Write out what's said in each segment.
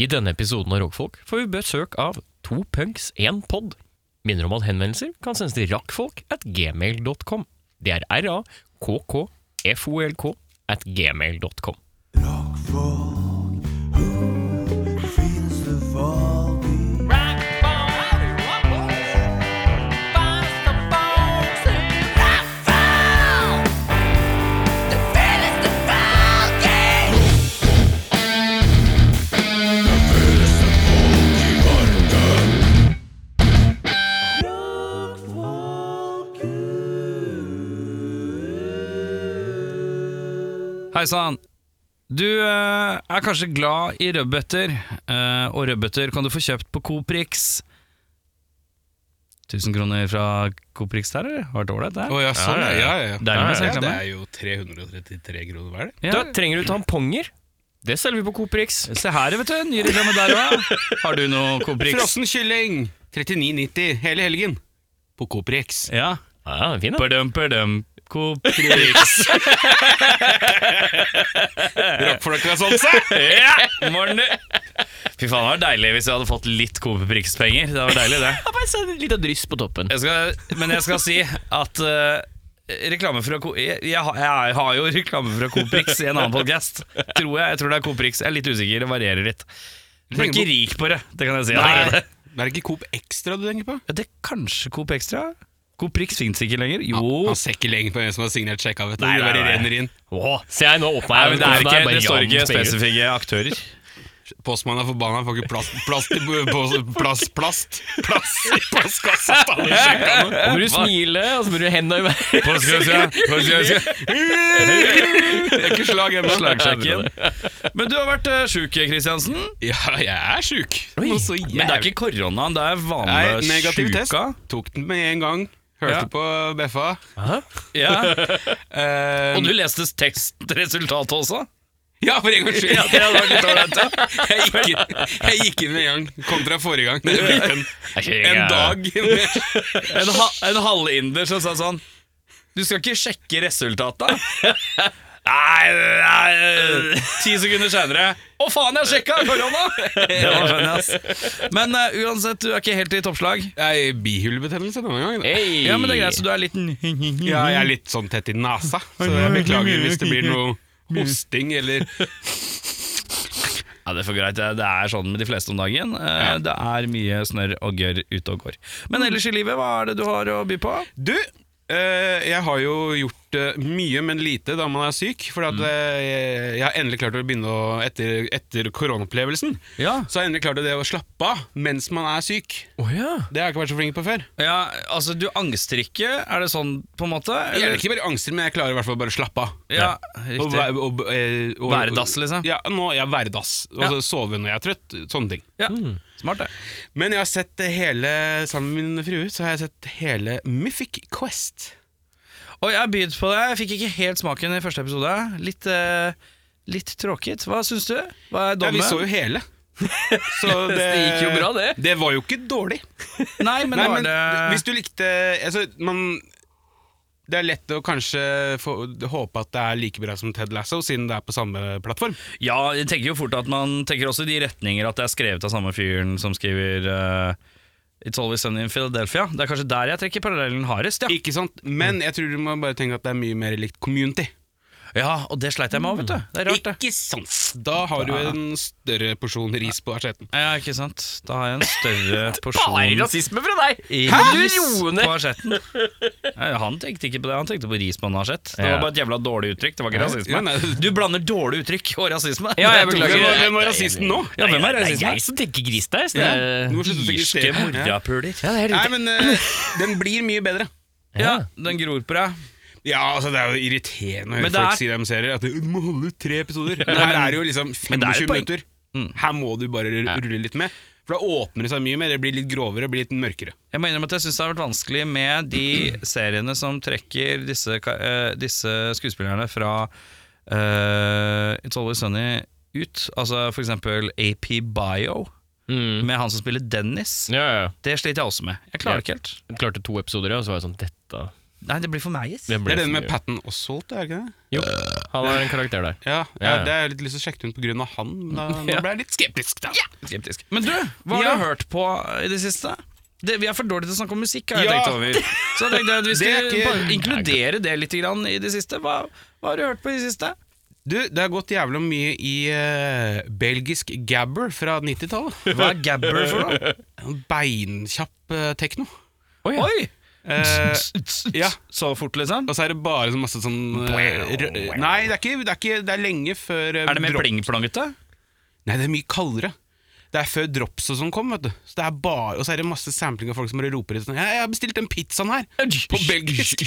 I denne episoden av Rockfolk får vi besøk av to punks, én pod. Minner om at henvendelser kan sendes til rakkfolk at gmail.com. Det er r-a-k-k-f-o-l-k at gmail.com. Hei sann. Du eh, er kanskje glad i rødbeter, eh, og rødbeter kan du få kjøpt på Coprix. 1000 kroner fra Coprix der, eller? Har vært ålreit, det? Å ja, sånn ja, ja, ja. Deilig med ja, reklame. det er jo 333 kroner hver, det. Ja. Da trenger du tamponger. Det selger vi på Coprix. Se her, vet du. Ny reklame der òg. Har du noe Coprix? Frossen kylling 39,90 hele helgen på Coprix. Ja. Ja, fin, Ah, da. Perdum, perdum. Coprix. Rockfolka sånn seg! ja! Morgen, du. Fy faen, det var deilig hvis jeg hadde fått litt Coprix-penger. Det var deilig, det. Ja, bare se, Litt av dryss på toppen. jeg skal, men jeg skal si at eh, reklame fra Co... Jeg, jeg, har- jeg har jo reklame fra Coprix i en annen podcast Tror jeg. Jeg tror det er Coprix. Jeg er litt usikker. Det varierer litt. Du blir ikke rik på det, det kan jeg si. allerede. Det er ikke Coop Extra du tenker på? Ja, det er kanskje Coop Extra. Coprix fins ikke lenger. Jo. Han ser ikke lenger på hvem som har signert sjekka, vet du. Nei, det bare nei, nei. renner inn. Åh, se, jeg nå åpna Nei, jeg men det, altså, er ikke, bare det står jevnt ikke penger ut. spesifikke aktører. Postmannen er forbanna, han får ikke plast, plast, i- på- plast, plast, plast i postkassa! faen, i sjekka nå. Da må du smile, og så må du henda i været. Det er ikke slag ennå. Slagsjekken. Men du har vært eh, uh, sjuk, Kristiansen. Ja, jeg er sjuk. Men Noe så det er ikke koronaen, det er Nei, vanlig negativ test. sjuka. Tok den med en gang. Hørte Ja. på Beffa. Ja. Eh, Og du leste testresultatet også? ja, for en gangs skyld! Ja, det hadde vært litt ålreit. ja. Jeg gikk, inn, jeg gikk inn med en gang, kontra forrige gang. Det ble en, en dag med En, ha, en halvinder som sa sånn Du skal ikke sjekke resultatet? Nei, nei Ti sekunder senere Å faen, jeg sjekka korona! Det var skjønne, ass. Men eh, uansett, du er ikke helt i toppslag. Nei, bihulebetennelse denne gangen. Hey. Ja, men det er greit, så du er liten Ja, Mhm. jeg er litt sånn tett i nesa, så jeg beklager hvis det blir noe Mhm. hosting eller Ja, det er for greit. Det det er sånn med de fleste om dagen. Eh, Det er mye snørr og gørr ute og går. Men ellers i livet, hva er det du har å by på? Du, eh, jeg har jo gjort eh, mye, men lite da man er syk. For Mm. at, eh, jeg har endelig klart å begynne å Etter, etter koronaopplevelsen Ja. så har jeg endelig klart det å slappe av mens man er syk. Å, ja. Det har jeg ikke vært så flink på før. Ja, altså Du angster ikke, er det sånn på en måte? Jeg er ikke bare angster, men jeg klarer i hvert fall bare å slappe av. Ja, Og, riktig. væ- og, eh, og, Være dass, liksom? Ja, nå, ja være dass. Altså, Sove når jeg er trøtt. Sånne ting. Ja. Smart, det. Men jeg har sett eh, hele, sammen med min frue, så har jeg sett hele Mythic Quest. Og jeg begynte på det. Jeg fikk ikke helt smaken i første episode. Litt, eh, litt tråkigt. Hva syns du? Hva er Ja, vi dommen? så jo hele. Så det, gikk jo bra, det. Det var jo ikke dårlig. Nei, men, Nei, var men det hvis du likte altså, man, Det er lett å kanskje få, håpe at det er like bra som Ted Lasso, siden det er på samme plattform. Ja, jeg tenker jo fort at man tenker også i de retninger at det er skrevet av samme fyren som skriver eh, It's Always Sunny in Philadelphia. Det er kanskje der jeg trekker parallellen hardest, ja. Ikke sant? Men jeg tror du må bare tenke at det er mye mer likt community. ja. Og det sleit jeg med òg, vet du. Det er rart, det. Ikke sant? Da har du en større porsjon ris på asjetten. Ja, ikke sant. Da har jeg en større Bare porsjon rasisme fra deg! Ris Du roer ned. på asjetten. Nei, Han tenkte ikke på det, han tenkte på ris på en asjett. Det Ja. var bare et jævla dårlig uttrykk. Det var ikke Ja, rasisme. nei. Du blander dårlig uttrykk og rasisme. Ja, jeg Det er to beklager. Hvem forskjellige- var, hvem var rasisten nå? Ja, hvem er Nei, Det rasisme? er jeg som tenker gristeis. Ja, det- du må slutte å tenke Irske sted. Ja. morapuler. Ja, det er helt Nei, riktig. men eh, den blir mye bedre. Ja, den gror på deg. Ja, altså Det er jo irriterende å Men det høre folk er- si det de ser. At du må holde ut tre episoder. Men her er det jo liksom Men det er et 25 poeng. minutter. Her må du bare rulle litt med. For da åpner det seg mye mer. Det blir litt grovere, det blir litt mørkere. Jeg må innrømme at jeg syns det har vært vanskelig med de seriene som trekker disse, ka- eh, disse skuespillerne fra eh, It's Always Sunny ut. Altså for eksempel AP Bio, Mm. med han som spiller Dennis. Ja, ja. Det sliter jeg også med. Jeg klarer det ikke helt. Jeg klarte to episoder, og så var jeg sånn Dette Nei, det blir for meg, yes. Det Det ble er den med for mye. Patton Oswalt, er det ikke det? Jo, han har en karakter der. Ja, Ja, ja, ja. Det har jeg litt lyst til å sjekke ut på grunn av han. men Da, nå Ja. ble jeg litt skeptisk. da Skeptisk. Men du, hva har Ja. du hørt på i det siste? Det, vi er for dårlige til å snakke om musikk, har jeg Ja. tenkt over. Så jeg tenkte at vi Det skulle er ikke- bare inkludere det litt grann i det siste. Hva, hva har du hørt på i det siste? Du, det har gått jævla mye i eh, belgisk gabber fra 90-tallet. Hva er gabber for noe? En Beinkjapp eh, tekno. Oi, ja. Oi! Eh, ja. Så fort, liksom? og så er det bare sånn masse sånn eh, rø- Nei, det er, ikke, det er ikke Det er lenge før eh, Er det mer drop- plingplongete? Nei, det er mye kaldere. Det er før dropset som kom, vet du. Så det er bare, og så er det masse sampling av folk som bare roper ut sånn «Ja, 'Jeg har bestilt den pizzaen her!' På belgisk.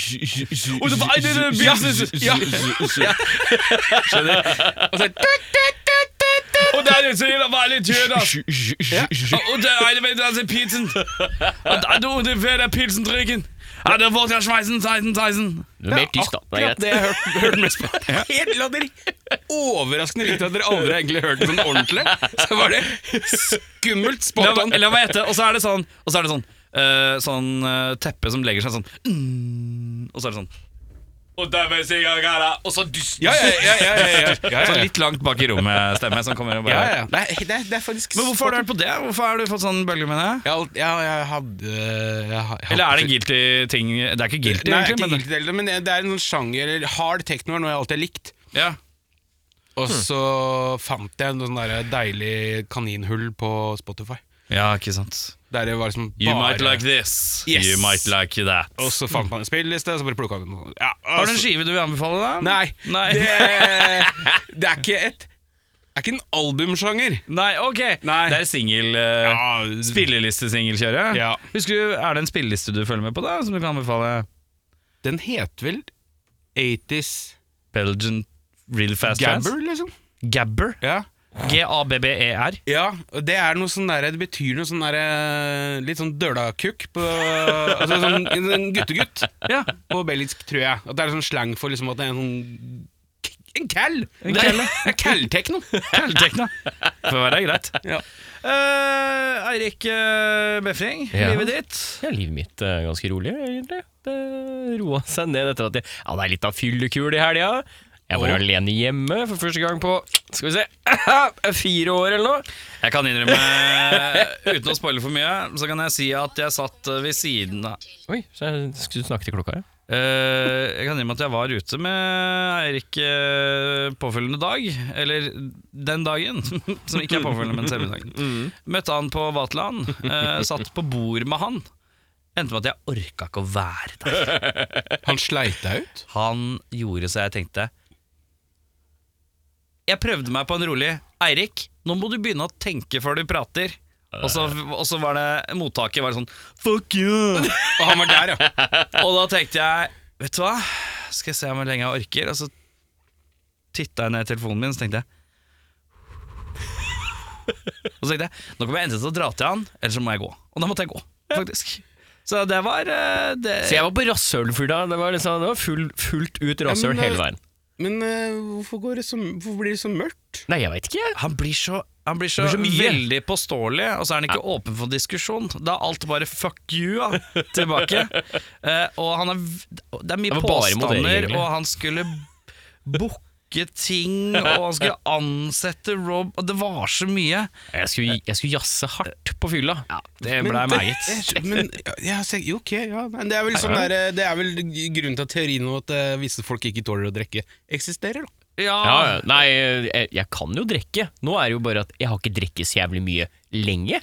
Og så bare, «Nei, det er business!» Ja. Og så er det Og der er det så ille, hva er litt gjør, da? Og der er det, vet du, altså, pilsen. Og der, du, det er der pilsen drikken. Ja, det er vårt, jeg sveisen, sveisen, sveisen. Det er Mer tysk, da. Det er greit. det jeg hørte, hørte mest på. Helt ladder. Overraskende riktig at dere aldri egentlig hørte det sånn ordentlig. Så var det skummelt La, meg- spontant. la meg gjette, og så er det sånn, og så er det sånn, eh, sånn eh, teppe som legger seg sånn, mm, og så er det sånn. Og der vil jeg si, ja, ja, ja, og så dyst. Ja, ja, ja, ja, ja, ja, ja, ja. Sånn litt langt bak i rommet stemme som kommer og bare Ja, ja, ja. Det, er- det, er- det er faktisk Men hvorfor har du hørt på det? Hvorfor har du fått sånn bølge med det? Jeg har alt- Ja, jeg hadde jeg ha- jeg Eller er det hadde- guilty ting? Det er ikke guilty, Nei, egentlig. ikke men- guilty heller, men det er en sånn sjanger eller Hard techno er noe jeg alltid har likt. Ja. Og Hmm. så fant jeg noe sånn der deilig kaninhull på Spotify. ja, ikke sant. Der det var liksom bare You might like this. Yes. You might like that. Og så fant man en spilleliste, og så bare plukka den. Ja, Har du en altså- skive du vil anbefale, da? Nei, Nei. Det, det er ikke et Det er ikke en albumsjanger. Nei, ok. Nei. Det er singel... Uh, ja. Spillelistesingelkjøret? Ja. Husker du, Er det en spilleliste du følger med på, da, som du kan anbefale? Den heter vel 80s Belgian Real Fast Gabber, Dance? liksom. Gabber? Ja. G-a-b-b-e-r. ja, og det er noe sånn der Det betyr noe sånn der eh, Litt sånn dølakukk på Altså sånn en sånn guttegutt Ja. på belgisk, tror jeg. At det er sånn slang for liksom at det er en sånn En kall! En kall, ja. En kalltekno. Kveldtekna. Får være greit. Ja. Eh, Eirik eh, Befring, Ja. livet ditt. Ja, livet mitt er ganske rolig, egentlig. Det roa seg ned etter at jeg Ja, det er litt av fyllekul i helga. Jeg var alene hjemme for første gang på skal vi se, fire år eller noe. Jeg kan innrømme, eh, uten å spoile for mye, så kan jeg si at jeg satt eh, ved siden av Oi, så jeg skulle snakke til klokka, ja. Eh, Jeg kan innrømme at jeg var ute med Eirik eh, påfølgende dag. Eller den dagen, som ikke er påfølgende, men selve dagen. Møtte han på Vaterland. eh, satt på bord med han. Endte med at jeg orka ikke å være der. Han sleit deg ut? Han gjorde så jeg tenkte Jeg prøvde meg på en rolig Eirik, nå må du begynne å tenke før du prater. Og så, og så var det mottaket var sånn Fuck you! Og han var der, ja. Og da tenkte jeg Vet du hva? Skal jeg se hvor lenge jeg orker? Og så titta jeg ned i telefonen min, så tenkte jeg Og så tenkte jeg Nå kommer jeg enten til å dra til han, eller så må jeg gå. Og da måtte jeg gå, faktisk. Så det var eh, det, Så jeg var på rasshølfylla. Det var, liksom, det var full, fullt ut rasshøl Ja, men, hele veien. Men eh, hvorfor, går det så, hvorfor blir det så mørkt? Nei, jeg veit ikke, jeg. Han blir så, han blir så, Han blir så mye. veldig påståelig, og så er han ikke åpen for diskusjon. Da er alt bare 'fuck you' da, tilbake. Eh, og han er, v- det er mye Det var bare påstander, modellregler. og han skulle booke ting, og han skulle ansette Rob, og det var så mye. Jeg skulle, Eh. jeg skulle jazze hardt på fylla. Det blei meget. Jeg- Men ja, så, jo, ok, ja. Men det, er vel sånn der, eh, det er vel grunnen til at teorien om at eh, visse folk ikke tåler å drikke, eksisterer. da Ja, Ja, ja. nei, eh, jeg, jeg kan jo drikke. Nå er det jo bare at jeg har ikke drikket så jævlig mye lenge.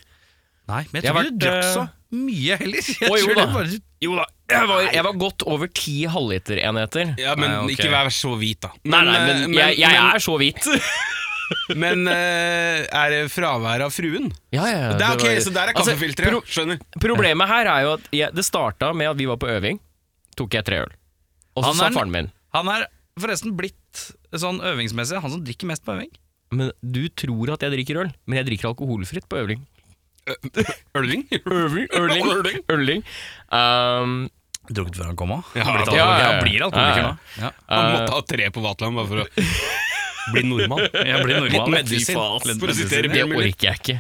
Nei, men Jeg jeg tror har ikke du vært, drakk så eh, mye heller. Jeg Å, jo tror da. det bare- Jo da, jeg var, jeg var godt over ti halvliterenheter. Ja, Men Nei, ok. ikke vær så hvit, da. Nei, nei, eh, men jeg, jeg er så hvit. men, eh, er det fravær av fruen? Ja, ja, ja, Det det er ok, var- Så der er Altså, kaffefilteret. pro- Skjønner. Problemet her er jo at jeg, det starta med at vi var på øving. Tok jeg tre øl. Og så Han sa er- faren min Han er forresten blitt sånn øvingsmessig han som drikker mest på øving. Men du tror at jeg drikker øl, men jeg drikker alkoholfritt på øving. Eh, Ølving? Øving? Øling? Øling. Øling. Um, Drukket før han kom òg. Ja, Han, ja, ja, ja. blir alkoholiker nå. Ja. Han måtte ha tre på Vatland bare for å bli nordmann. Jeg blir normal. Litt medisin, for å sitere det Premier League. orker jeg ikke.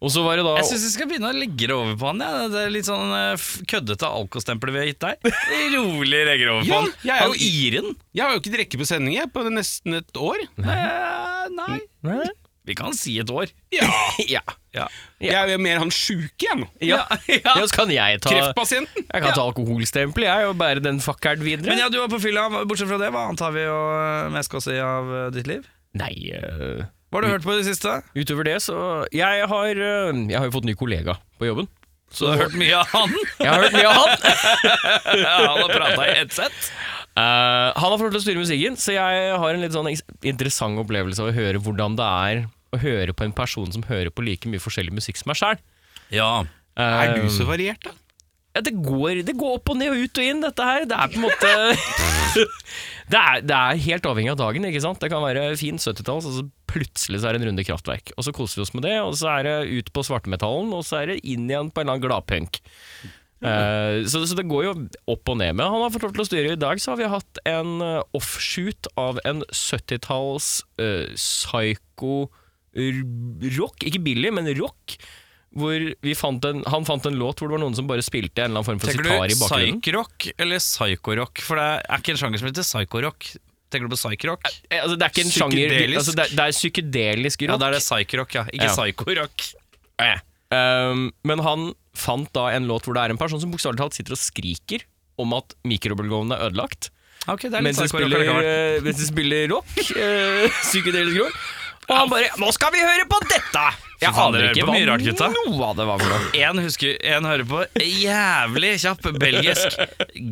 Og så var det da Jeg syns vi skal begynne å legge det over på han. Ja. Det er litt sånn eh, f- køddete alkostempelet vi har gitt deg. Rolig legger over på Ja, han. jeg er han jo- gir den. Jeg har jo ikke drikke på sending jeg, på nesten et år. Eh, nei. Nei. Vi kan si et år. Ja. Ja. Ja. Jeg er mer han sjuke, jeg nå. Ja. ja. Ja, så kan jeg ta Jeg Kreftpasienten. kan ta alkoholstempel, jeg, og bære den fuckeren videre. Men ja, du var på fylla. Bortsett fra det, hva annet har vi å eh, med skal si av eh, ditt liv? Nei øh, Hva har du hørt på i det siste? Utover det, så Jeg har, øh, jeg har jo fått ny kollega på jobben. Så du har hørt mye av han? Jeg har hørt mye av han. ja, han har prata i ett sett. Eh, han har fått lov til å styre musikken, så jeg har en litt sånn is- interessant opplevelse av å høre hvordan det er å høre på en person som hører på like mye forskjellig musikk som meg sjæl. Ja. Er du så variert, da? Ja, det, går, det går opp og ned og ut og inn, dette her. Det er på en måte det, er, det er helt avhengig av dagen, ikke sant. Det kan være fin 70-talls, og så plutselig så er det en runde kraftverk. Og så koser vi oss med det, og så er det ut på svartmetallen, og så er det inn igjen på en eller annen gladpunk. Eh, så, så det går jo opp og ned. Men han har fått lov til å styre. I dag så har vi hatt en eh, offshoot av en 70-talls eh, psycho-rock. Ikke billig, men rock. Hvor vi fant en, han fant en låt hvor det var noen som bare spilte en eller annen form for Tenker sitar du i bakgrunnen. psykrock eller psykorock? For det er ikke en sjanger som heter psykorock. Tenker du på psykrock? Eh, Altså, det er ikke en sjanger Psykedelisk? altså, det, er, det er psykedelisk rock. Ja, da er det psykrock, ja. Ikke Ja. psykorock. Um, men han fant da en låt hvor det er en person som bokstavelig talt sitter og skriker om at mikrobølgeovnen er ødelagt, Ok, det er litt mens de psykorock spiller, allikevel. eh, mens de spiller rock. eh, Psykedelisk rock. Og han bare 'Nå skal vi høre på dette!' Jeg faen, aner dere ikke hører på hva mye rart, gutta. noe av det var for noe. En husker, en hører på jævlig kjapp belgisk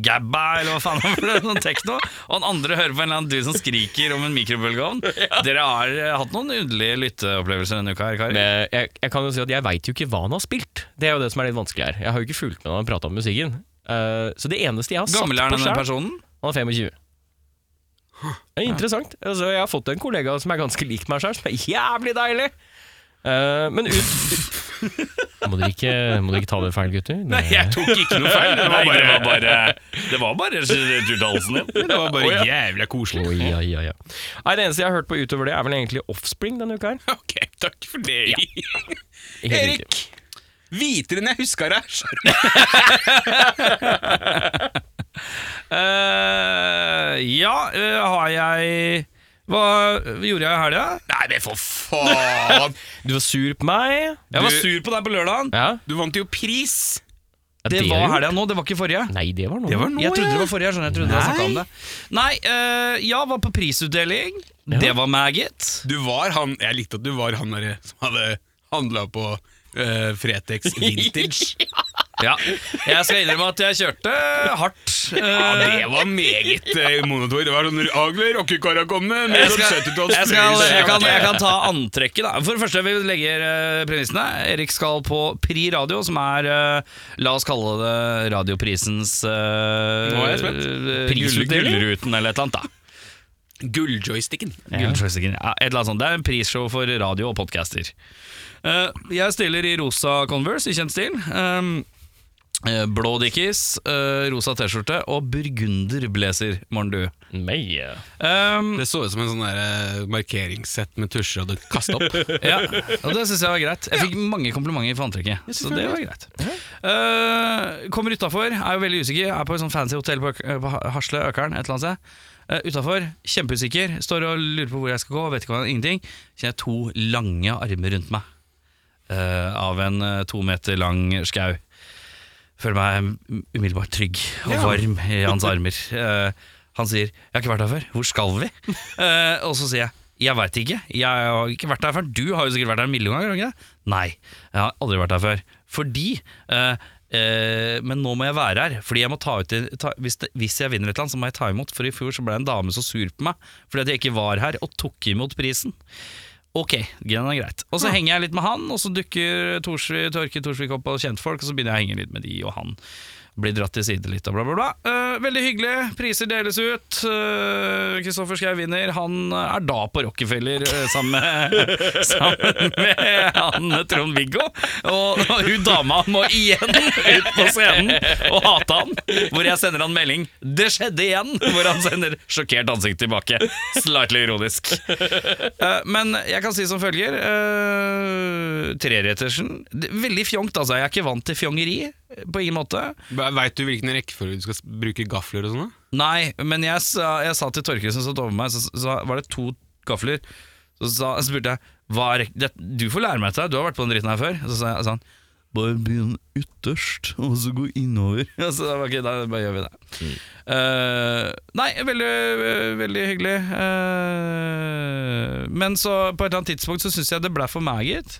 gabba, eller hva faen det er, sånn tekno. Og den andre hører på en eller annen dude som skriker om en mikrobølgeovn. Dere har eh, hatt noen underlige lytteopplevelser denne uka her, karer. Men jeg, jeg kan jo si at jeg veit jo ikke hva han har spilt. Det er jo det som er litt vanskelig her. Jeg har jo ikke fulgt med når han prata om musikken. Eh, så det eneste jeg har satt på Gammel er denne skjerm personen? Han er 25. Det er interessant. Altså, jeg har fått en kollega som er ganske lik meg sjøl, som er jævlig deilig. Eh, men ut må, dere ikke, må dere ikke ta det feil, gutter? Det- jeg tok ikke noe feil. Det var bare, det var bare, det var bare utdannelsen din. Det var bare Å, ja. jævla koselig. Oi, ja, ja, ja. Nei, det eneste jeg har hørt på utover det, er vel egentlig Offspring denne uka her. Ok, takk for det. Helt riktig. Erik! Hvitere enn jeg huska det her. Eh, ja, eh, har jeg Hva gjorde jeg i helga? Nei, men for faen! Du var sur på meg. Jeg var Du- sur på deg på lørdagen. Ja. Du vant jo pris! Det det var er- helga nå, det var ikke forrige. Nei, det var noe. var noe. jeg Å, trodde ja. det var forrige, jeg skjønner. Jeg trodde jeg Nei. snakket om det. Nei, eh, jeg var på prisutdeling. Det var maggot. Du var han Jeg likte at du var han derre som hadde handla på eh, Fretex Vintage. Ja. Jeg skal innrømme at jeg kjørte hardt. Ja, Eh, det var meget uh, monotor. Det var sånn Agler, rockekara komme, med jeg, skal, sånn jeg, 70-talls skal, jeg, kan, jeg blues. kan ta antrekket, da. For det første, vi legger eh, premissene. Erik skal på Pri Radio, som er eh, La oss kalle det Radioprisens eh, Nå er jeg spent. eh, Prisutdeling? Gullruten, eller et eller annet. da Gulljoysticken. Gulljoysticken. Ja, et eller annet sånt. Det er en prisshow for radio og podcaster. Eh, jeg stiller i rosa Converse, i kjent stil. Um, eh, blå Dickies, eh, rosa T-skjorte og burgunder blazer, morgen du. Nei, eh. Um, Det så ut som en sånn der, eh, markeringssett med tusjer og det kasta opp. ja, og det syns jeg var greit. Jeg fikk mange komplimenter for antrekket, så det var greit. Eh, kommer utafor, er jo veldig usikker. Er på et sånt fancy hotell på, Øk- på Hasle, Økeren, et eller annet sted. Uh, utafor, kjempeusikker. Står og lurer på hvor jeg skal gå, vet ikke hva, ingenting. Kjenner jeg to lange armer rundt meg eh, av en eh, to meter lang skau. Føler meg umiddelbart trygg og varm i hans armer. Eh, han sier 'Jeg har ikke vært her før. Hvor skal vi?' Eh, og så sier jeg 'Jeg veit ikke. Jeg har ikke vært her før. Du har jo sikkert vært her en million ganger.' har du ikke det? Nei, jeg har aldri vært her før. Fordi eh, eh, Men nå må jeg være her. Fordi jeg må ta ut ta, hvis, det, hvis jeg vinner et eller annet, så må jeg ta imot. For i fjor så ble en dame så sur på meg fordi at jeg ikke var her og tok imot prisen. Ok, den er greit. Og så henger jeg litt med han, og så dukker Torsvik, Torke Torsvik opp av kjentfolk, og så begynner jeg å henge litt med de og han. blir dratt til side litt og bla, bla, bla. Eh, veldig hyggelig. Priser deles ut. Eh, Kristoffer Schau vinner. Han er da på Rockefeller eh, sammen med, sammen med han Trond-Viggo. Og, og hun dama må igjen ut på scenen og hate han. Hvor jeg sender han melding 'Det skjedde igjen!' Hvor han sender sjokkert ansikt tilbake. Slightly ironisk. Eh, men jeg kan si som følger uh, Trerettersen Det- Veldig fjongt, altså. Jeg er ikke vant til fjongeri eh, på ingen måte. Veit du hvilken rekkefølge du skal s- bruke gafler og sånn? Nei, men jeg, sa- jeg sa til Torkel som satt over meg, så, så var det to gafler. Så, sa, så spurte jeg hva er, rek- det, Du får lære meg dette, du har vært på den dritten her før. Så sa jeg sånn Bare begynn ytterst, og så gå innover. Ja, så da, var jeg, ok, da bare gjør vi det. Eh, nei, veldig, veldig hyggelig. Eh, men så på et eller annet tidspunkt så syns jeg det ble for meg, gitt.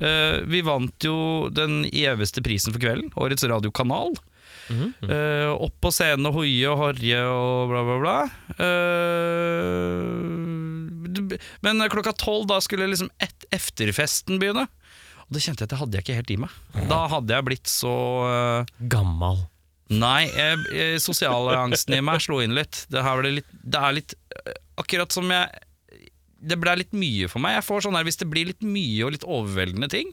Eh, vi vant jo den gjeveste prisen for kvelden, Årets radiokanal. Eh, opp på scenen og hoie og horje og bla, bla, bla. Eh, du- men klokka tolv da skulle liksom et efterfesten begynne. Og det kjente jeg at det hadde jeg ikke helt i meg. Da hadde jeg blitt så eh, Gammal. Nei, jeg, jeg, sosialangsten i meg slo inn litt. Det, her ble litt. det er litt eh, Akkurat som jeg Det ble litt mye for meg. Jeg får sånn her, Hvis det blir litt mye og litt overveldende ting,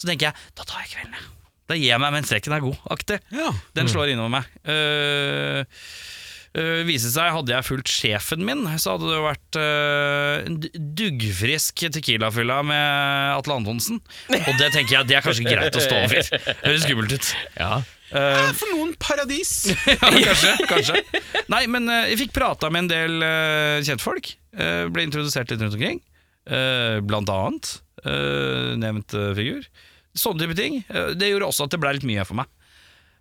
så tenker jeg da tar jeg kvelden, jeg. Da gir jeg meg mens streken er god, aktig. Ja. Den slår innover meg. Uh, viste seg, hadde jeg fulgt sjefen min, så hadde det vært eh, en d- duggfrisk tequilafylla med Atle Antonsen. Og det tenker jeg, det er kanskje greit å stå over. Høres skummelt ut. Ja. Eh, For noen paradis! ja, kanskje, kanskje. Nei, men eh, jeg fikk prata med en del eh, kjentfolk. eh, ble introdusert litt rundt omkring. Eh, blant annet eh, nevnt eh, figur. Sånne type ting. Eh, det gjorde også at det ble litt mye for meg.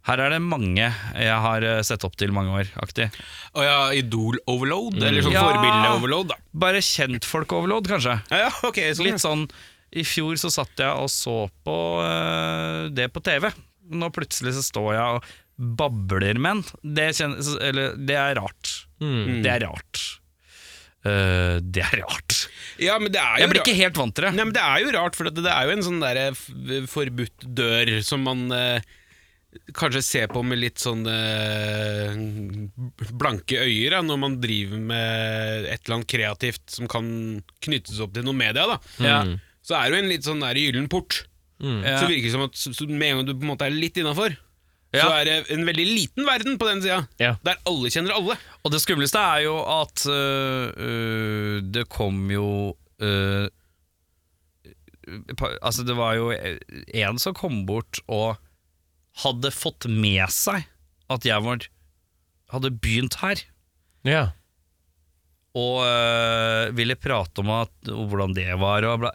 Her er det mange jeg har eh, sett opp til mange år, aktig. Å ja, idol-overload? Eller sånn Ja. forbilde-overload, da. Bare kjentfolk-overload, kanskje. Ja, ja, ok, sånn, Litt sånn I fjor så satt jeg og så på eh, det på TV. Nå plutselig så står jeg og babler med en. Det, kjennes, eller, det er rart. Mm. Det er rart. Eh, det er rart. ja, men det er jo Jeg blir ra- ikke helt vant til det. Nei, men Det er jo rart, for det det er jo en sånn der eh, f- forbudt dør som man eh, kanskje ser på med litt sånn eh, blanke øyer da, når man driver med et eller annet kreativt som kan knyttes opp til noe media. da. Mm. Ja. Så er det jo en litt sånn der gyllen port. Ja. Så virker det som at så, så med en gang du på en måte er litt innafor, så Ja. er det en veldig liten verden på den sida, Ja. der alle kjenner alle. Og det skumleste er jo at eh, eh, det kom jo eh, pa- Altså, det var jo en som kom bort og hadde fått med seg at jeg var, hadde begynt her. ja. og øh, ville prate om at, og hvordan det var. Og bla.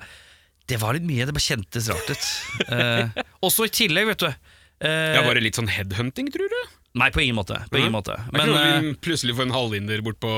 Det var litt mye, det bare kjentes rart ut. Eh, også i tillegg, vet du. eh, Ja, Var det litt sånn headhunting, tror du? Nei, på ingen måte. På ingen måte. Det er Men ikke noe eh, vi plutselig får en halvinder bort på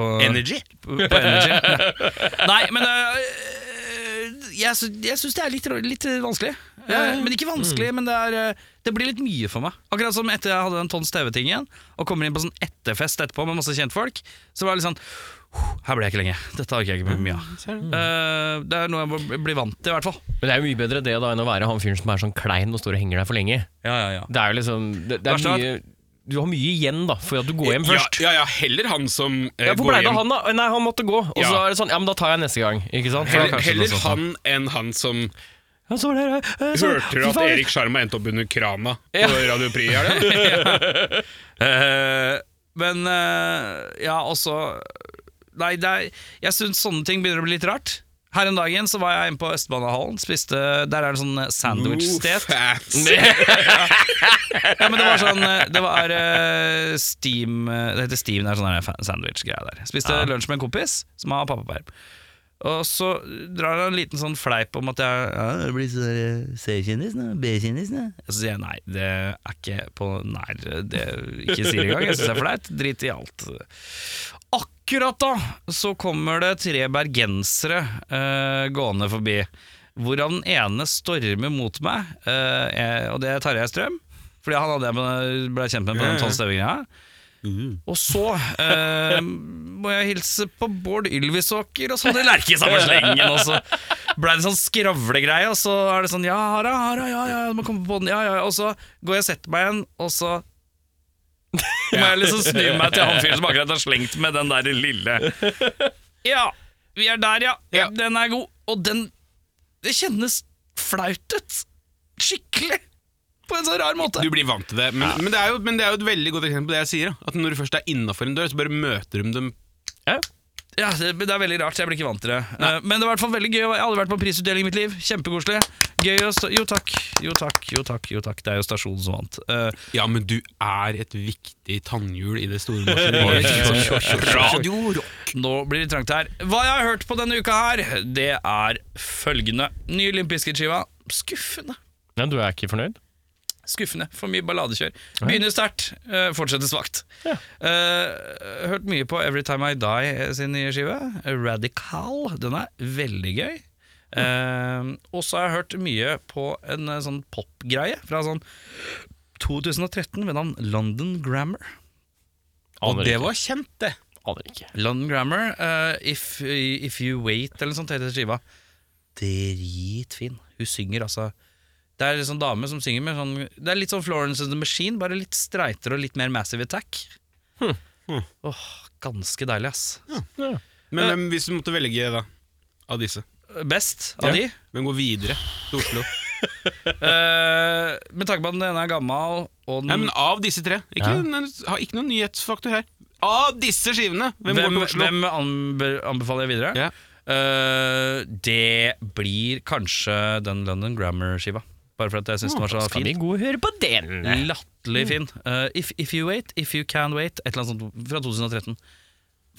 på, Energy. på energy. ja. Nei, men eh, jeg, sy jeg syns det er litt, rå- litt vanskelig. Eh, Men ikke vanskelig, men det, er, eh, det blir litt mye for meg. Akkurat som etter jeg hadde den Tons TV-tingen, og kommer inn på sånn etterfest etterpå med masse kjentfolk, så var det litt sånn Her ble jeg ikke lenge. Dette orker jeg ikke mye av. Eh, det er noe jeg må bli vant til, i hvert fall. Men det er jo mye bedre det da enn å være han fyren som er sånn klein og står og henger der for lenge. Ja, ja, ja. Det er jo liksom det, det er Verst av mye, Du har mye igjen da for at du går hjem først. Ja, ja, ja heller han som eh, Ja, Hvor går blei det av hjem. han, da? Nei, han måtte gå. Og så Ja. er det sånn Ja, men da tar jeg neste gang. Ikke sant? Så Heller, kanskje heller noe sånt. han enn han som Ja, så var det, eh, så- hørte fy at faen. Erik Sjarma endte opp under krana Ja. på Radio Pri. Er det? Eh, men eh, ja, også Nei, det er, jeg syns sånne ting begynner å bli litt rart. Her en dagen så var jeg inne på Østbanehallen. Spiste, der er det sånn sandwich-sted. Oh, fancy. Ja, men det var sånn eh, Det var eh, steam eh, Det heter steam, det er sånn der fa- sandwich-greie der. Spiste lunsj med en kompis som har pappaperm. Og så drar han en liten sånn fleip om at jeg ja, det blir sånn der, eh, C-kjendis nå, B-kjendis nå. Og så sier jeg nei, det er ikke på nær det ikke sier engang. Jeg syns det er flaut. Drit i alt. Akkurat da så kommer det tre bergensere eh, gående forbi. Hvorav den ene stormer mot meg, eh, jeg- og det er Tarjei Strøm. Fordi han hadde jeg ble kjent med på den tolvstøvegreia. Og så eh, må jeg hilse på Bård Ylvisåker og sånne lerke i samme slengen. Og så blei det sånn skravlegreie, og så er det sånn Ja, hara, hara, ja, ja, du må komme på den, ja, ja. ja. Og så går jeg og setter meg igjen, og så må jeg liksom snu meg til han fyren som akkurat har slengt med den der lille Ja, vi er der, ja. Ja. Den er god. Og den Det kjennes flaut ut. Skikkelig. På en sånn rar måte. Du blir vant til det. Men, men, det er jo, men det er jo et veldig godt eksempel på det jeg sier. da. At når du først er innafor en dør, så bare møter du dem Ja. Ja, det, men det er veldig rart, jeg blir ikke vant til det. Eh, Men det var i hvert fall veldig gøy. Jeg har aldri vært på en prisutdeling i mitt liv. Kjempekoselig. Gøy å stå Jo takk, jo takk, jo takk. jo takk Det er jo stasjonen som vant. Eh, Ja, men du er et viktig tannhjul i det store Oi. maskineriet. Radio Rock. Nå blir det trangt her. Hva jeg har hørt på denne uka her, det er følgende. Ny Limp Bizkit-skiva. Skuffende. Men du er ikke fornøyd? Skuffende. For mye balladekjør. Begynner sterkt, eh, fortsetter svakt. Ja. Eh, hørt mye på Every Time I Die eh, sin nye skive. Radical. Den er veldig gøy. Eh, og så har jeg hørt mye på en eh, sånn popgreie fra sånn 2013 ved navn London Grammar. Og Aner det ikke. var kjent, det. Aner ikke. London Grammar, eh, if, if You Wait, eller sånt heter skiva. Dritfin. Hun synger altså Det er en sånn dame som synger med sånn Det er litt sånn Florence and the Machine, bare litt streitere og litt mer Massive Attack. Hm. Åh, ganske deilig, ass. Ja. Men hvem, hvis du måtte velge da, av disse, Best av Ja. de. hvem går videre til Oslo? Eh, med tanke på at den ene er gammel, og den Nei, men Av disse tre. Ikke, Ja. nei, har ikke noen nyhetsfaktor her. Av disse skivene! Hvem, Hvem, går til Oslo? hvem anbe- anbefaler jeg videre? Ja. Eh, det blir kanskje den London Grammar-skiva. Bare fordi jeg syns den var så Skal fin. vi gå og høre på den? Mm. Latterlig fin. Eh, if, if You Wait, If You Can Wait, et eller annet sånt fra 2013.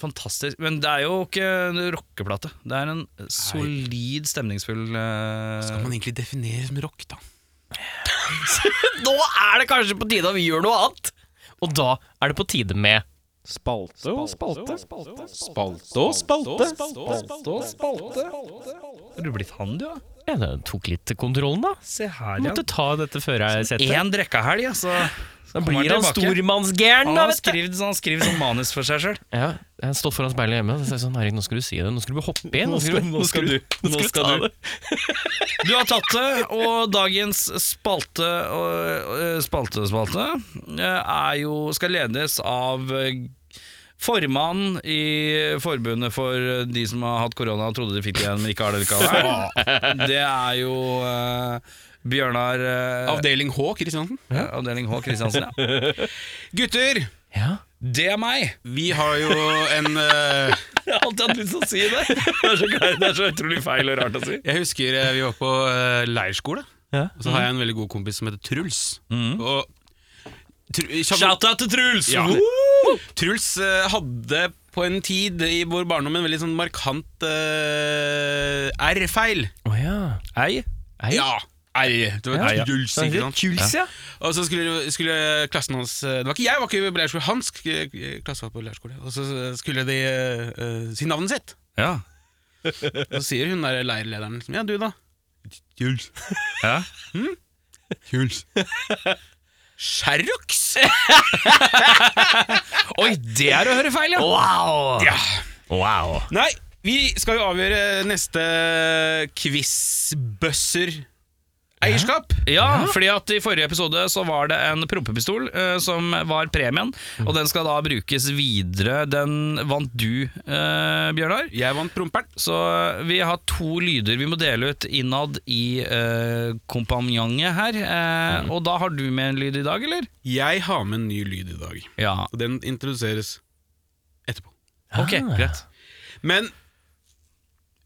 Fantastisk. Men det er jo ikke en rockeplate. Det er en solid, stemningsfull eh, Skal man egentlig definere som rock, da? Nå er det kanskje på tide at vi gjør noe annet! Og da er det på tide med Spalte og spalte. Spalte og spalte. Spalte og spalte. Har du blitt han, du, da? Ja, det tok litt kontrollen, da. Se her, Jeg ja. måtte ta dette før jeg setter. Én drekkehelg, altså. Da kommer blir han tilbake. stormannsgæren, Han da, har vet du. skrevet han har skrevet sånn manus for seg sjøl. Ja, jeg har stått foran speilet hjemme og sagt sånn Erik, nå skal du si det. Nå skal du hoppe inn. Nå skal, nå skal du Nå skal du ta det. Du har tatt det, og dagens spalte og, eh, Spalte, spalte eh, Er jo, skal ledes av eh, Formann i forbundet for eh, de som har hatt korona og trodde de fikk det igjen, men ikke har det likevel. Det er jo eh, Bjørnar eh, Avdeling H, Kristiansen. ja, Avdeling H. Kristiansen, ja. Gutter! Ja. Det er meg! Vi har jo en eh, Jeg har alltid hatt lyst til å si det. Det er så, gøy, det er så utrolig feil og rart å si. Jeg husker eh, vi var på eh, leirskole. Ja. Og så har jeg en veldig god kompis som heter Truls. Mm. Og tr Kjapt- Shout-out til Truls! Ja. Truls eh, hadde på en tid i vår barndom en veldig sånn markant eh, R-feil. Å ja. Hei. Ei. Ja, R. Det var Ja, ja. Truls, Det ikke er sant? Jules, ja. Og så skulle, skulle klassen hans eh, Det var ikke jeg, var ikke på leirskole. Hans eh, klasse var på leirskole. Og så skulle de eh, eh, si navnet sitt. Ja. Og så sier hun der leirlederen liksom, Ja, du da? Hm? Truls. ja. Truls. Sherrox! Oi, det er å høre feil, ja! Wow. Ja. Wow. Nei, vi skal jo avgjøre neste quiz-bøsser-eierskap. Ja, fordi at i forrige episode så var det en prompepistol eh, som var premien, og den skal da brukes videre. Den vant du, eh, Bjørnar. Jeg vant promperen. Så vi har to lyder vi må dele ut innad i eh, kompanjonget her. Eh, Og da har du med en lyd i dag, eller? Jeg har med en ny lyd i dag, Ja. og den introduseres etterpå. Ok, Ah. greit. Men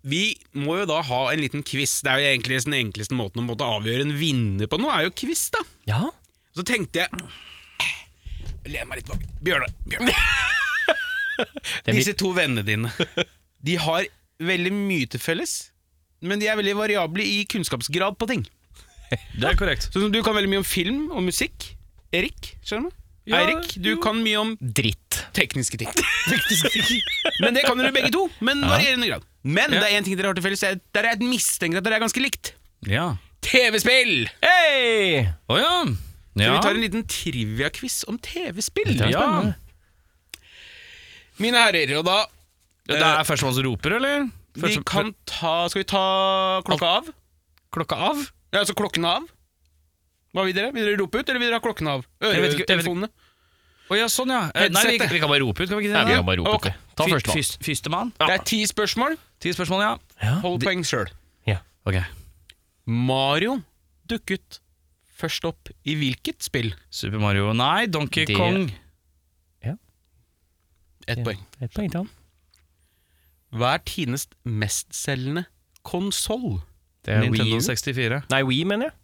vi må jo da ha en liten quiz. Det er jo egentlig den enkleste måten å måtte avgjøre en vinner på nå, er jo quiz, da. Ja. Så tenkte jeg Len meg litt bak. Bjørnar. Bjørnar. er Disse to vennene dine De har veldig mye til felles, men de er veldig variable i kunnskapsgrad på ting. Det er korrekt. Sånn som Du kan veldig mye om film og musikk. Erik, skjønner du? Ja, Eirik, du jo. kan mye om Dritt. tekniske ting. men det kan dere begge to, men varierende grad. Men det er én ting dere har til felles, det er- der jeg mistenker at dere er ganske likt. Ja. TV-spill! Hei! Å ja. Så ja. vi tar en liten trivia-quiz om TV-spill. Det er Ja. spennende. Mine herrer, og da Det Eh, er førstemann som roper, eller? Vi Første- kan ta Skal vi ta klokka av? Klokka av? Ja, altså klokken av? Hva vil dere? Vil dere rope ut, eller vil dere ha klokken av? Jeg vet ikke- jeg vet ikke- Øretelefonene. Å ja, sånn ja. Eh, Nei, vi, Headsetet. vi kan bare rope ut, kan vi ikke Nei, vi det? kan bare rope Ok. ut det. Ta Fy- førstemann. fys- Førstemann? Det er ti spørsmål. Ti spørsmål, ja. Ja. Hold poeng sjøl. Ja. Ok. Mario dukket først opp i hvilket spill? Super Mario Nei, Donkey Det- Kong. Ett poeng. Et poeng til han. Hva er Tines mestselgende konsoll? Det er Nintendo Nintendo 64. Nei, Wii, mener jeg.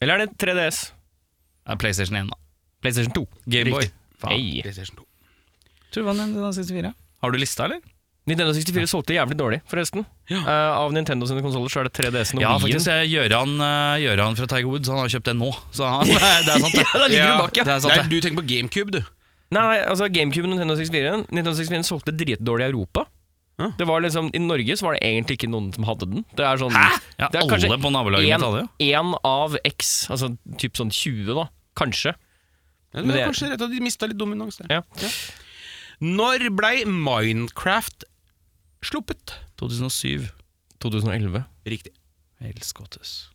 Eller er det 3DS? Det er PlayStation 1, da. PlayStation 2. Gameboy. Riktig. Hey. PlayStation 2. Tror du det var Nintendo 64? Har du lista, eller? Nintendo 64 solgte jævlig dårlig, forresten. Eh, av Nintendo sine konsoller så er det 3DS-en og Ja, Wii-en. faktisk. eh, Gøran, eh, Gøran fra Tiger Woods Han har kjøpt den nå, så han, det er det er sant. Det. Ja, da ligger du Ja, bak, ja. Det er sant, Nei, det. du tenker på GameCube, du. Nei, nei, altså GameCube og Nintendo 64 Nintendo 64 solgte dritdårlig i Europa. Ja. Det var liksom, I Norge så var det egentlig ikke noen som hadde den. Det er sånn, Ja, Det er alle kanskje på nabolaget mitt hadde jo. én av x, altså typ sånn 20, da. Kanskje. Ja, Men det er det- kanskje rett at de mista litt dominans der. Ja. Når blei Minecraft sluppet? 2007. 2011. Riktig. Helskottes.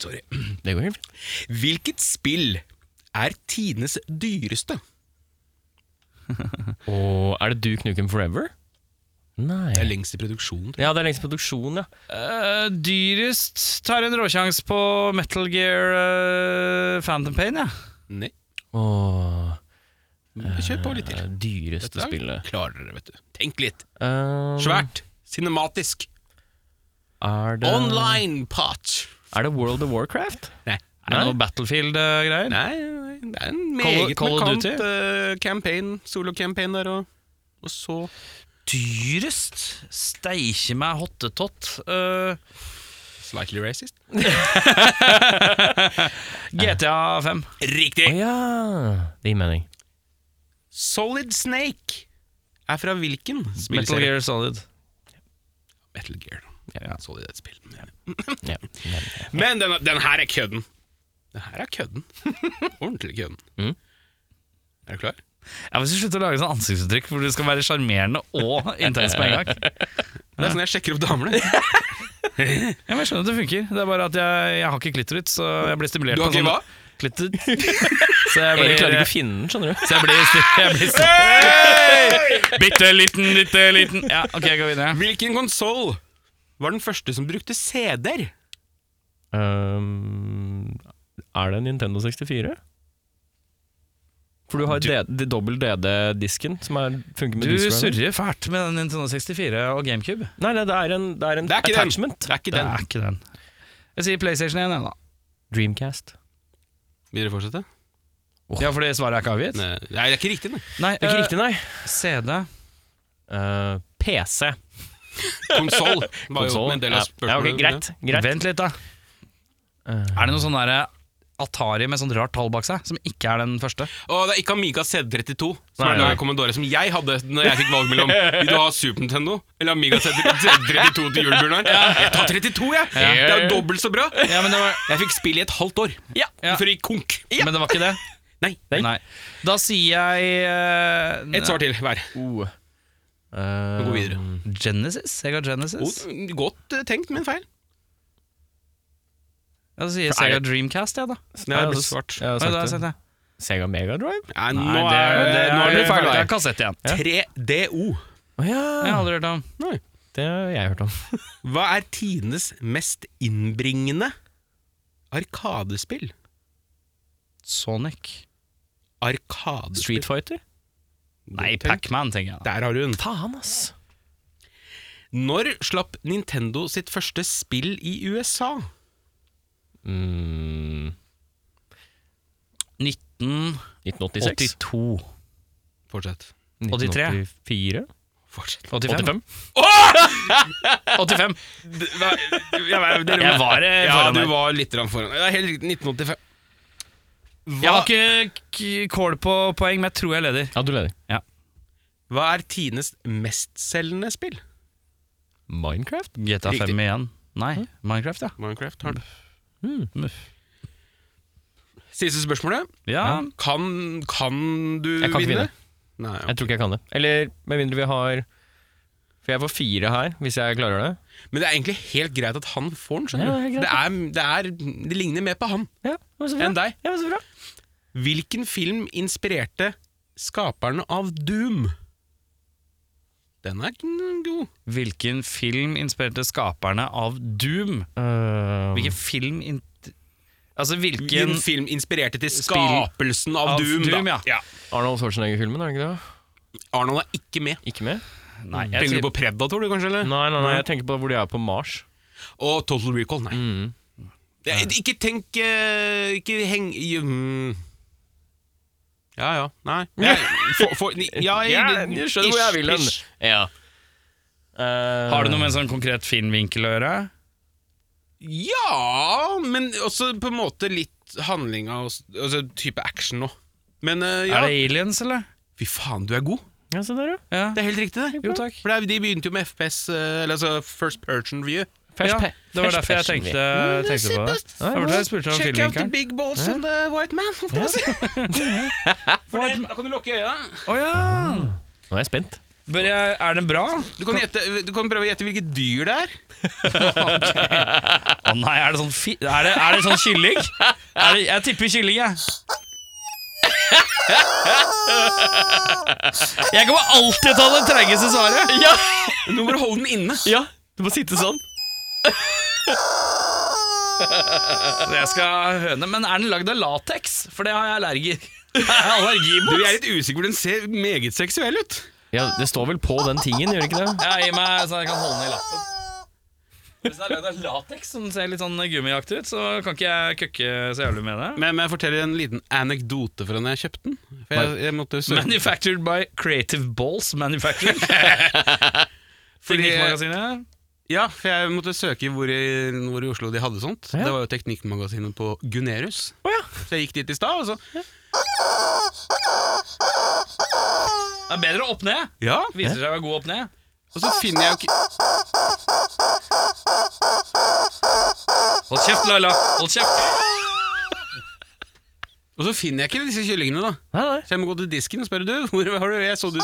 Sorry. Det går helt fint. Hvilket spill er tidenes dyreste? Og er det du, Knuken Forever? Det er Nei. lengst i produksjonen. Ja, det er lengst produksjon, ja. Eh, dyrest tar en råsjans på Metal Gear eh, Phantom Pain, jeg. Ja. Nei, Åh, kjør på litt til. det dyreste Dette spillet. klarer dere, vet du. Tenk litt. Um, Svært. Cinematisk. Er det, Online part. er det World of Warcraft? Nei. Er det noe eh, Battlefield-greier? Nei, nei, det er en Call meget of- Call of markant Duty? eh, campaign, solo-campaign der, og, og så Dyrest? Steikje meg hottetott. Eh, Slightly racist. GTA 5. Å Riktig! ja! Det gir mening. Solid Snake er fra hvilken Metal spillserie? Gear Solid. Metal Gear. Ja. Solid er et spill. Ja. Men den, den her er kødden. Den her er kødden. Ordentlig kødden. Mm. Er du klar? Ja, Hvis du slutter å lage sånn ansiktsuttrykk hvor du skal være sjarmerende og intens på en gang. Det er sånn jeg sjekker opp damene. Ja, men Jeg skjønner at det funker. Det er bare at jeg, jeg har ikke klitoris, så jeg blir stimulert. Du har på sånn ikke sånne- hva? Klitter. Så jeg Jeg klarer blir, ikke å finne den, skjønner du. så jeg blir, sti- jeg blir sti- Bitte liten, bitte liten. Ja, ok, jeg går videre. Hvilken konsoll var den første som brukte CD-er? Ehm, er det en Nintendo 64? For du har D- D- dobbel DD-disken, som er, funker med Du disc driver. surrer fælt med den Nintendo 64 og GameCube. Nei, nei, det er en, det er en Det er ikke den. attachment. Det er ikke Det den. er ikke den. Jeg sier PlayStation 1, jeg, da. Dreamcast. Vil dere fortsette? Ja, fordi svaret er ikke avgitt? Nei, det er ikke riktig, nei. Nei, Det er eh, ikke riktig, nei. CD. Eh, PC. Konsoll var jo Konsolen. en del av spørsmålet. Ja, ok, greit. greit. Vent litt, da. Eh, Er det noe sånn derre Atari med sånn rart tall bak seg, som ikke er den første? Og det er ikke Amiga CD32, som Nei, er laget nei. av Commodore, som jeg hadde når jeg fikk valg mellom Vil du ha Super Nintendo eller Amiga CD32 til juleburen her? Jeg tar 32, jeg! Det er jo dobbelt så bra! Ja, men det var, Jeg fikk spill i et halvt år, Ja. Ja. for i konk. men det var ikke det? Nei. Nei. Da sier jeg eh, Et svar til hver. Oh. Eh, Gå videre. Um, Genesis? Jeg har Genesis. Oh, godt eh, tenkt, men feil. Ja, så sier For er Sega Dreamcast, jeg, da. Nei, det ble altså, svart. ja, Oi, svart, ja. da har Eh, jeg sagt det. Sega Mega Drive? Nei, nå Nei, det, er det, nå er det feil Det vei. er kassett igjen. Det 3DO. Å ja. har jeg aldri hørt om. Det har jeg hørt om. Hva er tidenes mest innbringende arkadespill? Sonic. Arkadespill. Street Fighter? Nei, Godt tenkt. Pac-Man, tenker jeg. da. Der har du den. Faen, ass. Når slapp Nintendo sitt første spill i USA? Mm, 1986? 1982. Fortsett. 1984? Fortsett. 85? 85. 85. D- hva- ja, hva- dere- Jeg var eh, Ja, foran du der. var litt grann foran. Det er helt riktig. 1985. Jeg har Hva, ikke k- kål på poeng, men jeg tror jeg leder. Ja, du leder. hva er tidenes mestselgende spill? Minecraft? GTA 5 Riktig. igjen. Nei, Minecraft, ja. Minecraft har den. Muff. Siste spørsmålet. Ja, Kan, kan du Jeg kan ikke vinne? vinne. Nei, ja. Jeg tror ikke jeg kan det. Eller med mindre vi har For jeg får fire her, hvis jeg klarer det. Men det er egentlig helt greit at han får Ja, den, det er skjønner du. helt Det, er, det, er, det ligner mer på han Ja, men så bra. enn deg. Ja, men så bra. Hvilken film inspirerte skaperne av Doom? Den er gn- god. Hvilken film inspirerte skaperne av Doom? Ehm. Hvilken Mm. film in Altså, hvilken Hvilken film inspirerte til Spill- skapelsen av, av Doom? Doom, da? ja. Arnold Schwarzenegger-filmen, er det ikke det? Arnold er ikke med. Ikke med? Nei, jeg Tenker sier du på Predator, du, kanskje? eller? Nei, nei, nei, jeg tenker på hvor de er på Mars. Og Total Recall, nei. Ja, ikke tenk eh, Ikke heng i- mm. Ja ja, nei. Jeg, for, for, ja, jeg, jeg skjønner hvor jeg vil hen. ish, ish. Ja. Ehm. Har det noe med en sånn konkret filmvinkel å gjøre? Ja, men også på en måte litt handlinga og s- altså, type action nå. Men eh, ja Er det aliens, eller? Fy faen, du er god! Ja, se der, ja. Ja. Det er helt riktig, det. Jo, takk. For det er- de begynte jo med FPS, eh, eller altså First Person Eh, Review. First ja, pe- det var first derfor Mm, jeg Mm, person tenkte, tenkte på det. Det var derfor jeg spurte om Check out the filmvinkelen. big balls and the white man. holdt jeg på å si. For det- Da kan du lukke øya. Å ja. Nå er jeg spent. Bør jeg, er den bra? Å Du kan, gjette, du kan prøve å gjette hvilket dyr det er. nei, er det sånn, fi er det, er det sånn kylling? Er det, jeg tipper kylling, jeg. Jeg kommer alltid ta det treigeste svaret. Ja! Nå må du holde den inne. ja. Du må sitte sånn. Jeg skal høne, men er den lagd av lateks? For det har jeg allergi, allergi mot. Du, Jeg er litt usikker, den ser meget seksuell ut. Ja, Det står vel på den tingen, gjør det ikke det? Ja, gi meg så jeg kan holde den i lappen. Hvis den er lagd av lateks som ser litt sånn gummiaktig ut, så kan ikke jeg køkke så jævlig med det. Men men jeg forteller en liten anekdote fra når jeg kjøpte den. For jeg, jeg måtte søke Manufactured by Creative Balls Manufacturing. Teknikkmagasinet. Ja, for jeg måtte søke hvor i, hvor i Oslo de hadde sånt. Ja. Det var jo Teknikkmagasinet på Gunerius. Å ja. Så jeg gikk dit i stad, og så Det er bedre opp ned. Ja, Viser seg å være god opp ned. og så finner jeg jo ikke Hold kjeft, Laila. Hold kjeft. Og så finner jeg ikke disse kyllingene, da. Nei, nei. Så jeg må gå til disken og spørre du, hvor har du Jeg så du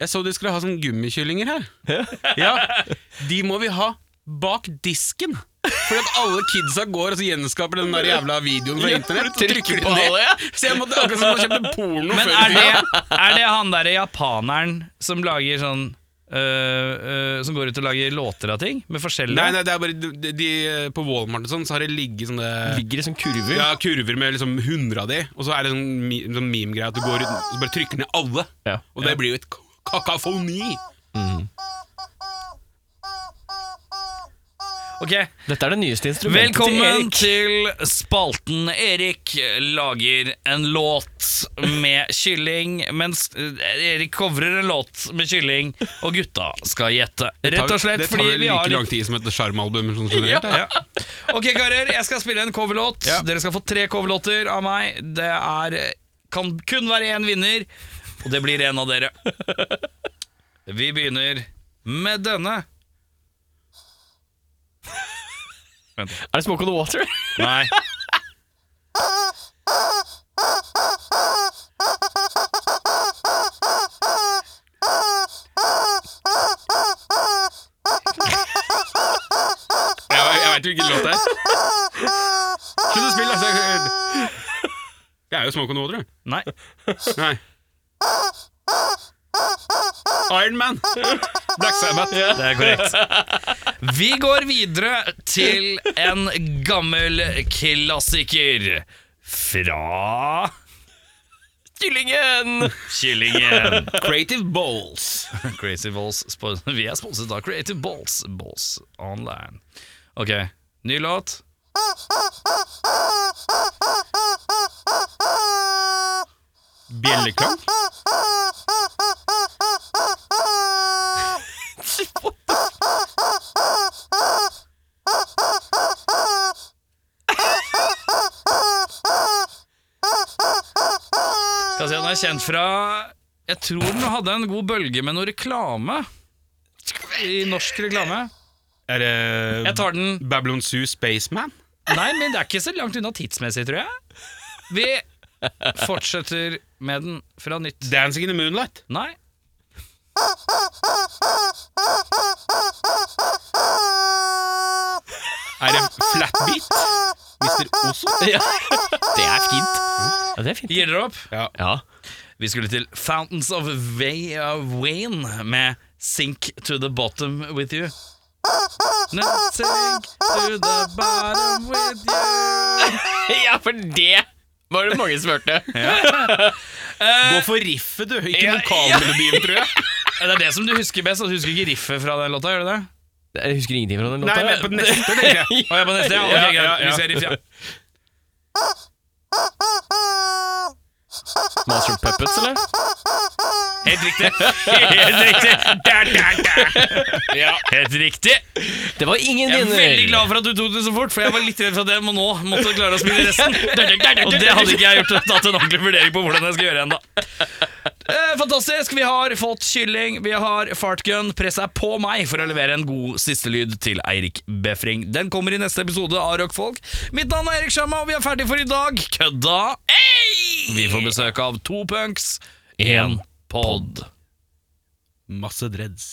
Jeg så du skulle ha sånne gummikyllinger her. Ja, de må vi ha bak disken. Fordi at alle kidsa går og så gjenskaper den der jævla videoen fra internett. Og trykker på ned. Så jeg måtte akkurat som å kjøpe porno Men før er i det, tida. er det han derre japaneren som lager sånn øh, øh, Som går ut og lager låter av ting? Med forskjellige Nei, nei, det er bare de, de, de- På Walmart og sånn Så har det ligget sånne Ligger i sånn kurver. ja, kurver med liksom hundre av de Og så er det sånn, mi- sånn meme-greie At du går ut Ah! og bare trykker ned alle Ja. Og det blir jo et k- kakafoni Ok, Dette er det nyeste instrumentet Velkommen til Erik. til spalten Erik lager en låt med kylling Mens eh, Erik covrer en låt med kylling Og gutta skal gjette Rett og slett Det tar fordi vel vi like har lang tid som et sjarmalbum sånn generelt, ja. Ok, karer, jeg skal spille en coverlåt. Ja. Dere skal få tre coverlåter av meg. Det er, kan kun være én vinner, og det blir en av dere. Vi begynner med denne. Er det Smoke on the Water? Nei. Jeg, jeg vet jo hvilken låt det er Slutt å spille altså, jeg- Det er jo Smoke on the Water Nei. Nei Iron Man Black Sabbath Det er korrekt. Vi går videre til en gammel klassiker fra Kyllingen! Kyllingen. Creative Balls Crazy Balls. spo- Vi er sponset av Creative Balls. Balls online. Ok, ny låt. Bjelleklang Kan si den er kjent fra Jeg tror den hadde en god bølge med noe reklame. I norsk reklame. Er det Jeg tar den Babylon Zoo Spaceman? Nei, men det er ikke så langt unna tidsmessig, tror jeg. Vi Fortsetter med den fra nytt. Dancing in the moonlight. Nei. Er det flatbeat? Mr. Oso? ah. Ja. Det er fint. Ja, det er fint. Gir dere opp? Ja. Ja. Vi skulle til Fountains of Way of Wayne med Sink to the Bottom with You. Not sink to the bottom with you. ja, for det var det mange som hørte. Gå for riffet, du. Ikke Ja, vokalmelodien, tror jeg. Det er det som du husker best. og Du husker ikke riffet fra den låta? gjør du det? Jeg husker ingenting fra den Nei, låta. men på den neste, tenker jeg. Å, jeg er på neste, ja. Ok, Ja, greit. ja, ja. Vi ser riff, ja. Master of Puppets, eller? Helt riktig. Helt riktig. Da, da, da. Ja, helt riktig. Det var ingen Jeg er vinner. veldig glad for at du tok det så fort, for jeg var litt redd for at jeg må nå måtte klare å spille resten. Og det hadde ikke jeg gjort tatt en ordentlig vurdering på hvordan jeg skal gjøre ennå. Eh, fantastisk. Vi har fått kylling, vi har fartgun. Presset er på meg for å levere en god siste lyd til Eirik Befring. Den kommer i neste episode av Rockfolk. Mitt navn er Eirik Sjarma, og vi er ferdig for i dag. Kødda ei! Vi får besøk av to punks, én pod. Masse dreads.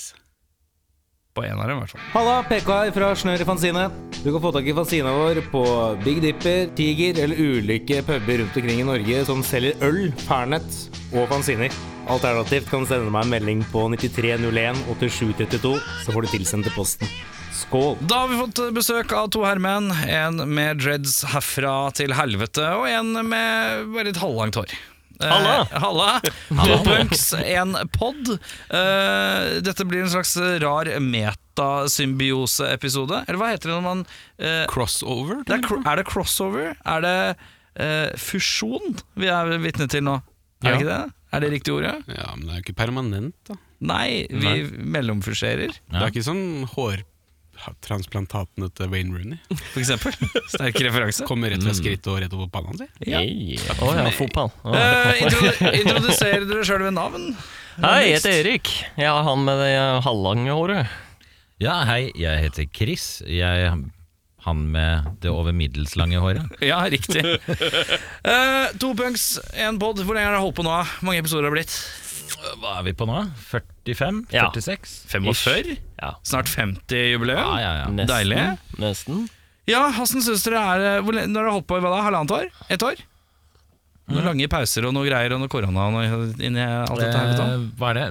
På én av dem, i hvert fall. Halla, PK her fra Snør i Fanzine. Du kan få tak i fanzina vår på Big Dipper, Tiger eller ulike puber rundt omkring i Norge som selger øl, pernett og fanziner. Alternativt kan du sende meg en melding på 9301 8732, så får du tilsendt til posten. Skål! Da har vi fått besøk av to herremenn. En med dreads herfra til helvete, og en med bare litt halvlangt hår. Eh, Halla. Halla! To punks, en pod. Eh, dette blir en slags rar metasymbiose-episode. Eller hva heter det når man eh, Crossover? det er, cro- er det crossover? Er det eh, fusjon vi er vitne til nå? Er det Ja. ikke det? Er det riktig ordet? Ja, men det er jo ikke permanent, da. Nei, vi mellomfuserer, Det er ikke sånn hårtransplantatene til Wayne Rooney. for eksempel. Sterk referanse. Kommer rett fra skrittet og rett over panna si. Ja. Hey. Å ja, fotball. Å. Eh, introdu introduserer dere sjøl ved navn? Hei, jeg heter Erik. Jeg er han med det eh, halvlange håret. Ja, hei, jeg heter Chris. Jeg han med det over middels lange håret. Ja, riktig. Eh, to punks, én pod. Hvor lenge har dere holdt på nå? Hvor mange episoder har det blitt? Hva er vi på nå? 45? Ja. 46? 45? Ja. Snart 50-jubileum? Ja, ja, ja. Nesten. Deilig. Nesten. Ja, hvordan syns dere er eh, hvor lenge, Når dere har holdt på i hva da? Halvannet år? Ett år? Noen Mm. lange pauser og noe greier og noe korona og noe inni alt dette her. vet du. Eh, Hva er det?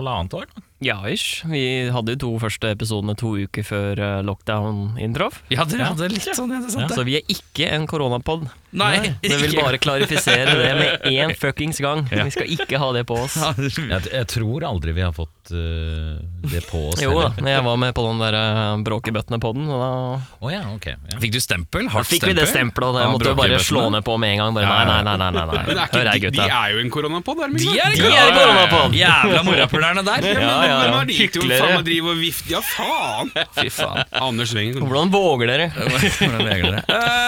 Halvannet år? nå? Ja, ish. Vi hadde jo to første episodene to uker før eh, lockdown inntraff. Ja, dere hadde litt sånn, ja, det er sant det. Så vi er ikke en koronapod. Nei, Jeg vil ikke- bare klarifisere det med én fuckings gang. Vi skal ikke ha det på oss. Jeg, jeg tror aldri vi har fått eh, det på oss. Jo da, heller. men jeg var med på den der eh, bråkebøttene-podden, og da Å ja, ok. Ja. Fikk du stempel? Da Hardt fikk vi det stempelet, og jeg Ja, måtte jo bare slå bråkebøttene. ned på med en gang. Bare, nei, nei, nei, nei, nei, Men nei. er ikke, Hør her, de, de gutta. er jo en koronapod, er de De ikke? er, De er koronapod! Jævla morapulerne der! Ja, ja, ja. Hvem er de til å faen Hyklere. meg drive og vifte Ja, faen! Fy faen. Anders Wengen. Hvordan våger dere? Hvordan regler det?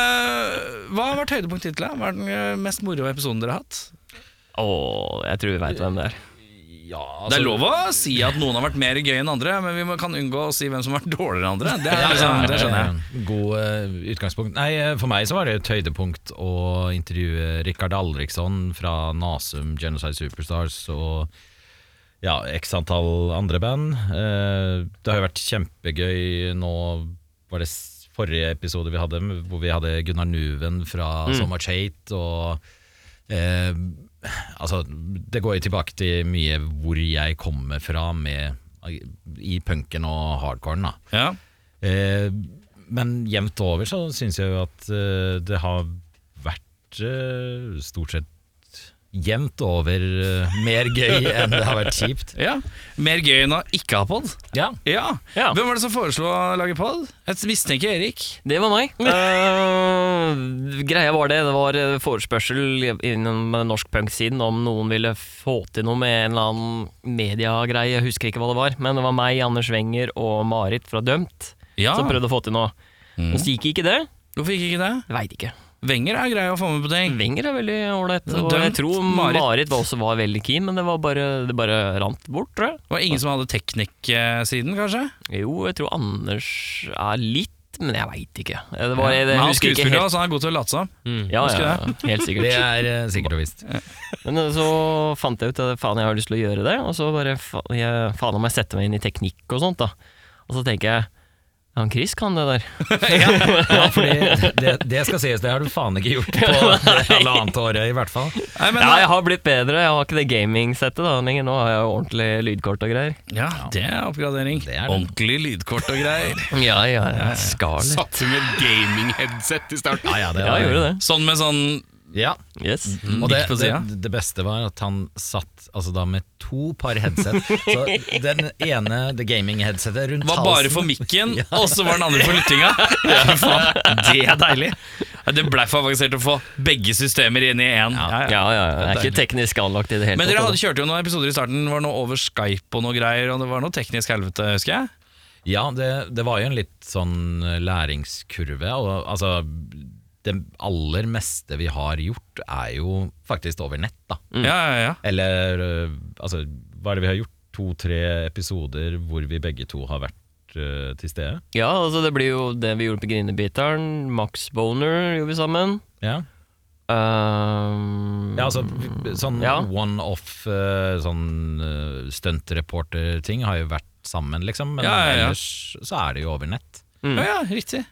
Eh, hva har vært høydepunktet hittil? da? Hva er den eh, mest moro episoden dere har hatt? Å, jeg tror vi veit hvem det er. Ja, det altså, er lov å si at noen har vært mer gøy enn andre, men vi må- kan unngå å si hvem som har vært dårligere enn andre. Det, er, liksom, det skjønner jeg. eh, God eh, utgangspunkt. Nei, eh, for meg så var det et høydepunkt å intervjue Rikard Alriksson fra Nasum, Genocide Superstars og ja, x antall andre band. Eh, Det har jo vært kjempegøy nå var det s- forrige episode vi hadde, hvor vi hadde Gunnar Nuven fra Mm. So Much Hate og eh, Altså, det går jo tilbake til mye hvor jeg kommer fra med, i punken og hardcoren, da. Ja. Eh, men jevnt over så syns jeg jo at eh, det har vært eh, stort sett jevnt over eh, mer gøy enn det har vært kjipt. ja. Mer gøy enn å ikke ha pod? Ja. Ja. Ja. Hvem var det som foreslo å lage pod? Jeg mistenker Erik. Det var meg. Eh, greia var det, det var eh, forespørsel innen norsk punk-siden om noen ville få til noe med en eller annen mediegreie, jeg husker ikke hva det var. Men det var meg, Anders Wenger og Marit fra Dømt Ja. som prøvde å få til noe. Men så gikk ikke det. Hvorfor gikk ikke det? Veit ikke. Wenger er grei å få med på ting. Wenger er veldig ålreit. Og Dømt, jeg tror Marit. Marit, var også var veldig keen, men det, var bare, det bare rant bort, tror jeg. Det var ingen som hadde teknikksiden, kanskje? Jo, jeg tror Anders er litt sagt, men jeg veit ikke. Det var, jeg, Men han er husker ikke skuespiller, helt. så han er god til å late som. Ja, Husker ja, helt Det sikkert. er eh, sikkert og visst. Men eh, så fant jeg ut at faen, jeg har lyst til å gjøre det, og så bare fa- jeg, faen om jeg setter meg inn i teknikk og sånt, da. Og så tenker jeg han Chris kan det der. Ja, fordi det, det skal sies, det har du faen ikke gjort på det halvannet året i hvert fall. Nei, men, Ja, jeg har blitt bedre, jeg har ikke det gaming-settet da lenger. Nå har jeg jo ordentlig lydkort og greier. ja, det er oppgradering. Det er det. Ordentlig lydkort og greier. Ja, ja, ja. Scarlett. Satt hun med et gaming-headset i starten? Ja, ja, det Ja, jeg gjorde det. Sånn med sånn Ja, Yes. Og det, Midt på det, siden. det beste var at han satt altså da med to par headset. Så den ene, det gaming-headsetet, rundt var halsen. bare for mikken, og så var den andre for lyttinga. Fy faen, det er deilig. Ja, Det blei for avansert å få begge systemer inn i én. Ja, ja, ja. Jeg er ikke teknisk anlagt i det hele Men dere tatt. altså. hadde, kjørte jo noen episoder i starten, var noe over Skype og noe greier, og det var noe teknisk helvete, husker jeg. Ja, det, det var jo en litt sånn læringskurve. Og, altså, det aller meste vi har gjort, er jo faktisk over nett, da. Ja, ja, ja. Eller øh, altså, hva er det vi har gjort? To-tre episoder hvor vi begge to har vært øh, til stede. Ja, altså det blir jo det vi gjorde på Grinebiteren. Max Boner gjorde vi sammen. Ja, Ehm, ja altså vi- sånn Ja. one-off øh, sånn øh, stuntreporter-ting har jo vært sammen, liksom. Men Ja, ja, ja. ellers så er det jo over nett. Ja, ja, riktig.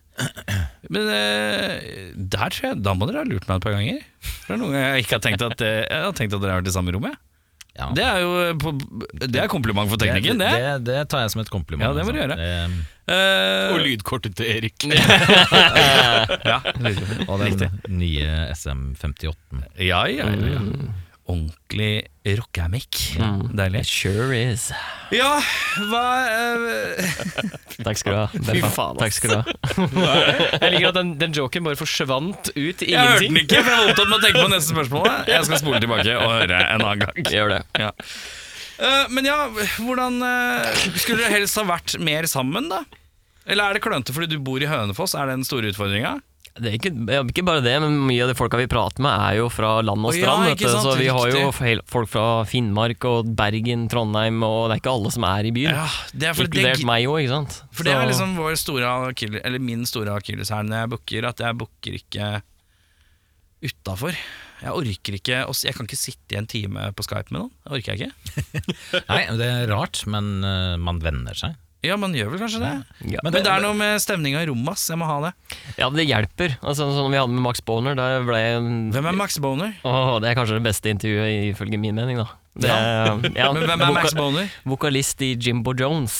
Men eh, der tror jeg, da må dere ha lurt meg et par ganger. For Det er noen ganger jeg ikke har tenkt at, eh, jeg har tenkt at dere har vært i samme rommet. Ja. Det er jo eh, på, det er kompliment for teknikken, det. det, det tar jeg som et kompliment. Ja, det må du altså. gjøre. Det- Eh, Og lydkortet til Erik. ja, lydkort. Og den nye SM58. ja, ja, ja, ja. Ordentlig rockamic. Deilig. Sure is. Ja, hva eh, Takk skal du ha. Fy faen, ass. Takk skal du ha. Jeg liker at den, den joken bare forsvant ut i Jeg hørte den ingenting. ikke, for jeg holdt opp med å tenke på neste spørsmål. Jeg skal spole tilbake og høre en annen gang. Gjør det. Ja. Eh, men ja, hvordan eh, Skulle dere helst ha vært mer sammen, da? Eller er det klønete fordi du bor i Hønefoss? Er det den store utfordringa? Det er ikke, ja, ikke bare det, men mye av de folka vi prater med er jo fra land og Å ja, strand. vet ikke du. sant, så vi har jo riktig. feil- folk fra Finnmark og Bergen, Trondheim, og det er ikke alle som er i byen. Ja, det er fordi det, Inkludert meg òg, ikke sant. for det Så- er liksom vår store akille- Eller min store akilleshæl når jeg booker, at jeg booker ikke utafor. Jeg orker ikke å s- Jeg kan ikke sitte i en time på Skype med noen. Det orker jeg ikke. Nei, det er rart, men øh, man venner seg. Ja, man gjør vel kanskje det. Ja. Men det, er noe med stemninga i rommet, ass. Jeg må ha det. Ja, det hjelper. Altså, sånn som vi hadde med Max Boner, der ble jeg Hvem er Max Boner? Åh, det er kanskje det beste intervjuet, ifølge min mening, da. Det er, ja, Men hvem er Max voka- Boner? Vokalist i Jimbo Jones.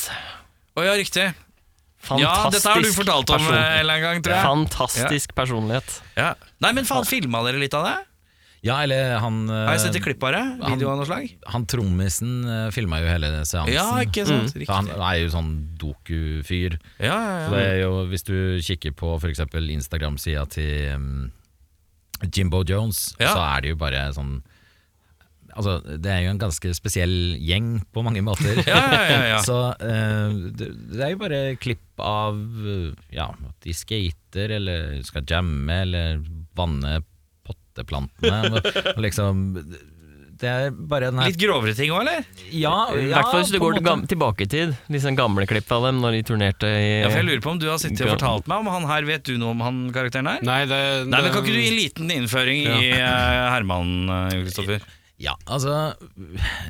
Å ja, riktig. Ja, Fantastisk dette har du fortalt om eh, person- en eller annen gang, tror jeg. Fantastisk personlighet. Ja. Nei, men faen, filma dere litt av det? Ja, eller han øh, Har jeg sett et klipp av det? Video av noe slag? Han trommisen øh, filma jo hele seansen. Mm. Ja, ikke sant? Så han Riktig. er jo sånn dokufyr. Ja, Så ja, det ja. er jo, hvis du kikker på f.eks. Instagram-sida til um, Jimbo Jones, Ja. så er det jo bare sånn Altså, det er jo en ganske spesiell gjeng på mange måter. Ja, ja, ja, ja. Så eh, det, det er jo bare klipp av eh, ja, at de skater, eller skal jamme, eller vanne potteplantene. og- og liksom, det er bare den her Litt grovere ting òg, eller? Ja, I ja, hvert fall hvis du på en går til måte. gam tilbake i tid. Disse gamle klipp av dem når de turnerte i Ja, for jeg lurer på om du har sittet og fortalt meg om han her. Vet du noe om han karakteren her? Nei, det, Nei, men Kan ikke du gi en liten innføring i eh, Herman, eh, Jon Kristoffer? Ja, altså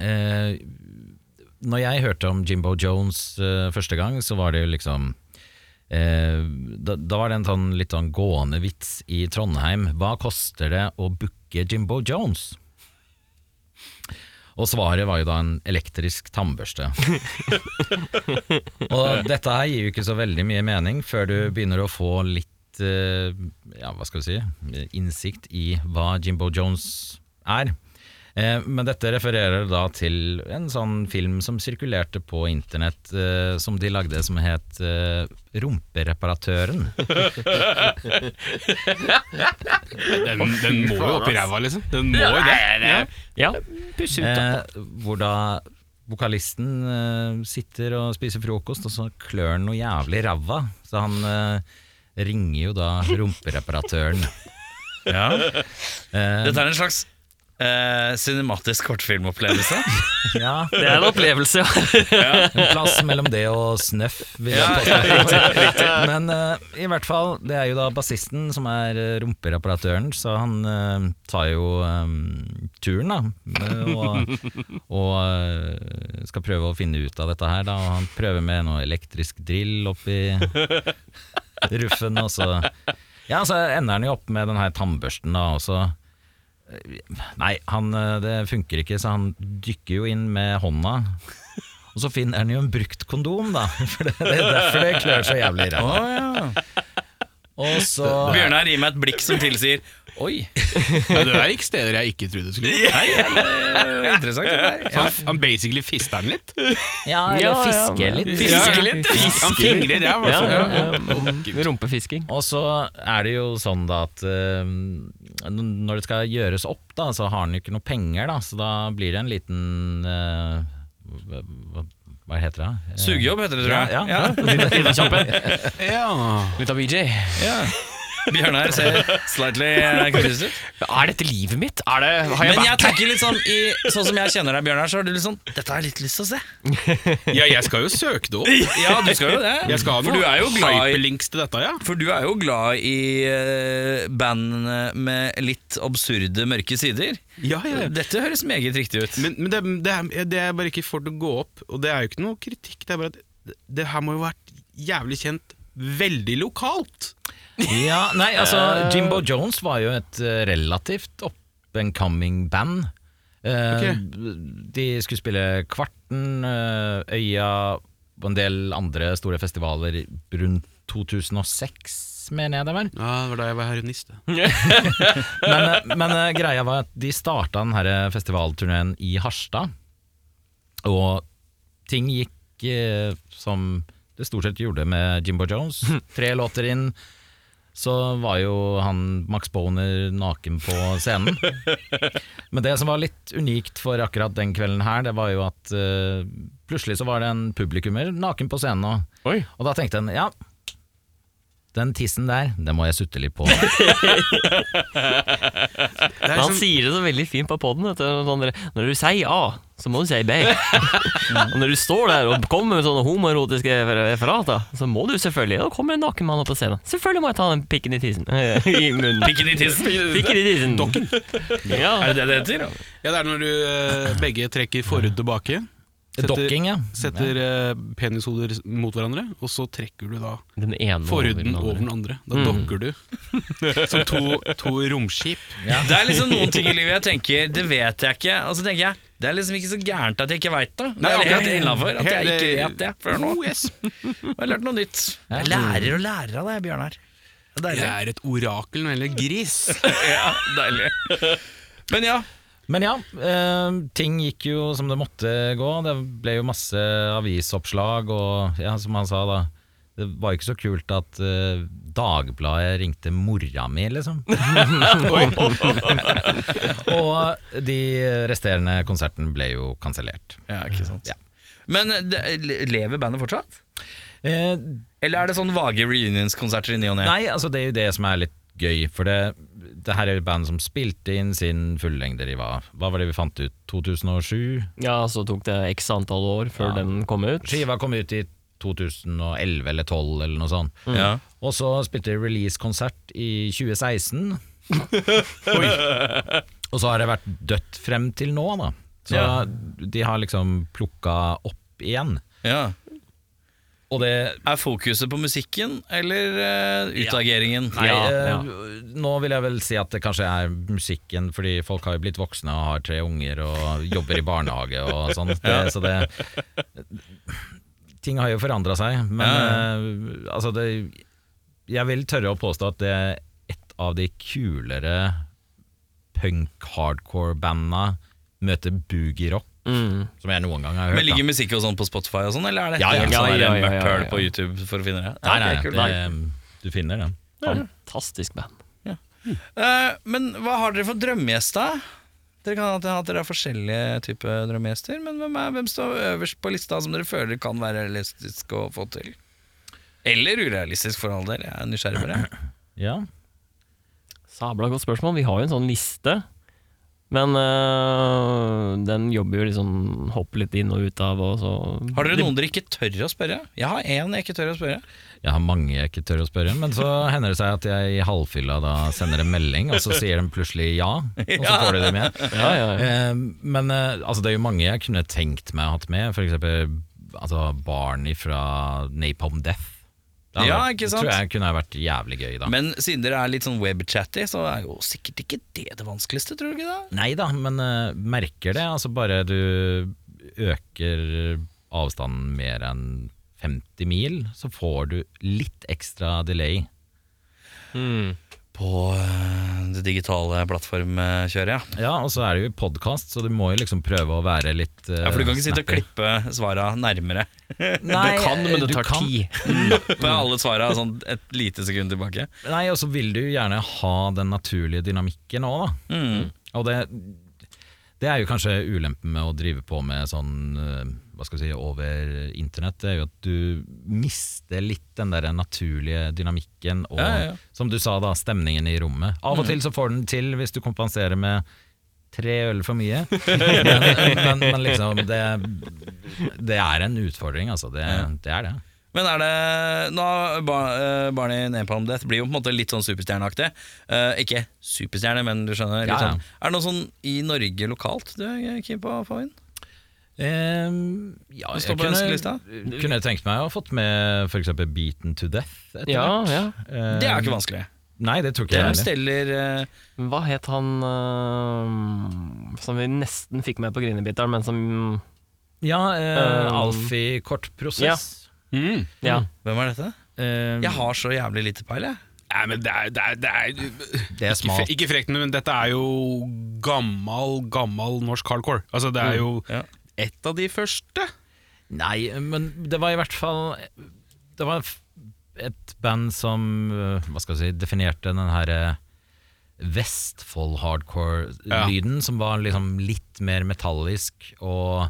eh, Når jeg hørte om Jimbo Jones eh, første gang, så var det jo liksom eh, da, da var det en sånn litt sånn gående vits i Trondheim. Hva koster det å booke Jimbo Jones? Og svaret var jo da en elektrisk tannbørste. Og dette her gir jo ikke så veldig mye mening før du begynner å få litt eh, ja, hva skal vi si, innsikt i hva Jimbo Jones er. Eh, Men dette refererer da til en sånn film som sirkulerte på internett, eh, som de lagde som het eh, Rumpereparatøren. Den, den må jo opp i ræva, liksom. Den må jo det. Ja, puss ut, da. Eh, hvor da vokalisten eh, sitter og spiser frokost, og så klør han noe jævlig i ræva. Så han eh, ringer jo da rumpereparatøren. Eh, Dette er en slags eh, cinematisk kortfilmopplevelse. Ja, Det er en opplevelse, ja. En plass mellom det og snøff, vil jeg påstå. Men eh, i hvert fall, det er jo da bassisten som er eh, rumpereparatøren, så han eh, tar jo eh, turen, da. eh, og og eh, skal prøve å finne ut av dette her, da. Og han prøver med noe elektrisk drill oppi ruffen, og så Ja, så ender han jo opp med den her tannbørsten, da, og så Nei, han, eh, det funker ikke, så han dykker jo inn med hånda. Og så finner han jo en brukt kondom, da. For det, det er derfor det klør så jævlig i ræva. Å, ja. Og så Bjørnar gir meg et blikk som tilsier Oi, Ja, det der gikk steder jeg ikke trodde det skulle gå. eh, Interessant. det der. Så han, han basically fister den litt. Ja, Ja, eller ja. fiske litt. fiske litt! Han fingrer ræv, ja, altså. ja, ja. Rumpefisking. Og så er det jo sånn da at eh, når det skal gjøres opp, da, så har han jo ikke noe penger, da. Så da blir det en liten eh, hva, hva- hva heter det? da? Eh, Sugejobb heter det, tror jeg. Ja, ja. Ja. Litt av BJ. Bjørnar ser slightly eh, confused ut. Er dette livet mitt? Er det, har jeg Men vært jeg tenker litt sånn i, Sånn som jeg kjenner deg, Bjørnar, så har du litt sånn Dette har jeg litt lyst til å se. ja, jeg skal jo søke det opp. Ja, du skal jo det. Jeg skal ha for du er jo noen glad i hyperlinks til dette, ja. for du er jo glad i eh, bandene med litt absurde, mørke sider. Ja, ja, ja. Dette høres meget riktig ut. Men, men det, det, er, det er bare ikke for det å gå opp, og det er jo ikke noe kritikk. Det er bare at det, det her må jo ha vært jævlig kjent veldig lokalt. ja, nei, altså Jimbo Jones var jo et eh, relativt up and coming band. Eh, Ok. De skulle spille Kvarten, eh, Øya og en del andre store festivaler rundt 2006, mener jeg det var. Ja, det var da jeg var heroinist. det. Men, men eh, greia var at de starta denne eh, festivalturneen i Harstad. Og ting gikk eh, som det stort sett gjorde med Jimbo Jones. Tre låter inn så var jo han Max Boner naken på scenen. Men det som var litt unikt for akkurat den kvelden her, det var jo at eh, plutselig så var det en publikummer naken på scenen òg. Oi. Og da tenkte han ja, den tissen der, den må jeg sutte litt på. Det er Men han sånn, sier det så veldig fint på poden. Når du sier A, så må du si B. Og når du står der og kommer med sånne homoerotiske refer- referater, så må du selvfølgelig Da kommer en naken mann opp på scenen. Selvfølgelig må jeg ta den pikken i tissen. I munnen. Pikken i tissen. Pikken i tissen. Dokken. Ja. Er det det det heter? ja, det er når du eh, begge trekker forhud tilbake. Setter- Dokking, ja. Setter eh, penishoder mot hverandre, og så trekker du da Den ene forhuden andre. Mm. over den andre. Da dokker du. Som to, to romskip. Det er liksom noen ting i livet jeg tenker Det vet jeg ikke. Og så tenker jeg det er liksom ikke så gærent at jeg ikke veit det. Det er helt innafor at jeg ikke vet det før nå. Oh, yes. Jeg har lært noe nytt. Jeg lærer og lærer av deg, Bjørnar. Det er Jeg Deilig. er et orakel når det gjelder gris. Ja, deilig. Men ja, Men ja, eh, ting gikk jo som det måtte gå. Det ble jo masse avisoppslag, og ja, som han sa da Det var jo ikke så kult at eh, Dagbladet ringte mora mi, liksom. og de resterende konsertene ble jo kansellert. Ja, ikke sant Men det- lever bandet fortsatt? Eh, Eller er det sånn vage reunionskonserter i ny og ne? nei, altså det er jo det som er litt gøy, for det, det her er jo et band som spilte inn sin fullengde de var Hva var det vi fant ut? 2007? Ja, så tok det x antall år før Ja. den kom ut. Skiva kom ut i 2011 eller 2012 eller noe sånt. Ja. Og så spilte de release-konsert i 2016. Og så har det vært dødt frem til nå, da. Så Ja. de har liksom plukka opp igjen. Ja. Og det Er fokuset på musikken eller eh, utageringen? Nei, Ja, eh, ja. Nå vil jeg vel si at det kanskje er musikken, fordi folk har jo blitt voksne og har tre unger og jobber i barnehage og sånn. Det, Så det Ting har jo forandra seg, men eh, altså det Jeg vil tørre å påstå at det er et av de kulere punk-hardcore-banda møter boogie-rock Mm. som jeg noen gang har Men hørt. da. ligger musikk og sånn på Spotify og sånn, eller er det Ja, ja, helt ja, sånn der ja, ja, ja, møkkhøl ja. på YouTube for å finne det? Nei, nei, Ok, kult. nei, det, du finner den. Fantastisk band. Eh, men hva har dere for drømmegjest, da? Dere kan ha at dere har forskjellige typer drømmegjester, men hvem, er, hvem står øverst på lista som dere føler kan være realistisk å få til? Eller urealistisk, for all del. Jeg er nysgjerrig på det. Ja. Sabla godt spørsmål. Vi har jo en sånn liste Men øh, den jobber jo liksom Hopper litt inn og ut av, og så Har dere noen dere ikke tør å spørre? Jeg har én jeg ikke tør å spørre. Jeg har mange jeg ikke tør å spørre, men så hender det seg at jeg i halvfylla da sender en melding, og så sier de plutselig ja, og så får de dem igjen. Ja, ja, ja. Eh, Men eh, altså, det er jo mange jeg kunne tenkt meg å hatt med, for eksempel altså, barn fra Napalm Death. Det hadde Ja, vært- ikke sant? tror jeg kunne ha vært jævlig gøy da. Men siden dere er litt sånn webchatty, så er jo sikkert ikke det det vanskeligste, tror du ikke det? Nei da, men eh, merker det. Altså bare du øker avstanden mer enn 50 mil, så får du litt ekstra delay. På øh, det digitale plattformkjøret, ja. Ja, og så er det jo podkast, så du må jo liksom prøve å være litt eh, Ja, For du kan ikke sitte og snappy. klippe svara nærmere. Nei, eh, du kan, men det du tar kan. tid. På alle svara sånn et lite sekund tilbake. Nei, og så vil du jo gjerne ha den naturlige dynamikken òg, da. Mm. Og det, det er jo kanskje ulempen med å drive på med sånn eh, hva skal vi si, over internett, det er jo at du mister litt den der naturlige dynamikken og, Ja, ja, ja. Mm. som du sa da, stemningen i rommet. Av og til så får den til hvis du kompenserer med tre øl for mye, men, men, men liksom det, det er en utfordring, altså. Det, det er det. Men er det Nå, bar, eh, Barney Napalm Death blir jo på en måte litt sånn superstjerneaktig. Eh, ikke superstjerne, men du skjønner. Litt Ja, ja. sånn. Er det noe sånn i Norge lokalt du er keen på å få inn? Ehm, ja, Det jeg står på ønskelista. kunne, kunne tenkt meg å ha fått med f.eks. Beaten to Death. etter Ja, hvert. ja. Ehm, Det er jo ikke vanskelig. Nei, det tror ikke Dem jeg heller. steller eh, Hva het han øh, som vi nesten fikk med på Grinebiteren, men som Ja, eh, Ehm, Um, Alfie Kort Prosess. Mm. Ja. Hvem er dette? Ehm, Jeg har så jævlig lite peil, jeg. Nei, men det er, det er, det er, Det er ikke, smalt. fre- ikke frekt, men dette er jo gammal, gammal norsk hardcore. Altså, det er jo Ja. et av de første. Nei, men det var i hvert fall Det var f- et band som eh, hva skal jeg si, definerte den her eh, Vestfold-hardcore-lyden, som var liksom litt mer metallisk og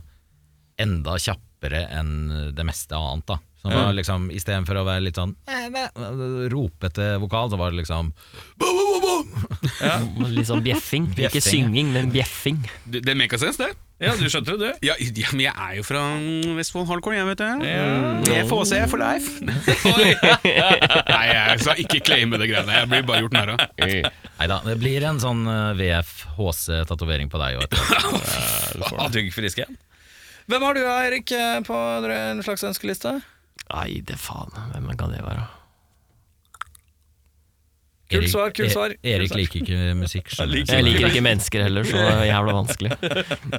enda kjappere enn det meste annet. da Som var liksom, Istedenfor å være litt sånn eh, eh, ropete vokal, så var det liksom Litt sånn bjeffing. Ikke Bjeffing, ja. synging, men bjeffing. Det, det make a sense, det. Ja, du skjønte jo det. Ja, ja, men jeg er jo fra Vestfold Hardcore, jeg, vet du. Jeg får se for life. Nei, jeg skal ikke claime det greiene. Jeg blir bare gjort narr av. Nei da, det blir en sånn VF-HC-tatovering på deg. Vet du. Ah, du er ikke frisk igjen. Hvem har du, Eirik, eh, på en slags ønskeliste? Nei, det faen. Hvem kan det være? Kult Erik- svar, kult E- svar, kult Erik svar. liker ikke musikk. skjønner du. Jeg liker ikke mennesker heller, så det er jævla vanskelig.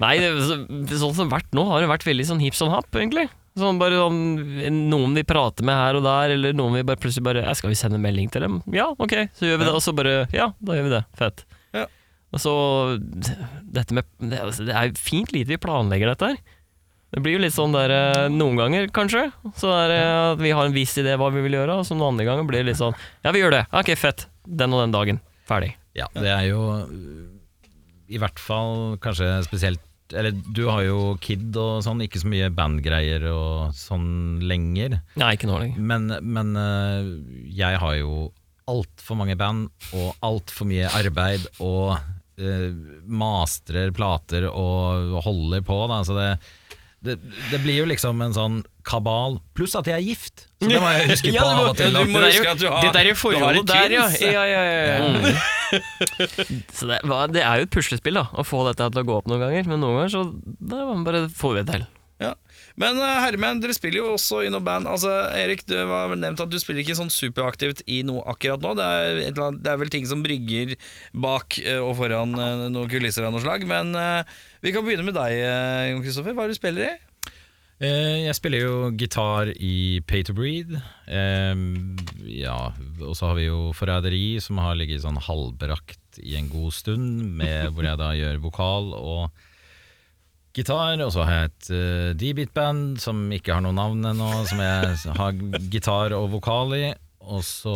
Nei, det, så, sånn som det har vært nå, har det vært veldig sånn hipp som happ, egentlig. Sånn bare sånn, Noen vi prater med her og der, eller noen vi bare plutselig bare «Ja, 'Skal vi sende en melding til dem?' Ja, ok, så gjør vi det. Og så bare Ja, da gjør vi det. Fett. Ja. Og så Dette med Det er- det er fint lite vi planlegger dette her. Det blir jo litt sånn der eh, noen ganger, kanskje. Så er det at vi har en viss idé hva vi vil gjøre, og så noen andre ganger blir det litt sånn Ja, vi gjør det. Ok, fett. Den og den dagen. Ferdig. Ja, det er jo øh, i hvert fall kanskje spesielt Eller du har jo kid og sånn, ikke så mye bandgreier og sånn lenger. Nei, ikke nå lenger. Men, men øh, jeg har jo altfor mange band og altfor mye arbeid og øh, mastrer plater og holder på, da. Så det, det, det blir jo liksom en sånn kabal. Pluss at jeg er gift! Så det må jeg huske på av og til. ja, du må Det er jo- huske at du har- det der er jo du har forholdet et der, ja. twins. ja, ja, ja, ja. Mm. Så det, hva- det er jo et puslespill, da, å få dette til å gå opp noen ganger. Men noen ganger så da er man bare får vi det til. Ja. Men eh, herremenn, dere spiller jo også i noe band. Altså, Erik, du var vel nevnt at du spiller ikke sånn superaktivt i noe akkurat nå. Det er, et eller annet, det er vel ting som brygger bak eh, og foran eh, noen kulisser av noe slag. Men eh, vi kan begynne med deg, eh, Jon Kristoffer. Hva er det du spiller i? Eh, Jeg spiller jo gitar i Pay to Breed. Eh, ja, og så har vi jo Forræderi, som har ligget sånn halvbrakt i en god stund, med, hvor jeg da gjør vokal og gitar. Og så har jeg et eh, D-beat-band som ikke har noe navn ennå, som jeg har gitar og vokal i. Og så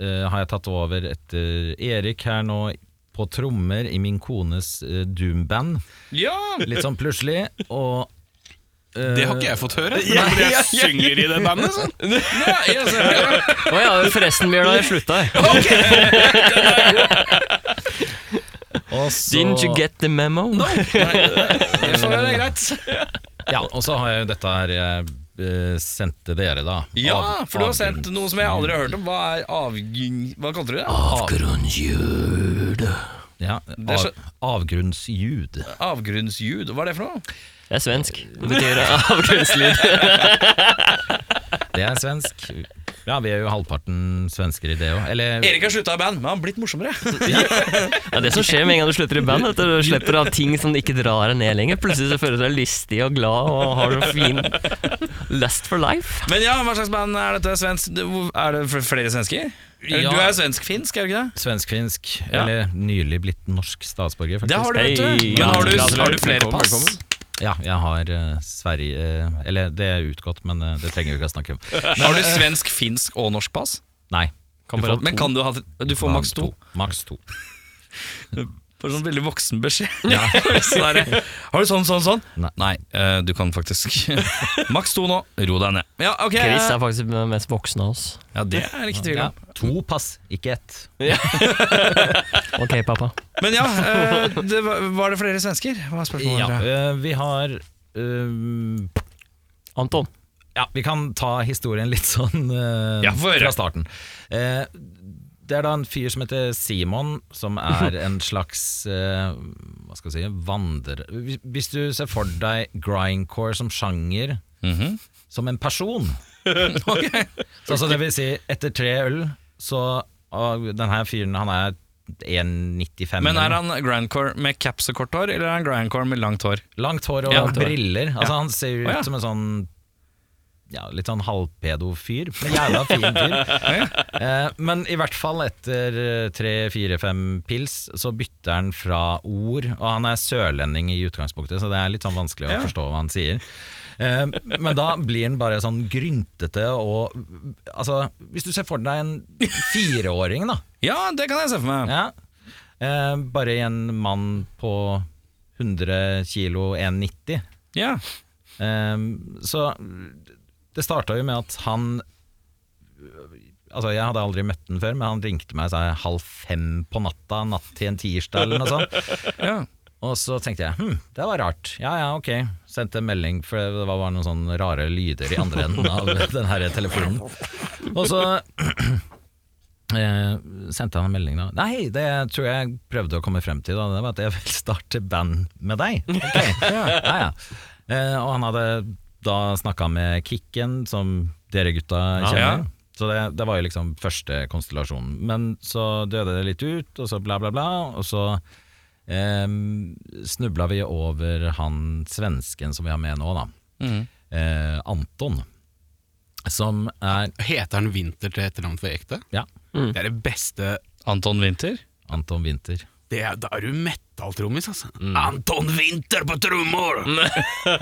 eh, har jeg tatt over etter Erik her nå på trommer i min kones eh, doom-band. Ja! Litt sånn plutselig. Og eh, Det har ikke jeg fått høre. Men jeg synger i det bandet, sånn. ja så, Å ja, forresten, Bjørn, har jeg slutta. Og så- Didn't you get the memo? Det får være greit. Ja, og så har jeg jo dette her jeg eh, sendte dere, da. Ja, Av- for du har avgrunn- sendt noe som jeg aldri har hørt om. Hva er avgrunn... Hva kalte du det? Avgrunnsjul. Ja, av, skjø- avgrunnsjud. Avgrunnsjud? Hva er det for noe? Det er svensk. Det betyr avgrunnslyd. Det er svensk. Ja, vi er jo halvparten svensker i det òg. Eller Erik har slutta i band, men han har blitt morsommere. Det er det som skjer med en gang du slutter i band. At du slipper av ting som ikke drar deg ned lenger. Plutselig så føler du deg lystig og glad og har en fin lust for life. Men ja, hva slags band er dette? Svensk? Det- hvor- Er det fl- flere svensker? Eller, Ja. Du er svensk-finsk, er du ikke det? svensk-finsk. Ja. Eller nylig blitt norsk statsborger, faktisk. Det har du, vet du. Hei. Men har du, Gratulerer. har du flere Velkommen, pass? velkommen. Ja, jeg har eh, Sverige eh, Eller det er utgått, men eh, det trenger vi ikke å snakke om. Har du svensk, finsk og norsk pass? Nei. Kan bare ha to. Men kan du ha Du får maks to. Maks to. For sånn veldig voksen beskjed. Sånn der, har du sånn, sånn, sånn? Nei. eh, du kan faktisk Maks to nå. Ro deg ned. Ja, ok. Chris er faktisk den mest voksne av oss. Ja, det er det ikke tvil Ja, om. to pass, ikke ett. Ok, pappa. Men ja, eh, det var, var det flere svensker? Hva er spørsmålet? Ja, Andrea? eh, vi har eh, Anton. Ja, vi kan ta historien litt sånn eh, Ja, få høre. fra starten. Eh, det er da en fyr som heter Simon, som er en slags eh, Hva skal jeg si vandrer... Hvis- Hvis du ser for deg grindcore som sjanger, Mhm. som en person Ok. så, altså, Det vil si, etter tre øl, så og Den her fyren, han er 1,95. Men er han grandcore med caps og kort hår, eller er han grandcore med langt hår? Langt hår og Ja. briller. Altså Han ser ut Å, ja. som en sånn ja, Litt sånn halvpedo-fyr. Men jævla fin fyr. eh, men i hvert fall etter eh, tre-fire-fem pils, så bytter han fra ord. Og han er sørlending i utgangspunktet, så det er litt sånn vanskelig å forstå hva han sier. Eh, men da blir han bare sånn gryntete og Altså, hvis du ser for deg en fireåring, da. Ja, det kan jeg se for meg. Ja. Eh, bare en mann på 100 kilo, 1,90. Ja. Ehm, så det starta jo med at han Altså Jeg hadde aldri møtt den før, men han ringte meg sa jeg, halv fem på natta natt til en tirsdag. eller noe sånt ja. Og så tenkte jeg hm, det var rart. Ja ja, ok. Sendte en melding, for det var bare noen sånne rare lyder i andre enden av den her telefonen. Og så eh, sendte han en melding da. Nei, det tror jeg prøvde å komme frem til, da. Det var at jeg vil starte band med deg. Ok, ja, ja. Eh, og han hadde da snakka med Kikken, som dere gutta kjenner. Ja. Så det, det var jo liksom første konstellasjonen. Men så døde det litt ut, og så bla, bla, bla. Og så eh, snubla vi over han svensken som vi har med nå, da. Mm. Eh, Anton. Som er Heter han Winter til etternavn for ekte? Ja, Mm. Det er det beste Anton Winther? Anton Winther. det er, Da er du metal-trommis, altså. Mm. Anton Winter på trommor! Eller så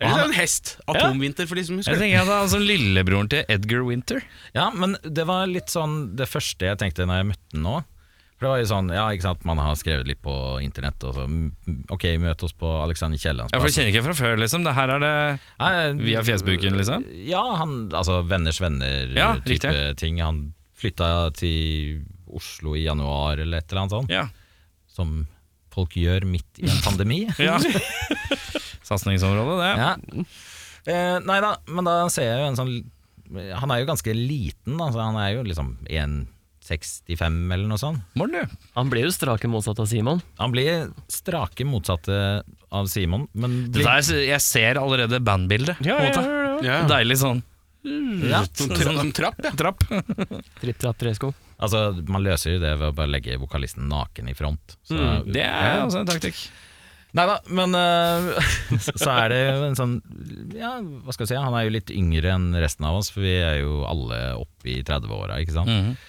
er det en hest. Atomvinter, for de som Jeg husker det. tenker at han er altså lillebroren til Edgar Winter. Ja, men det var litt sånn det første jeg tenkte når jeg møtte han nå. For det var jo sånn, ja, ikke sant, man har skrevet litt på internett og så mm, Ok, møt oss på Alexander Kiellands Ja, for Du kjenner ikke fra før, liksom. Det her er det Nei, via fjesbuken, liksom? Ja, han, altså venners venner-type Ja, riktig. ting. Han flytta til Oslo i januar eller et eller annet sånt, Ja. som folk gjør midt i en pandemi. ja. Satsingsområde, det. Ja. Eh, nei da, men da ser jeg jo en sånn Han er jo ganske liten, da, så han er jo liksom 1,65 eller noe sånt. Morten, du. Han blir jo strake motsatt av Simon. Han blir strake motsatte av Simon, men Det blir, der, jeg ser allerede bandbildet. på en måte. Ja. Deilig sånn ja. Sånn, tra sånn trapp, ja. trapp. Tripp, trapp, tresko. Altså, man løser jo det ved å bare legge vokalisten naken i front. Så, Det er også en taktikk. Nei da, men eh, så er det jo en sånn Ja, hva skal jeg si, han er jo litt yngre enn resten av oss, for vi er jo alle oppe i 30-åra, ikke sant?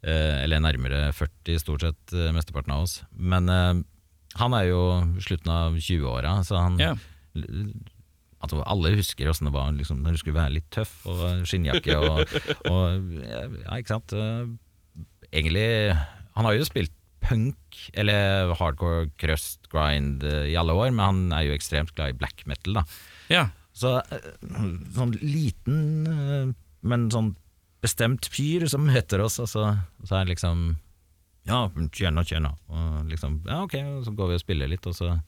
Eh, eller nærmere 40, stort sett, eh, mesteparten av oss. Men eh, han er jo slutten av 20-åra, så han Ja. Altså, alle husker åssen det var liksom, når du skulle være litt tøff, og skinnjakke og, og Ja, ikke sant. Eh, Egentlig Han har jo spilt punk, eller hardcore crust grind eh, i alle år, men han er jo ekstremt glad i black metal, da. Ja. Så eh, sånn liten, altså, eh, men sånn bestemt fyr som møter oss, og så, så er det liksom Ja, tjena, tjena. Og liksom, ja, ok, og så går vi og spiller litt, og så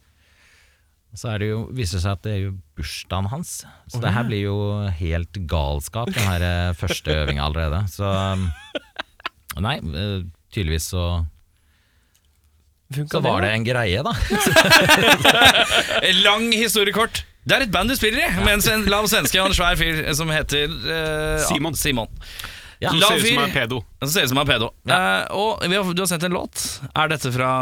og så er det jo, viser det seg at det er jo bursdagen hans. Så det her blir jo helt galskap, den her eh, første øvinga allerede. Så um, Nei, eh, tydeligvis så Så var det en greie, da. Lang historiekort. Det er et band du spiller i, med en sven- lav svenske og en svær fyr som heter eh, Simon. Simon. Ja, La- Ser ut som fyr. en pedo. Han ser ut som han er pedo. Eh, og vi har, du har sendt en låt. Er dette fra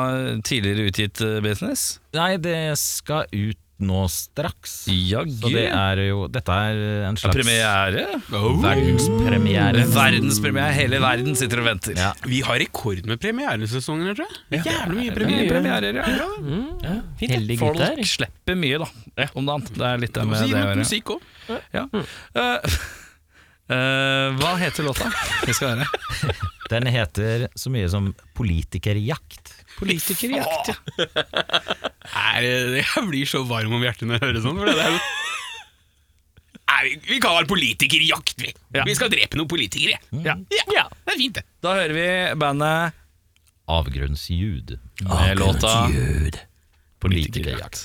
tidligere utgitt eh, business? Nei, det skal ut nå straks. Så Jaggu. det er jo Dette er eh, en slags Premiere? verdenspremiere. Verdenspremiere. Hele verden sitter og venter. Ja. Vi har rekord med premieresesongen, tror jeg. Jævlig mye Mye premiere. premierer, ja. Fint, ja. Heldige Folk. Folk slipper mye, da. Om dagen. Det er litt det med det Si å litt gjøre. musikk òg. Ja. Eh, eh, hva heter låta? Vi skal høre. Den heter så mye som Politikerjakt. Politikerjakt, ja. Jeg blir så varm om hjertet når jeg hører sånn. For det er jo Nei, vi- vi kaller det politikerjakt, vi. Ja. Vi skal drepe noen politikere. Ja. Ja, det er fint, det. Da hører vi bandet Avgrunnsjud. med låta Politikerjakt.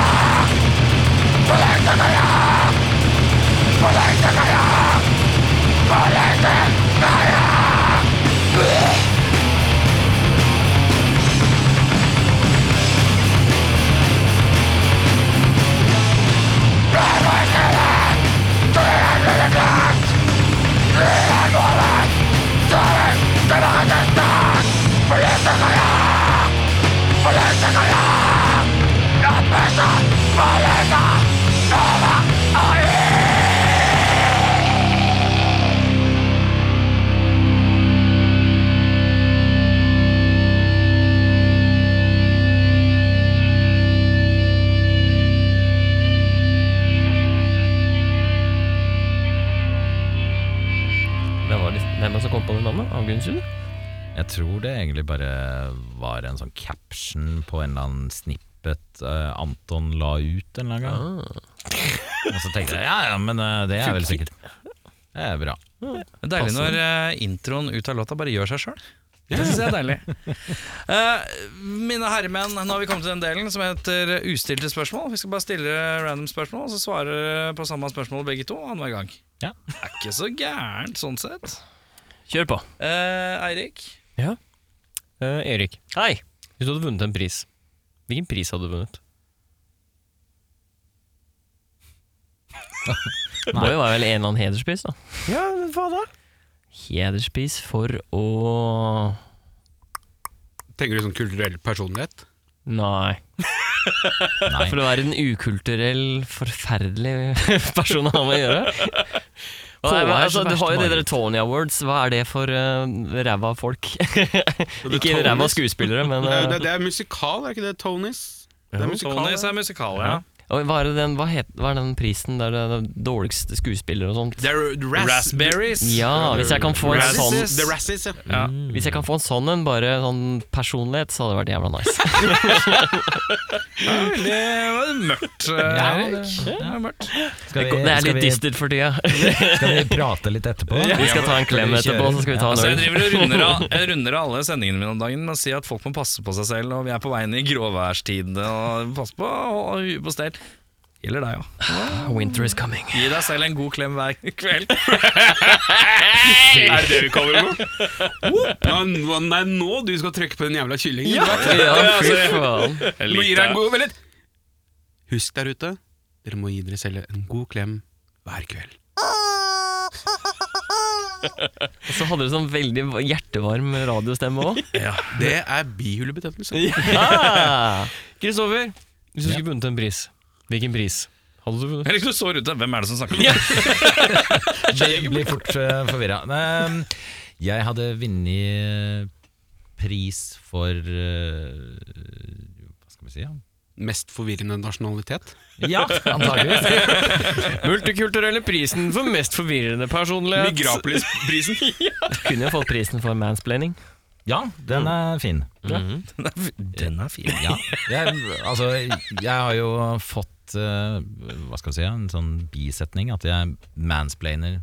Hvem var det hvem er det som kom på det navnet? Avgrunnsrud? Jeg tror det egentlig bare var en sånn caption på en eller annen snippet eh, Anton la ut en eller annen gang. Ah. Ah. Og så tenkte jeg ja, ja, men eh, det er vel sikkert Det er bra. Det er Deilig når eh, introen ut av låta bare gjør seg sjøl. Det syns jeg er deilig. Eh, mine herremenn, nå har vi kommet til den delen som heter ustilte spørsmål. Vi skal bare stille random spørsmål, og så svarer dere på samme spørsmål begge to annenhver gang. Ja. Det er ikke så gærent sånn sett. Kjør på. Eh, Eirik, Ja. Eh, Erik. Hei. Hvis du hadde vunnet en pris, hvilken pris hadde du vunnet? det må jo være vel en eller annen hederspris, da. Ja, hva da? Hederspris for å Tenker du sånn kulturell personlighet? Nei. Nei. For å være en ukulturell, forferdelig person å ha med å gjøre. Hva er, Håvard er altså, så du har jo verste det der Tony Awards. Hva er det for uh, ræva folk? Ikke Tonys. ræva skuespillere, men Det, er- eh, det, det er musikal, er ikke det? Tonys? Det er musikal. Tonys er musikal, ja. og hva, er det den, hva, het, hva er den prisen der det er dårligste skuespiller og sånt? Det er ras- Raspberries. Ja, hvis jeg kan få en Razzies. sånn The Razzies, ja. Mm. Ja. Hvis jeg kan få en sånn en, bare sånn personlighet, så hadde det vært jævla nice. Det var mørkt, Eirik. det- Det var mørkt. Skal vi, Det er skal litt vi, dystert for tida. skal vi prate litt etterpå? Vi skal ta en klem etterpå, så skal vi ta Altså, jeg en øl. driver og runder av, jeg runder av alle sendingene mine om dagen med å si at folk må passe på seg selv, og vi er på vei inn i gråværstidene. Og pass på å ha huet på stell. Gjelder deg òg. Ah, Winter is coming. Gi deg selv en god klem hver kveld. Er det det vi kaller det nå? Ja, nå- Nei, nå du skal trykke på den jævla kyllingen. Ja, altså, fy faen. Du må gi deg en god vent litt. Husk der ute, dere må gi dere selv en god klem hver kveld. Og så hadde du sånn veldig hjertevarm radiostemme òg. Det er bihulebetennelse. Ah. Kristoffer, hvis du skulle vunnet en pris, hvilken pris Hadde du Eller du så rundt deg, hvem er det som snakker? Det blir fort uh, forvirra. Men, Jeg hadde vunnet eh, pris for eh, Hva skal vi si? Ja, Mest forvirrende nasjonalitet? ja antageligvis. Multikulturelle prisen for mest forvirrende personlighet. Migrapolis-prisen. Kunne jo fått prisen for mansplaining. Ja, den er fin. Mm-hmm. Den er fin. Ja. Jeg, altså, jeg har jo fått eh, Hva skal vi si? En sånn bisetning. At jeg mansplainer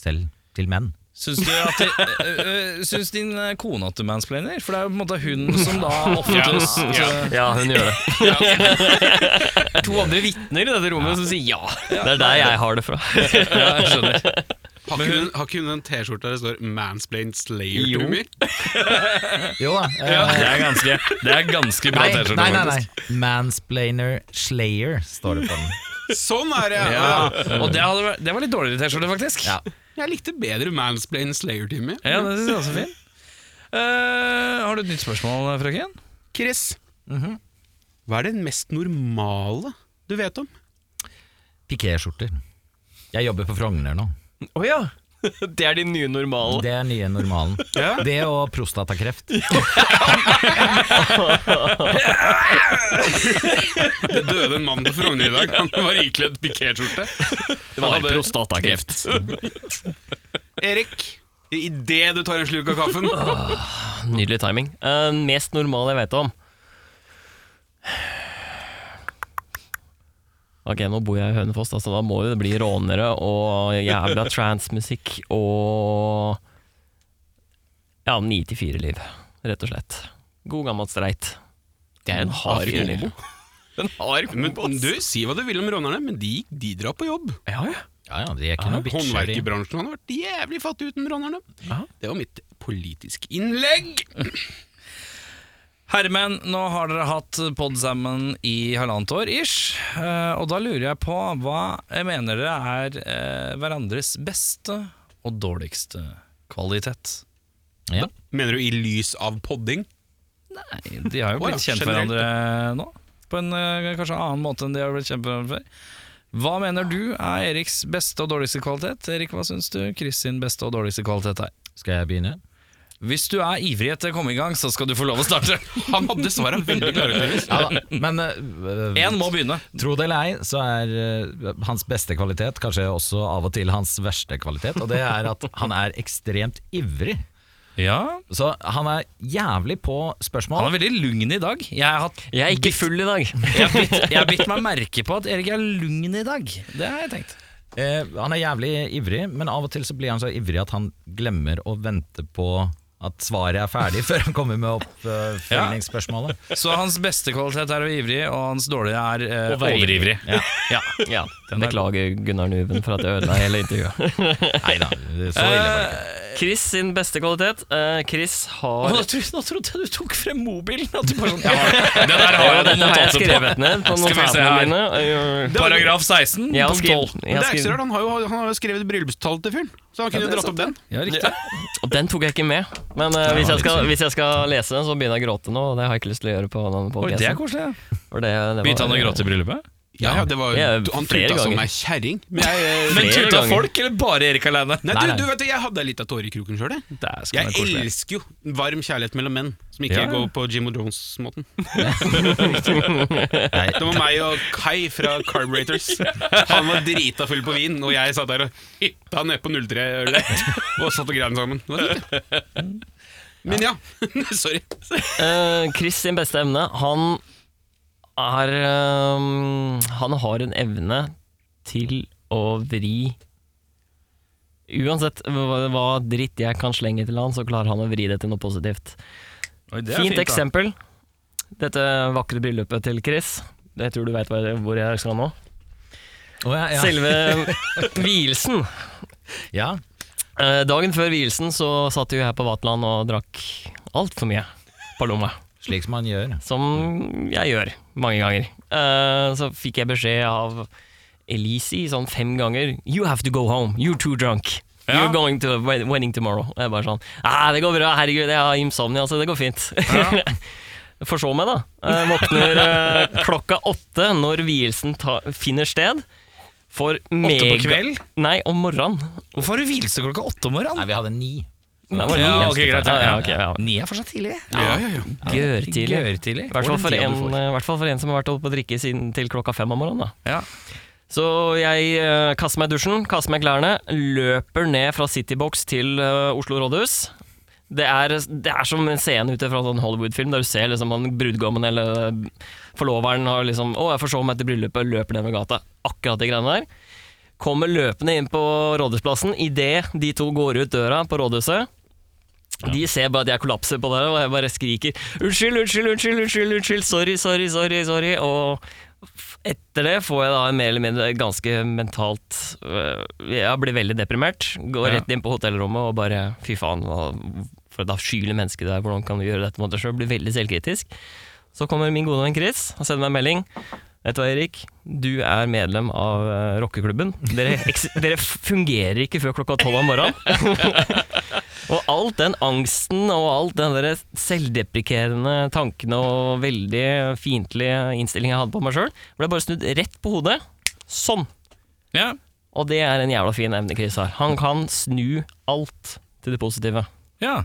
selv til menn. Syns, du at det, øh, øh, syns din øh, kone at du mansplainer? For det er jo på en måte hun som da oftest øh, Ja, hun gjør det. to andre vitner i dette rommet som sier ja. Det er der jeg har det fra. Ja, jeg skjønner. Har ikke hun, har ikke hun en T-skjorte der det står 'Mansplained Jo. Slayer'-trommer? Jo da. eh, Ja, det, er ganske, det er ganske bra Nei, T-skjorte. nei, nei, faktisk. nei. Mansplainer Slayer står det på den. Sånn er det! Ja. Ja, og det, hadde, vært- det var litt dårligere T-skjorte, faktisk. Ja. Jeg likte bedre 'Mansplained Slayer'-timer. Ja, det synes jeg også er fin. Eh, har du et nytt spørsmål, frøken? Chris, Mhm. hva er det mest normale du vet om? Pikéskjorter. Jeg jobber på Frogner nå. Å ja! Det er din nye normal. Det er nye normalen. Det og prostatakreft. Det døde en mann på Frogner i dag. Han var ikledd pikéskjorte. Det var prostatakreft. Erik, idet du tar en slurk av kaffen Nydelig timing. Eh, mest normale jeg vet om. Ok, nå bor jeg i Hønefoss, da, så da må jo det bli rånere og jævla transmusikk og Ja, 9-4-liv, rett og slett. God gammel streit. Det er en hard liv. En hard Men kombo, ass. du, Si hva du vil om rånerne, men de, gikk- de drar på jobb. Ja, ja. Ja, ja, de er ikke noe bitcher. de. Håndverkerbransjen hadde vært jævlig fattig uten rånerne. Ja. Det var mitt politiske innlegg. Herremenn, nå har dere hatt pod sammen i halvannet år ish. eh, Og da lurer jeg på hva jeg mener dere er eh, hverandres beste og dårligste kvalitet? Ja. Mener du i lys av podding? Nei, de har jo Å ja, blitt kjent generelt, hverandre nå. På en eh, kanskje annen måte enn de har blitt kjent hverandre før. Hva mener du er Eriks beste og dårligste kvalitet? Erik, hva syns du Chris sin beste og dårligste kvalitet er? Skal jeg begynne? Hvis du er ivrig etter å komme i gang, så skal du få lov å starte. Han hadde svara veldig klare. Ja, da. men eh, Én må begynne. Tro det eller ei, så er eh, hans beste kvalitet kanskje også av og til hans verste kvalitet, og det er at han er ekstremt ivrig. Ja, Så han er jævlig på Han spørsmål. er veldig lugn i dag. Jeg har hatt Jeg er ikke full i dag. jeg har bitt, jeg har bitt meg merke på at Erik er lugn i dag. Det har jeg tenkt. Eh, han er jævlig ivrig, men av og til så blir han så ivrig at han glemmer å vente på at svaret er ferdig før han kommer med oppfølgingsspørsmålet. Så hans beste kvalitet er å være ivrig, og hans dårlige er eh, Å være overivrig. Ja. Ja, Beklager Gunnar Nuven for at jeg ødela hele intervjuet. Nei da, så ille var det Eh, ikke. Chris sin beste kvalitet. Eh, Chris har Å, nå, tro, nå trodde jeg du tok frem mobilen. At du bare sånn, Den der har jeg, skrevet ned på Skal vi se notatene her. mine. Paragraf 16, Jeg har punkt 12. skrevet, Det jeg har er ikke så skrevet. rart, han har jo, han har jo skrevet bryllupstallet til fyren, så han kunne jo dratt opp den. Ja, riktig. Og Den tok jeg ikke med. Men eh, hvis, jeg skal, hvis jeg skal lese, så begynner jeg å gråte nå. Og det har jeg ikke lyst til å gjøre på denne Oi, det er podcasten. koselig. Ja. For det- det var- Begynte han å gråte i bryllupet? Ja, ja, det var, Ja, han flere tuta som ganger. ei kjerring. Men jeg, eh, Men Flere tuta ganger. folk, eller bare Erik aleine? nei, Nei, du, nei. du vet, det, jeg hadde ei lita tåre i kroken sjøl, jeg. Jeg elsker jo varm kjærlighet mellom menn, som ikke Ja, ja. går på Jim og Jones-måten. Det var meg og Kai fra Carburetors. Han var drita full på vin, og jeg satt der og hytta ned på 03-ølet og satt og grein sammen. Det var fint, det. Men ja, sorry. Eh, Chris sin beste evne, han er eh, Han har en evne til å vri Uansett hva, hva dritt jeg kan slenge til han, så klarer han å vri det til noe positivt. fint, eksempel. Dette vakre bryllupet til Chris. Jeg tror du veit hvor jeg skal nå. Å, ja, ja. Selve vielsen. Ja. Eh, Dagen før vielsen så satt jo jeg på Vatland og drakk altfor mye Paloma. Slik som han gjør. Som jeg gjør mange ganger. Eh, Så fikk jeg beskjed av Elise sånn fem ganger You have to go home. You're too drunk. Ja. You're going to the wed- wedding tomorrow. Og jeg bare sånn ah, Det går bra, herregud, jeg har insomnia, så det går fint. Forsov meg, da. Eh, våkner eh, klokka åtte når vielsen ta, finner sted. For mega kveld? Nei, om morgenen. Hvorfor har du hvilse klokka åtte om morgenen? Nei, vi hadde ni. Nei, det var Ja, ni, ok, jeg skulle greit, ja, ta. ja, ok, ja. Ni er fortsatt tidlig. Ja, ja, ja. Gørtidlig. Gørrtidlig. I hvert fall Får for, den tida en, du får. eh, hvert fall for en som har vært oppe og drikke siden til klokka fem om morgenen. Da. Ja. Så jeg eh, kaster meg i dusjen, kaster meg i klærne, løper ned fra Citybox til eh, Oslo rådhus. Det er, det er som en scene ute fra en sånn Hollywood-film, der du ser liksom han brudgommen eller eh, forloveren har liksom Å, jeg får se meg etter bryllupet, løper nedover gata. Akkurat de greiene der. Kommer løpende inn på rådhusplassen idet de to går ut døra på rådhuset. De ser bare at jeg kollapser på det, og jeg bare skriker 'unnskyld, unnskyld, unnskyld, unnskyld, unnskyld, sorry, sorry, sorry'. sorry Og f- etter det får jeg da en mer eller mindre ganske mentalt øh, Jeg blir veldig deprimert. Går Ja. rett inn på hotellrommet og bare 'fy faen, hva, for et avskyelig menneske du er, hvordan kan du gjøre dette mot deg sjøl?' Blir veldig selvkritisk. Så kommer min gode venn Chris og sender meg en melding. Vet du hva, Erik? Du er medlem av eh, rockeklubben. Dere, eks dere fungerer ikke før klokka tolv om morgenen. og alt den angsten og alt den der selvdeprikerende tankene og veldig fiendtlige innstillingen jeg hadde på meg sjøl, ble bare snudd rett på hodet. Sånn. Ja. Og det er en jævla fin evne Chris har. Han kan snu alt til det positive. ja.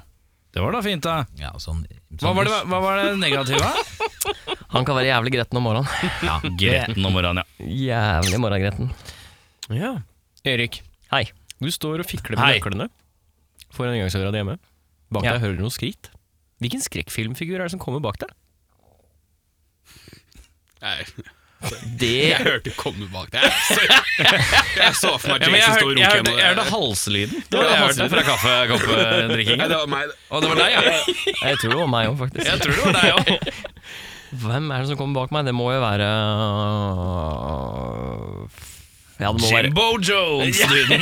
Det var da fint, da. Ja, sånn, Hva var det, hva var det negative? Han kan være jævlig gretten om morgenen. Ja, Gretten om morgenen, ja. Jævlig morgengretten. Ja. Erik, Hei. du står og fikler Hei. med nøklene foran inngangsdøra di hjemme. Bak Ja. deg hører du noe skrit. Hvilken skrekkfilmfigur er det som kommer bak deg? Nei, Det Jeg hørte komme bak deg. Sorry. Jeg så for meg Jason stå og hørte, runke gjennom jeg hørte det. halslyden. Det var halslyden fra Nei, kaffekoppdrikkingen. det var meg. det. Og det var deg, ja. Jeg tror det var meg òg, faktisk. Jeg tror det var deg òg. Hvem er det som kommer bak meg? Det må jo være øh, Ja, det må være Jimbo Jones-lyden.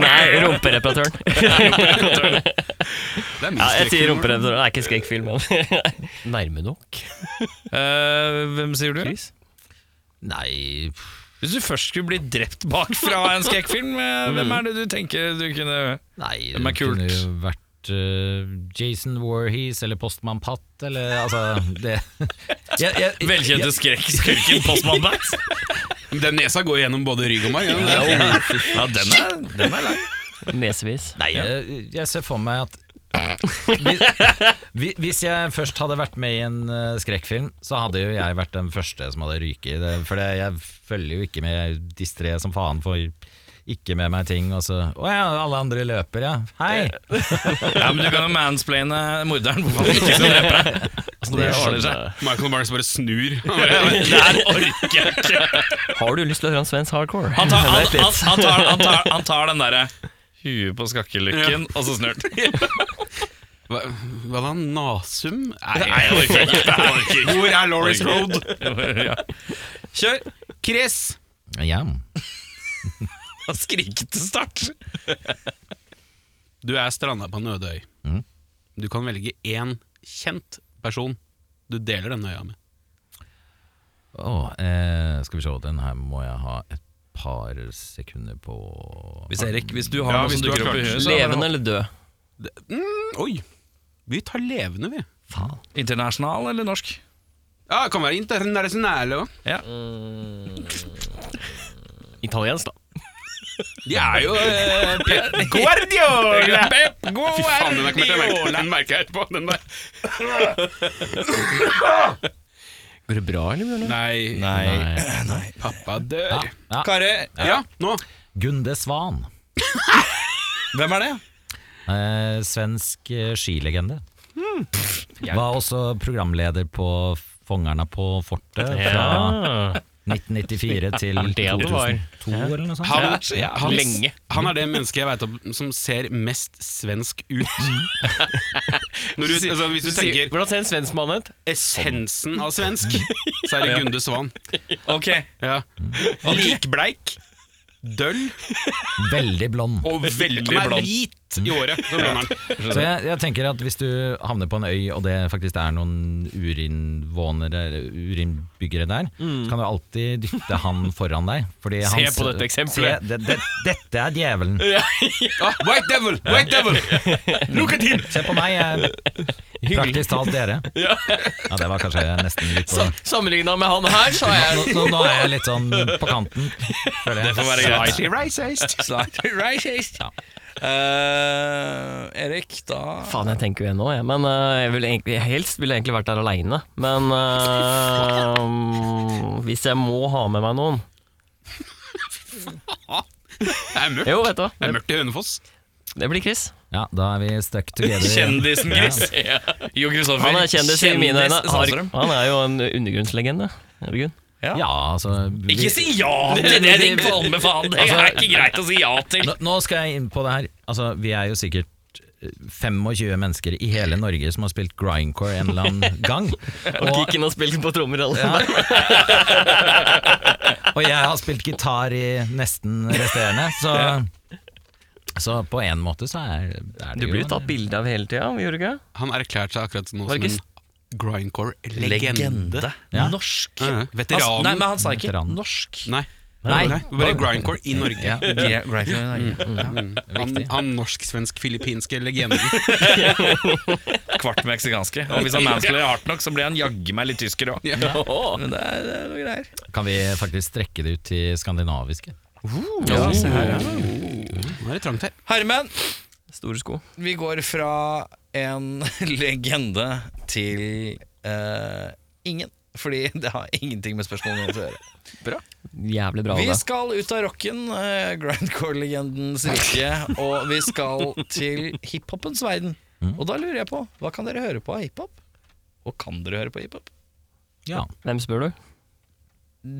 Nei, rumpereparatøren. Det er min Ja, jeg sier strekning. rumpereparatøren, det er ikke skrekkfilm. men- Nærme nok. Eh, hvem sier du? Nei pff, Hvis du først skulle bli drept bakfra en skrekkfilm, eh, hvem er det du tenker du kunne Nei, Hvem er det kult? kunne jo vært eh, Jason Warhees eller Postmann Patt eller altså det jeg, jeg, jeg, Velkjente skrekkskurken Postmann Bax. Den nesa går gjennom både rygg og meg. Ja, det er- Ja, den er, den er lang. Nesevis. Nei, jeg, jeg ser for meg at hvis, hvi- hvis jeg først hadde vært med i en eh, skrekkfilm, så hadde jo jeg vært den første som hadde ryket. i det, For det- jeg følger jo ikke med, jeg er distré som faen, får ikke med meg ting. Og så Å ja, alle andre løper, ja. Hei! Ja, men Du kan jo mansplaine morderen. Hvorfor han ikke skal drepe deg? Altså, det ordner sånn, seg. eh, Michael Myers bare snur. Han bare, Det her orker jeg ikke. Har du lyst til å høre om svensk hardcore? Han tar, han, han, han tar, han tar, han tar den derre Huet på skakkelykken, og så snørt. Hva hva da? Nasum? Nei, jeg orker ikke. Jeg orker ikke. Hvor er Lauris Orker. Road? Ja. Kjør! Chris! Ja. Han skriker til start. Du er stranda på en øde øy. Mhm. Du kan velge én kjent person du deler denne øya med. Å, eh, skal vi se, den her må jeg ha et par sekunder på Hvis Erik, hvis du Ja, har noe hvis som du har dukker opp i klart. huet, så er det Levende eller død? Oi! Vi tar levende, vi. Faen. internasjonal eller norsk? Ja, det kan være internasjonale òg. Italiensk, da. De er jo eh, Pep Guardiola! Pep Fy faen, den der kommer jeg til å merke. Guardiola! Den merker jeg etterpå. Den der. Går det bra, eller? Bjørnar? Nei, Nei. pappa dør. ja. Kare, Ja, nå. Gunde Svan. hvem er det? Eh, svensk eh, skilegende. Var også programleder på Fongerna på fortet fra Ja. 1994 til Det det var. 2002 eller noe sånt. Han, ja, han, lenge. han er det mennesket jeg veit om som ser mest svensk ut. Når du, altså, hvis du Sier- tenker Hvordan ser en svensk mann ut? essensen av svensk, så er det Gunde Svan. Ok, Ja. Likbleik, døll Veldig blond. og veldig blond. Hvit! ett i året. Så låner han. Så jeg, jeg tenker at hvis du havner på en øy, og det faktisk er noen urinvånere eller urinbyggere der, så kan du alltid dytte han foran deg. Fordi Se hans- på dette eksempelet. Se, det, det, dette er djevelen. Ah, white devil! White devil! Look at him! Se på meg, jeg er praktisk talt dere. Ja, det var kanskje nesten litt på Sammenligna med han her, sa jeg. nå, nå, nå er jeg litt sånn på kanten. føler jeg. Det får være greit. Slightly racist. Ja. Eh, Erik, da Faen, jeg tenker jo ennå, jeg. Men eh, jeg ville egentlig, helst ville jeg egentlig vært der aleine. Men eh, um, hvis jeg må ha med meg noen Det er mørkt. Jo, vet du hva. Det er Det, mørkt i Hønefoss. det blir Chris. Ja, da er vi stuck together. Kjendisen Chris. Jo Kristoffer. Han er kjendis i mine øyne. Har, Sandstrøm. han er jo en undergrunnslegende. Herregud. Ja, ja altså vi- Ikke si ja til det, Ring Palme, faen! Det Altså, er ikke greit å si ja til. Nå, nå skal jeg inn på det her. Altså, vi er jo sikkert eh, 25 mennesker i hele Norge som har spilt grindcore en eller annen gang. Og Kikken har spilt på trommer alle Og jeg har spilt gitar i nesten resterende, så Så på en måte så er, er det Du jo blir jo en- tatt bilde av hele tida, gjør du ikke? Han erklærte seg akkurat nå Var som det en grindcore-legende. Ja. Norsk. Ja. Altså, Veteranen. nei, men han sa ikke Veteranen. norsk. Nei. Nei. Bare grindcore i Norge. Ja, Ja, greit, ja, ja. Han, han norsk-svensk-filippinske legenden. Kvart meksikanske. Og hvis han mansplayer hardt nok, så blir han jaggu meg litt tysker òg. Men det er, det er noe greier. Kan vi faktisk strekke det ut til skandinaviske? Ja, se her, ja. Nå er det trangt her. Herman, Store sko. vi går fra en legende til eh, ingen. Fordi det har ingenting med spørsmålet å gjøre. Jævlig bra. Vi Ola. skal ut av rocken, eh, grindcore-legendens rike, og vi skal til hiphopens verden. Mm. Og da lurer jeg på, hva kan dere høre på av hiphop? Og kan dere høre på hiphop? Ja. Hvem spør du?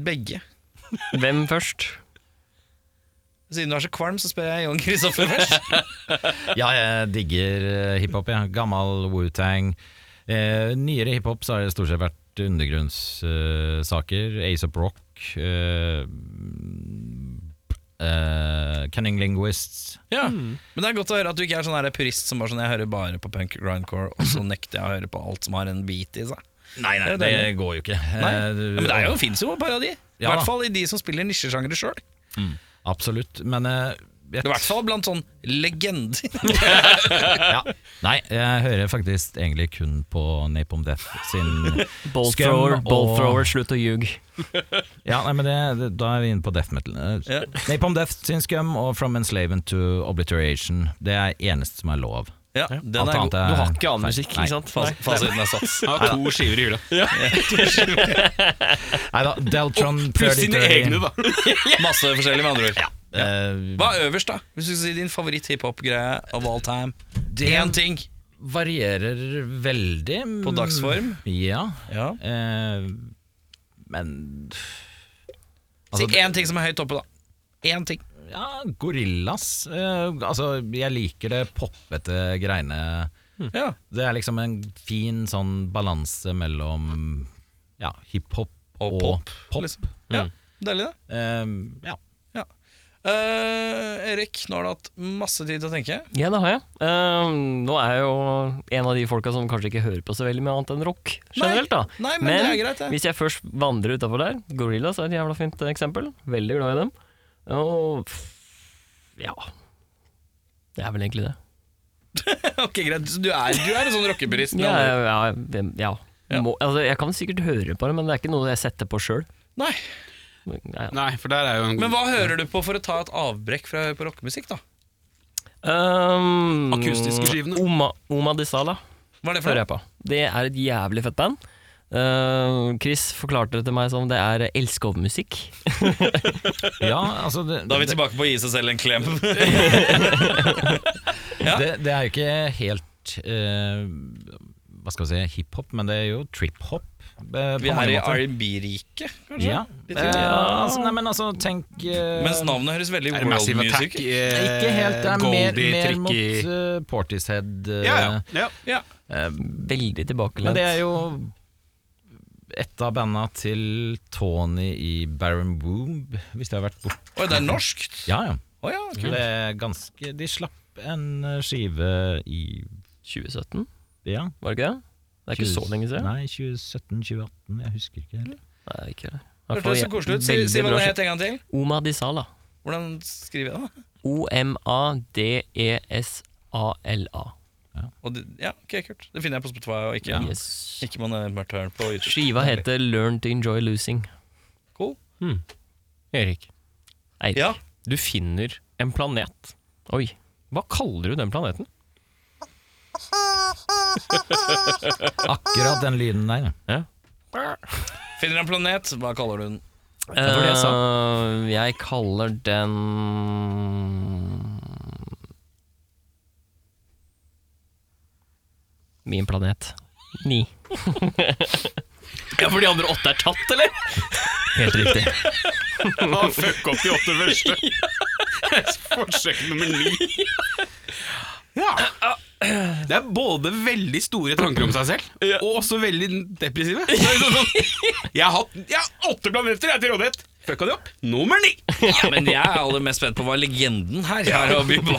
Begge. Hvem først? Siden du er så kvalm, så spør jeg Jon Kristoffer først. Ja, jeg digger eh, hiphop, ja. Gammel Wu-Tang. Eh, nyere hiphop så har det stort sett vært undergrunnssaker. Ace of Rock. Eh, eh, Cunning Linguists. Ja. Men det er godt å høre at du ikke er sånn her purist som bare sånn Jeg hører bare på punk grindcore, og så nekter jeg å høre på alt som har en beat i seg. Nei, nei, det, det går jo ikke. Nei. Eh, du- Men det er jo, fins jo et par av de. I Ja da. hvert fall i de som spiller nisjesjangre sjøl. Absolutt, men eh, jeg, I hvert fall blant sånn legender. ja. Nei, jeg hører faktisk egentlig kun på Napalm Death sin Bolt Skam thrower, og- bolt thrower, slutt å ljuge. Ja, nei, men det, det, da er vi inne på death metal. Eh, Ja. Napalm Death sin Scum og From Enslavement to Obliteration. Det er eneste som er lov. Ja, den er god. annet er- Du har ikke annen musikk, Nei. ikke sant? Fas- Fasiten er satt. Han har to skiver i hylla. Nei da, Deltron Pluss sine 3030. egne, da. Masse forskjellig, med andre ord. Eh, Hva er øverst, da? Hvis du skal si din favoritt-hiphop-greie of all time. Én ting. varierer veldig. mm, På dagsform? Ja. Ja. eh, men Si Altså, én ting som er høyt oppe, da. Én ting. ja, Gorillas. Eh, altså, jeg liker det poppete greiene. Ja. Det er liksom en fin sånn balanse mellom ja, hiphop og, Og pop, pop. liksom. ja. Deilig, det. Eh, ja. Eh, Erik, nå har du hatt masse tid til å tenke. Ja, det har jeg. Ehm, nå er jeg jo en av de folka som kanskje ikke hører på så veldig mye annet enn rock generelt, da. Nei, men, det er greit, det. hvis jeg først vandrer utafor der, Gorillas er et jævla fint eksempel. Veldig glad i dem. Og f- ja Det er vel egentlig det. ok, greit. Så Du er, du er en sånn rockepurist. med Ja, andre ord. ja, ja, ja. Ja. Må, altså, jeg kan sikkert høre på det, men det er ikke noe jeg setter på sjøl. Nei, Nei, for der er jo en Men hva hører du på for å ta et avbrekk fra å høre på rockemusikk, da? Um, Akustiske skivene. Oma, Oma de Sala. Hva er det for hører noe? jeg på. Det er et jævlig fett band. Eh, Chris forklarte det til meg som det er elskovmusikk. ja, altså det, Da er vi tilbake på å gi seg selv en klem. Det, det er jo ikke helt eh, Hva skal vi si, hiphop, men det er jo triphop. eh, Vi på mange er i måter. R&B-riket, kanskje? Ja. Litt Eh, sånn. altså, nei, men altså, tenk eh, Mens navnet høres veldig Er det world Massive music Attack? eh, ut. Ikke helt, det er mer, mer mot tricky eh, Portishead. eh, ja, ja, ja. Ja. Veldig Men tilbakelent. det er jo et av banda til Tony i Baron Womb, hvis det har vært bort... Oi, det er norsk? Ja, ja. Å ja, Det kult. er ganske, de slapp en eh, skive i 2017, ja, var det ikke det? Det er ikke så lenge siden. Nei, 2017-2018. Jeg husker ikke helt. Nei, ikke det. Hørte det så koselig ut. Si, si hva det het en gang til. Oma Di Sala. Hvordan skriver jeg det? da? E O-M-A-D-E-S-A-L-A. Og det- Ja, ok, kult. Det finner jeg på Spotify og ikke, Yes. ikke man er mørkt høren på YouTube. Skiva heter Learn to Enjoy Losing. Cool. Erik. Eirik. Ja. Du finner en planet. Oi, hva kaller du den planeten? Akkurat den lyden der. Finner en planet, hva kaller du den? Det var det jeg sa. Eh, jeg kaller den Min planet. Ni. ja, for de andre åtte er tatt, eller? Helt riktig. Ah, fuck opp de åtte første. Forsøk nummer ni. Ja. Det er både veldig store tanker om seg selv, og også veldig depressive. Så det er sånn- Jeg har, hatt, jeg har åtte planeter jeg er til rådighet. Fucka de opp? Nummer ni! Ja, men jeg er aller mest spent på hva legenden her har å by på.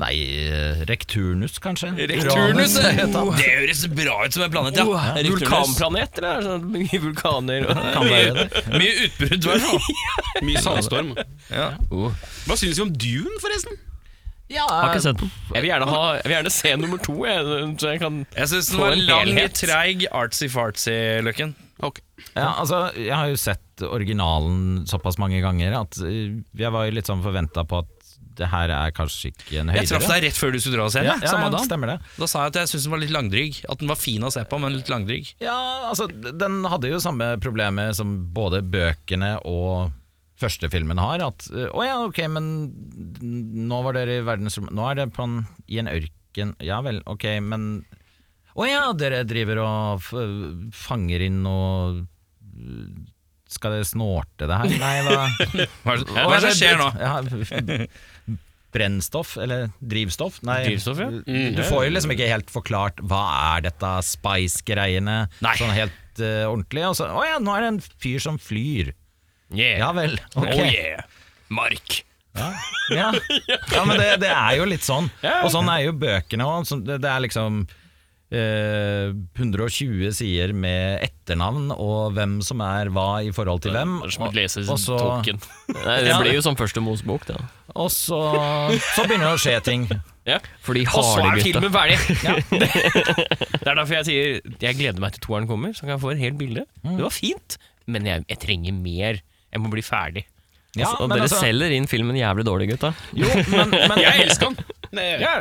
Nei, eh, Rekturnus, kanskje? Rekturnus! Uranus, eh. het han. Det høres bra ut som en planet, ja. Rekturnus. Vulkanplanet, eller? er det Sånn, mye vulkaner og Kan være det. Mye utbrudd, i hvert fall. Mye sandstorm. Oh. Ja. Hva syns vi om Dune, forresten? Har ikke sett den. Jeg vil gjerne, ha, jeg vil gjerne se nummer to, jeg, så jeg kan Jeg syns den Få var en lang, helhet. treig, artsy-fartsy, Løkken. Ja, altså, jeg har jo sett originalen såpass mange ganger at eh, jeg var jo litt sånn forventa på at det her er kanskje ikke en høydere. Jeg traff deg rett før du skulle dra oss hjem. ja, jeg, ja, samme ja, dagen. stemmer det. Da sa jeg at jeg syntes den var litt langdryg. At den var fin å se på, men litt langdryg. Ja, altså, den hadde jo samme problemet som både bøkene og første filmen har. At eh, å ja, ok, men nå var dere i verdensrommet Nå er det på en, i en ørken Ja vel, ok, men Å ja, dere driver og f fanger inn og Skal dere snorte det her? Nei, hva Hva er det hva er det som skjer nå? Ja, brennstoff, eller drivstoff? Nei, Drivstoff, ja. Du får jo liksom ikke helt forklart hva er dette spice-greiene Nei. sånn helt eh, ordentlig. Og så, å ja, nå er det en fyr som flyr. Ja vel, ok. Oh yeah. Mark. ja. ja, men det, det er jo litt sånn. Og sånn er jo bøkene òg. Det, det er liksom eh, 120 sider med etternavn og hvem som er hva i forhold til hvem. Det er som å lese Og så- Tolkien. Nei, det Ja. blir jo som første Mos-bok, da. Og så, så begynner det å skje ting. Fordi Harlegutta ferdig! Det er derfor jeg sier jeg gleder meg til toeren kommer, så kan jeg få et helt bilde. Det var fint, men jeg, jeg trenger mer. Jeg må bli ferdig. Ja, altså, og men dere altså- selger inn filmen jævlig dårlig, gutta. Jo, men, men, Jeg elsker den. Ja, ja.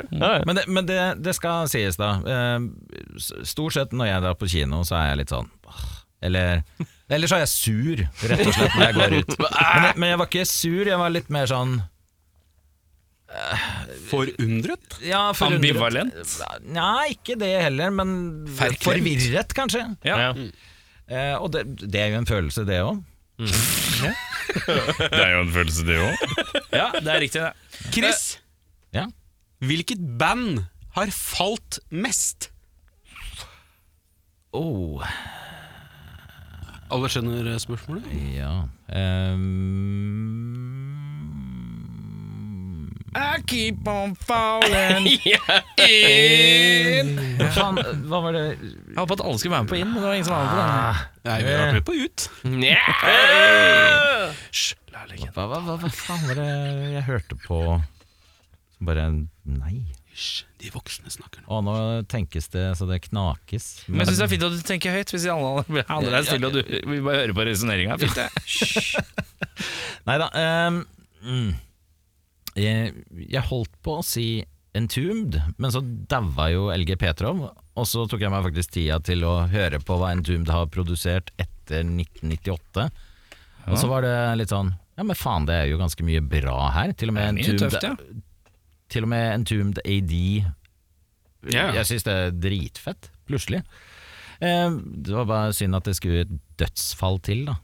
Men, det, men det, det skal sies, da. Eh, s- Stort sett når jeg drar på kino, så er jeg litt sånn «Åh», Eller Eller så er jeg sur, rett og slett, når jeg går ut. Men, men jeg var ikke sur, jeg var litt mer sånn Forundret? ja, forundret. Ambivalent? Nei, ikke det heller, men Ferklemt. forvirret, kanskje. Ja. Mm. Ja. Eh, og det, det er jo en følelse, det òg. Det er jo en følelse, det òg. Ja, det er riktig, det. Chris, Ja. hvilket band har falt mest? Oh, Alle skjønner eh, spørsmålet? ja. Ehm, Um, I keep on falling hva faen, hva var det Jeg håpet at alle skulle være med på inn, men det var ingen som var med på den. Nei, vi har vært med på Ut. Hva, hva, hva, hva faen var det jeg hørte på som bare Nei. Hysj, de voksne snakker nå. Å, nå tenkes det så det knakes. Men jeg syns det er fint at du tenker høyt, hvis de andre andre er stille og du vi bare hører på resonneringa. Fint, det. Nei da. ehm, mm, jeg, jeg holdt på å si Entombed, men så daua jo LG Petrov. Og så tok jeg meg faktisk tida til å høre på hva Entombed har produsert etter 1998. Og så var det litt sånn Ja, men faen, det er jo ganske mye bra her. Til og med Det er mye Entombed, tøft, ja. til og med Entombed AD Ja. Jeg syns det er dritfett, plutselig. Eh, det var bare synd at det skulle et dødsfall til, da.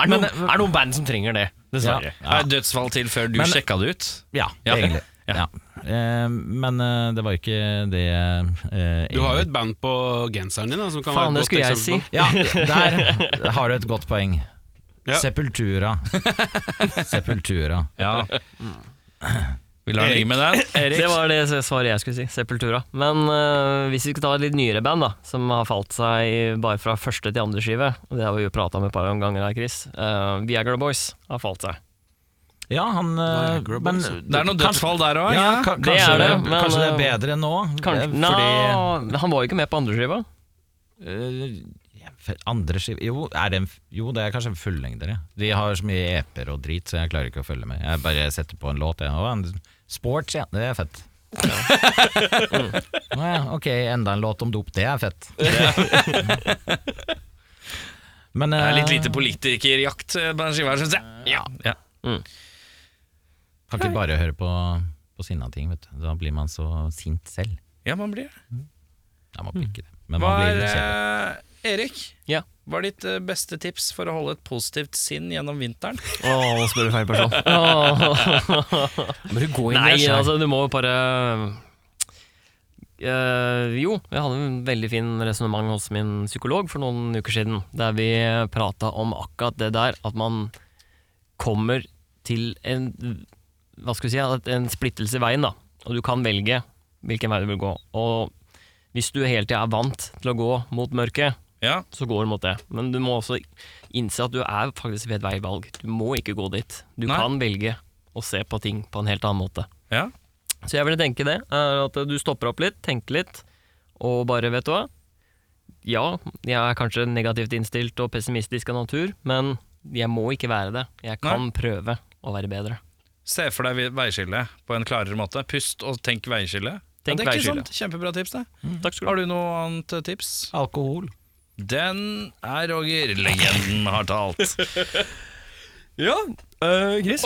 Er, det noen, er det noen band som trenger det, dessverre? Ja. Er dødsfall til før du Men- sjekka det ut? Ja, Ja. egentlig. Ja. Eh, men eh, det var jo ikke det eh, Du har jo et band på genseren din da, som kan Faen, det være et godt skulle jeg si. eksempel. Ja, der har du et godt poeng. Ja. Sepultura. Sepultura. Ja. Vi lar den ligge med den. Det var det svaret jeg skulle si. Sepultura. Men eh, hvis vi skal ta et litt nyere band, da, som har falt seg bare fra første til andre skive, og det har vi jo prata om et par ganger her, Chris, eh, Viagra Boys har falt seg. Ja, han eh, men, Det er noen dødsfall der òg. Ja, ka det kanskje, er det, det, men, kanskje det er bedre nå? Kanskje, eh, Nå, Fordi han var jo ikke med på andre skiva. eh, for andre skiv... Jo, er det en, f- jo, det er kanskje en fullengder, ja. De har så mye EP-er og drit, så jeg klarer ikke å følge med. Jeg bare setter på en låt, jeg. Å, en Sports, ja. Det er fett. mm. Å ja, ok, enda en låt om dop. Det er fett. Men Det er eh, litt lite politikerjakt eh, på den skiva her, syns jeg. Ja. kan ikke bare høre på, på sinna ting, vet du. Da blir man så sint selv. ja, man blir det. Ja, man blir ikke det. Men Hva er man blir litt kjedelig. eh, Erik? Ja. Hva er ditt eh, beste tips for å holde et positivt sinn gjennom vinteren? Å, nå spør du feil person. Åh. Bare gå inn Nei, der selv. altså, du må jo bare Eh, jo, jeg hadde en veldig fin resonnement hos min psykolog for noen uker siden, der vi prata om akkurat det der, at man kommer til en Hva skal vi si, at en splittelse i veien, da. Og du kan velge hvilken vei du vil gå. Og hvis du hele tida er vant til å gå mot mørket, Ja. så går du mot det. Men du må også innse at du er faktisk ved et veivalg. Du må ikke gå dit. Du Nei. kan velge å se på ting på en helt annen måte. Ja. Så jeg ville tenke det, er at du stopper opp litt, tenker litt, og bare, vet du hva Ja, jeg er kanskje negativt innstilt og pessimistisk av natur, men jeg må ikke være det. Jeg kan prøve å være bedre. Se for deg veiskillet på en klarere måte. Pust og tenk veiskille. Tenk ja, det er ikke veiskille. Mm, sant. Kjempebra tips, det. Takk skal du ha. Har du noe annet eh, tips? Alkohol. Den er Roger. Legenden har talt. Ja, øh, Chris?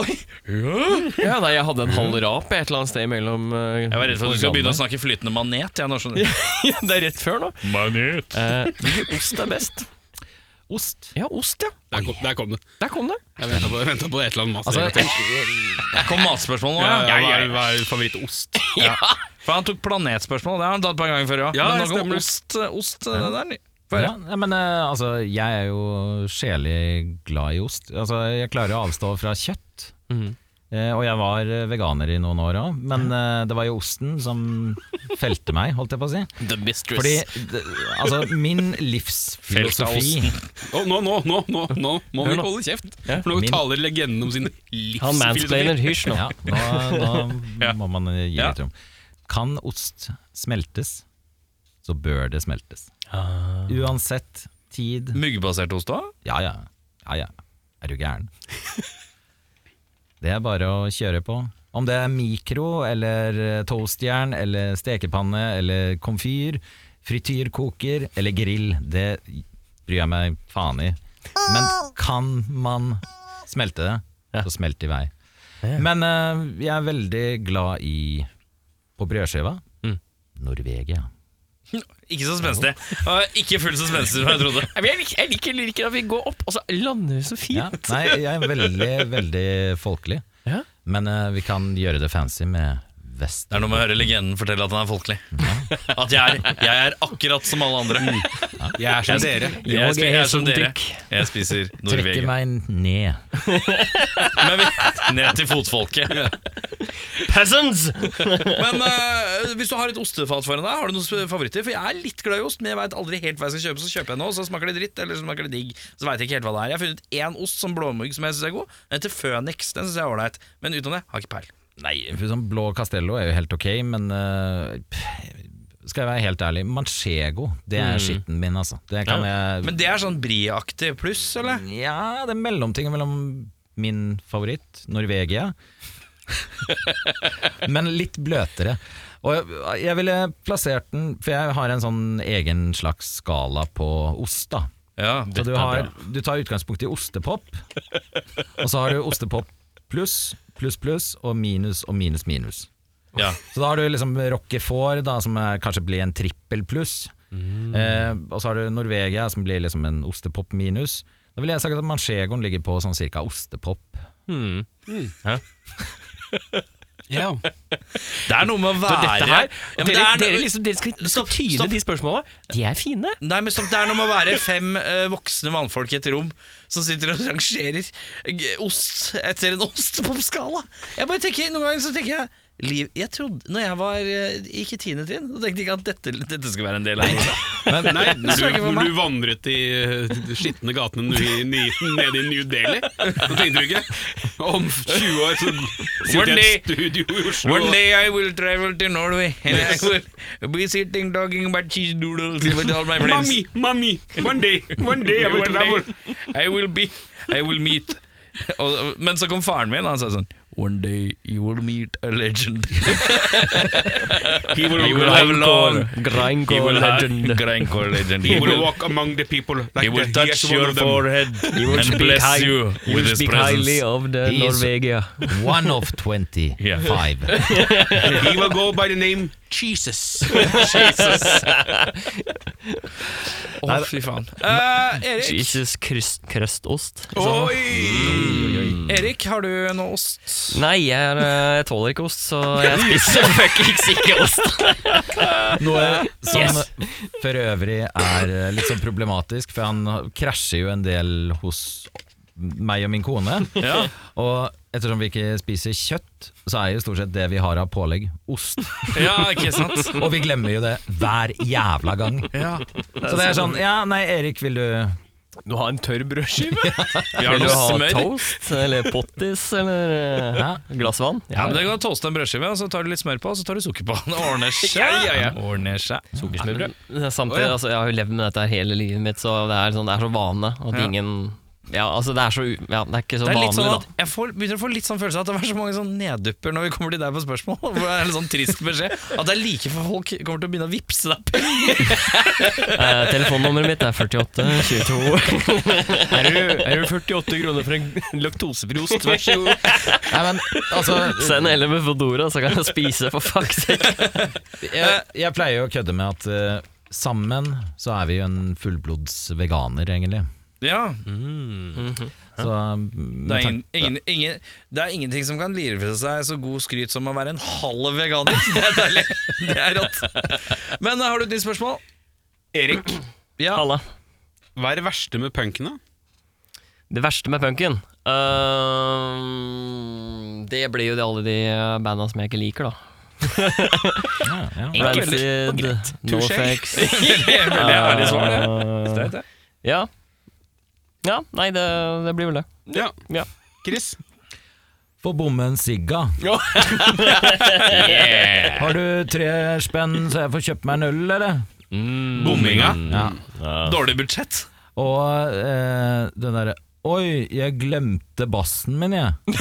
Ja, nei, jeg hadde en halv rap et eller annet sted mellom eh, Jeg var redd for at du skulle begynne å snakke flytende manet. Jeg, nå skjønner du. Det er rett før nå. Eh, Hvilken ost er best? Ost. Ja, ost, ja. Der kom, der kom det. Der kom det. Jeg venta på, venta på et eller annet masse. Altså, Der kom matspørsmål nå, ja, ja. ja, hva er, hva er favorittost? For han tok planetspørsmål. Det har han tatt et par ganger før òg. Ja, Men nå det kom stemmer. ost, eh, ost eh, det der. Få Ja, nei, men eh, altså, jeg er jo sjelig glad i ost. Altså, jeg klarer å avstå fra kjøtt. Mm. Eh, og jeg var eh, veganer i noen år òg, men eh, det var jo osten som felte meg, holdt jeg på å si. The mistress. Fordi det, altså, min livsfilosofi Å, nå, nå, nå, nå, nå må vi holde kjeft! For nå Min- taler legenden om sin Han livsfilosofi. mansplainer, hysj nå. ja, nå, nå må man eh, gi Ja. litt rom. Kan ost smeltes, så bør det smeltes. Ah. Mm. Uansett tid Muggbasert ost òg? Ja, ja. ja, ja. Er du gæren? Det er bare å kjøre på. Om det er mikro eller eh, toastjern eller stekepanne eller komfyr, frityrkoker eller grill, det bryr jeg meg faen i. Men kan man smelte det, så smelt i vei. Men eh, jeg er veldig glad i På brødskiva Norvegia. Ikke så spenstig. Og Ikke fullt så spenstig som jeg trodde. Jeg, liker, jeg liker lyrikken at vi går opp, og så lander vi så fint. Ja. Nei, jeg er veldig, veldig folkelig. Ja. Men eh, vi kan gjøre det fancy med vest. Det er noe med å høre legenden fortelle at han er folkelig. Mm. At jeg er, jeg er akkurat som alle andre. Jeg er som dere. Jeg, spi- jeg er som dere. Jeg spiser Trekker Norvegia. meg ned. Men vi- Ned til fotfolket. Peasants! Men eh, hvis du har et ostefat foran deg, har du noen favoritter? For jeg er litt glad i ost, men jeg veit aldri helt hva jeg skal kjøpe. Så kjøper jeg noe, så smaker det dritt, eller så smaker det digg. Så vet jeg ikke helt hva det er. Jeg har funnet én ost som blåmugg som jeg syns er god. Den heter Phoenix. Den syns jeg er ålreit. Men utenom det, har ikke peil. Nei, for sånn blå Castello er jo helt ok, men eh, pff, skal jeg være helt ærlig, manchego, det er skitten min, altså. Det kan jeg Men det er sånn Brie-aktig pluss, eller? Ja, det er mellomtinget mellom min favoritt, Norvegia, men litt bløtere. Og jeg, jeg ville plassert den, for jeg har en sånn egen slags skala på ost, da. Ja. Så du, har, du tar utgangspunkt i ostepop, og så har du ostepop pluss, pluss, pluss, og minus og minus, minus. Ja. Så da har du liksom Roquefort, da, som er, kanskje blir en trippel pluss. Eh, og så har du Norvegia, som blir liksom en ostepop minus. Da vil jeg sagt at manchegoen ligger på sånn cirka ostepop. Ja. Det er noe med å være Dette her, ja, men det dere, er, dere, liksom, dere skal, dere skal Stopp, tyde stopp. de spørsmålene. De er fine. Nei, men stopp, Det er noe med å være fem eh, voksne mannfolk i et rom som sitter og rangerer g- ost etter en ostepopskala. Jeg bare tenker, Noen ganger så tenker jeg liv Jeg trodde, når jeg var eh, gikk i tiende trinn, så tenkte jeg ikke at dette, dette skulle være en del av livet. Men, Nei, du, snakker for når meg. du vandret i eh, de skitne gatene nu- i- ni- nede i New Delhi, så tenkte du ikke om 20 år så sitter jeg i et studio i Oslo One day I will travel to Norway, and I will be sitting talking about cheese doodles with all my friends. Mommy, mommy, one day, one day I will One day travel. I will be I will meet og, Men så kom faren min, og han sa sånn One day you will meet a legend. He will, He will have long He Grindcore will have legend. Grindcore legend. he He will will, walk among the people like he will the- touch yes, one your of them. forehead and speak bless high- you with his Speak highly presence. of the He is- Eh, Norvegia. One of 25 Yeah. He will go by the name Jesus. Å, fy faen. Eh, Erik, Jesus krøst, krøstost. Oi! Mm. Erik, har du noe ost? Nei, jeg, er, eh, jeg tåler ikke ost, så jeg spiser fuckings ikke ost. Noe som Yes. for øvrig er eh, litt sånn problematisk, for han krasjer jo en del hos meg og min kone. Og ettersom vi ikke spiser kjøtt, så er jo stort sett det vi har av pålegg, ost. Ja, ikke sant? Og vi glemmer jo det hver jævla gang. Så det er sånn Ja, nei, Erik, vil du Du har en tørr brødskive? Vi har Vil du noe ha smør. toast eller pottis eller eh, Hæ? glass vann? Ja, men Det går an å toaste en brødskive, og så tar du litt smør på, og så tar du sukker på. Det ordner seg. Ordner seg. Sukkersmørbrød. Men Samtidig, altså, jeg har jo levd med dette her hele livet mitt, så det er, sånn, det er så vane at Ja. ingen ja, altså det er, så, u- ja, det er ikke så Det er vanlig, litt sånn at da. Jeg får, begynner å få litt sånn følelse av at det er så mange sånn neddupper når vi kommer til deg på spørsmål. Hvor det er en sånn trist beskjed At det er like for folk kommer til å begynne å vippse deg. penger. Eh, telefonnummeret mitt er 48 22 Er du, er du 48 kroner for en laktosefri ost? Vær så god. Nei, men altså Send heller med Fodora, så kan jeg spise for fuck's sake. jeg, Eh, jeg pleier jo å kødde med at eh, sammen så er vi jo en fullblods veganer, egentlig. Ja, Så mm, det er, ingen, ingen, ingen, det er ingenting som kan lire for seg så god skryt som å være en halv veganer. Det er deilig. Det er rått. Men eh, har du et nytt spørsmål? Erik, Ja. Halla. hva er det verste med punken, da? Det verste med punken Øhm, Det blir jo det alle de eh, banda som jeg ikke liker, da. Ah, ja, ja. Rancid, Norfex Veldig ærlig svar, det. Streit, det. Ja. Ja, nei, det, det blir vel det. Ja. Ja. Chris? Få bomme en sigga. Har du tre spenn så jeg får kjøpt meg en øl, eller? Mm. Bomminga. Ja. Dårlig budsjett. Og eh, den derre Oi, jeg glemte bassen min, jeg.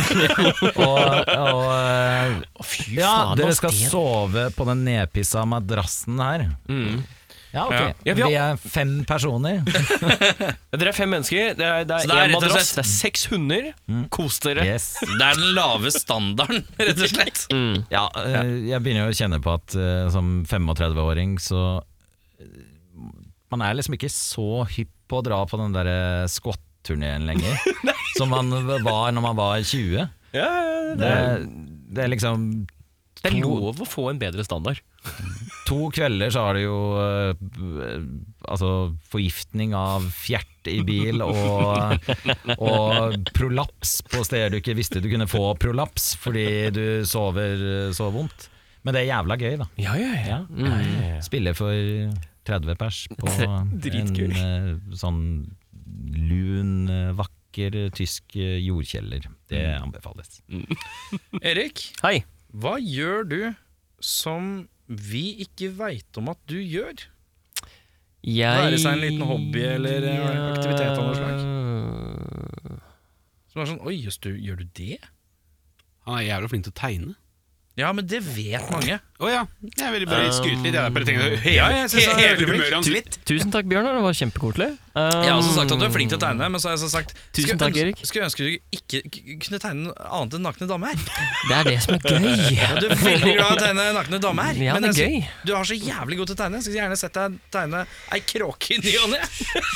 og og eh, Ja, dere skal sove på den nedpissa madrassen her. Ja, ok. Mm. Ja, vi vi, har- er fem personer. Dere er fem mennesker. Det er, det er, Så det er en rett og madrass, slett- det er seks hunder. Kos dere. Yes. Mm. Det er den lave standarden, rett og slett. Ja, eh, jeg begynner jo å kjenne på at eh, som 35-åring så eh, Man er liksom ikke så hypp på å dra på den derre skvatt-turneen lenger. som man var når man var 20. Ja, ja, Det, det er liksom Det er to- lov å få en bedre standard. To kvelder så har du jo eh, altså forgiftning av fjert i bil og, og prolaps på steder du ikke visste du kunne få prolaps fordi du sover eh, så vondt. Men det er jævla gøy, da. Ja, ja, ja. Spille for 30 pers på en Dritgøy. eh, sånn lun, eh, vakker eh, tysk eh, jordkjeller. Det anbefales. Erik, Hei. hva gjør du som vi ikke veit om at du gjør? Jeg Være seg en liten hobby eller, eh, aktivitet av noe slag. Som er sånn Oi, jøss, du, gjør du det? Han er jævlig flink til å tegne. Ja, men det vet mange. Å ja. Jeg ville bare skryte litt. Jeg bare tenkte hele, Um, Ja, jeg synes han er hele veldig flink. humøret hans litt. Tusen takk, Bjørnar. Det var Ehm, kjempekoselig. Jeg har også sagt at du er flink til å tegne, men så har jeg så sagt Tusen skulle takk, ønske- Erik. Skulle ønske du ikke k- kunne tegne noe annet enn nakne damer. Det er det som er gøy. Du er veldig glad i å tegne nakne damer. Ja, men det er jeg gøy. sy- Du er så jævlig god til å tegne. Jeg skulle gjerne sett deg tegne ei kråke i ny og ne.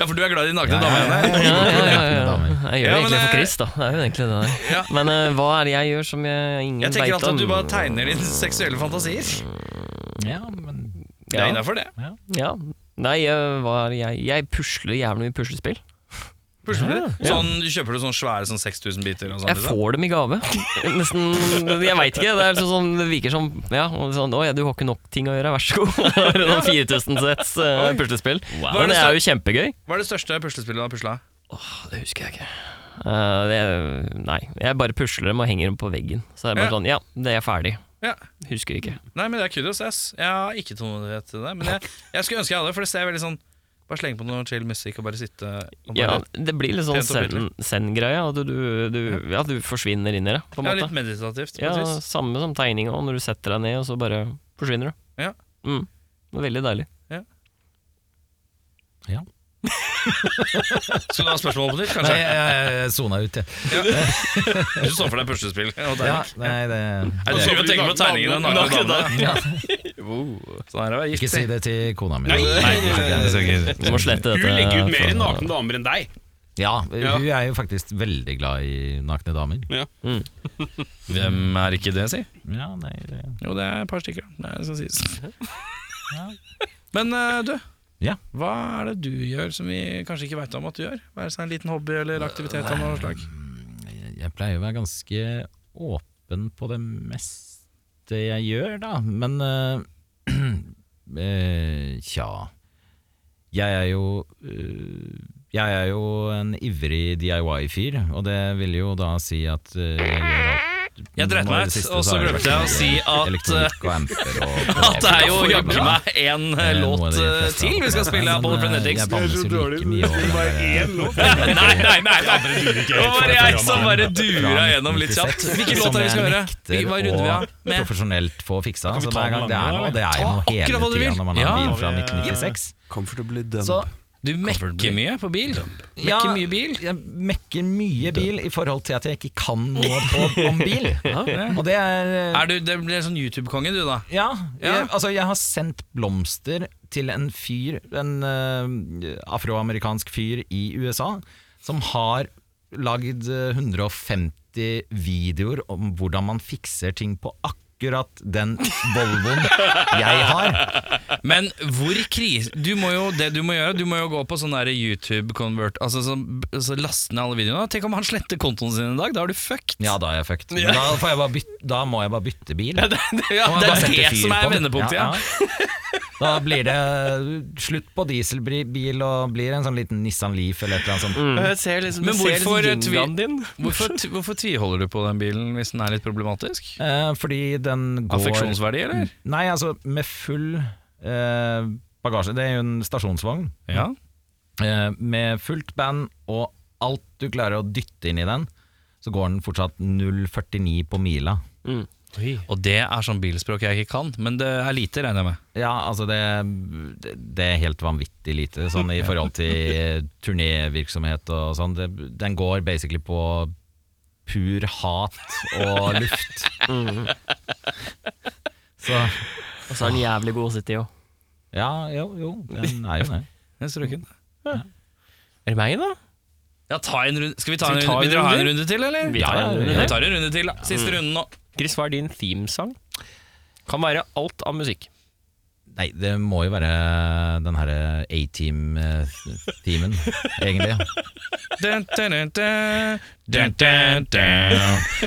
Ja, for du er glad i nakne damer? Janne. Ja, ja, ja, ja. Jeg gjør Ja, det men egentlig det- for Chris, da. Det er jo egentlig det der. Ja. Men eh, hva er det jeg gjør som jeg Jeg ingen tenker veit alltid om? at du bare tegner dine seksuelle fantasier. Ja, men Det er innafor, det. Ja. Nei, eh, hva er det jeg Jeg pusler jævlig mye puslespill. Puslespill? Sånn, kjøper du sånn svære sånn 6000 biter? Og sånn, Jeg får dem i gave. Nesten Jeg veit ikke. Det er liksom sånn, det virker som Ja, og sånn, å, ja, du har ikke nok ting å gjøre, vær så god. Det er sånn 4000 setts eh, puslespill. Hva er Men det det som- er jo kjempegøy. Hva er det største puslespillet du har pusla? Det husker jeg ikke. Eh, det, nei. Jeg bare pusler dem og henger dem på veggen. Så det er bare Ja. sånn Ja, det er ferdig. Ja. Husker ikke. Nei, men det er kudos, ass. Jeg har ikke tålmodighet til det. Men jeg, jeg skulle ønske jeg hadde det, for det ser veldig sånn Bare slenge på noe chill musikk og bare sitte og bare, Ja, det blir litt sånn Pent og zen- zen-greie. at du, du, du, ja, du forsvinner inn i det, på en ja, måte. Litt meditativt. på Ja, et vis. samme som tegning òg, når du setter deg ned, og så bare forsvinner du. Ja. Mm. Det var veldig deilig. Skal du ha spørsmål på ditt, Nei, kanskje? jeg, jeg, jeg sona ut, jeg. Du så for deg puslespill. og det er- Ja, nei, det, Jeg det driver og tenker på tegningene av nakne damer. Ja. Sånn her er det Ikke gift. si det til kona mi. Nei, nei, det skal jeg- det skal jeg Du ikke- må slette Hun dette. legger ut mer fra- nakne damer enn deg. Ja, hun er jo faktisk veldig glad i nakne damer. Hvem er ikke det, si? Ja, nei, det... Jo, det er et par stykker. Det er det som sies. Men eh, du, Ja. hva er det du gjør som vi kanskje ikke veit om at du gjør? Være seg en liten hobby eller aktivitet av noe slag? jeg, jeg pleier å være ganske åpen på det meste jeg gjør, da. Men eh, eh, tja. Jeg er jo eh, Jeg er jo en ivrig DIY-fyr, og det vil jo da si at eh, jeg gjør alt Jeg dreit Nå i meg det ut, siste og så så har glemte jeg å si at, eh, vært mye Elektronikk og amper og At det er jo jaggu meg en eh, Noe av låt de eh, fleste til vi skal andre. spille av Men, Bold eh, Benedict. Jeg bannes jo like mye over det der, eh, Nei, nei, nei! nei. Det var jeg som bare dura Fra gjennom litt kjapt. 96, Hvilken låt er det vi skal høre? Som Hvilken- jeg Hva runder vi av nekter å med? profesjonelt få fiksa. Så hver gang det er noe, det er Ta jo noe hele akkurat hva du vil. tida når man har Ja. en bil fra 1996. Comfortably dumb. Så Du mekker mye på bil. Ja, Mekker mye bil. jeg mekker mye bil i forhold til at jeg ikke kan noe på, om bil. Og det er eh, Er du, det blir sånn YouTube-konge, du, da. Ja, Ja. Jeg, altså jeg har sendt blomster til en fyr, en eh, afroamerikansk fyr i USA, som har lagd eh, 150 videoer om hvordan man fikser ting på akkurat den Volvoen jeg har. Men hvor krise du må jo, Det du må gjøre, du må jo gå på sånn der YouTube-convert Altså så, så laste ned alle videoene. Tenk om han sletter kontoen sin en dag, da er du fucked. Ja, da er jeg fucked. Men da, får jeg bare bytte, da må jeg bare bytte bil. det, ja, Og det bare er setter det fyr som på er den. vendepunktet, ja. Da blir det eh, slutt på dieselbil og blir en sånn liten Nissan Leaf eller et eller annet sånt. Mm. Mm. Jeg ser liksom, Men jeg ser hvorfor liksom tvi- yin-yang din. Hvorfor, t- hvorfor tviholder du på den bilen hvis den er litt problematisk? Eh, fordi den går Affeksjonsverdi, eller? Nei, altså med full eh, bagasje Det er jo en stasjonsvogn Ja. eh, Med fullt band og alt du klarer å dytte inn i den Så går den fortsatt 0,49 på mila Og det er sånn bilspråk jeg ikke kan, men det er lite, regner jeg med. Ja, altså det, det det er helt vanvittig lite Sånn i forhold til eh, turnévirksomhet og sånn det, Den går basically på pur hat og luft Så Og så er den jævlig god å sitte i òg. ja, jo, jo, den er jo det Jeg strøken. Er det meg, da? Ja, ta en runde. Skal vi ta en vi ta runde? en Vil dere ha en runde? runde til, eller? Vi tar en runde Vi til. tar en runde til, da. Siste runden nå. Chris, hva er din themesang? Kan være alt av musikk. Nei, det må jo være den her eh, A-team-teamen, egentlig. Dun, dun, dun, dun. Dun, dun, dun.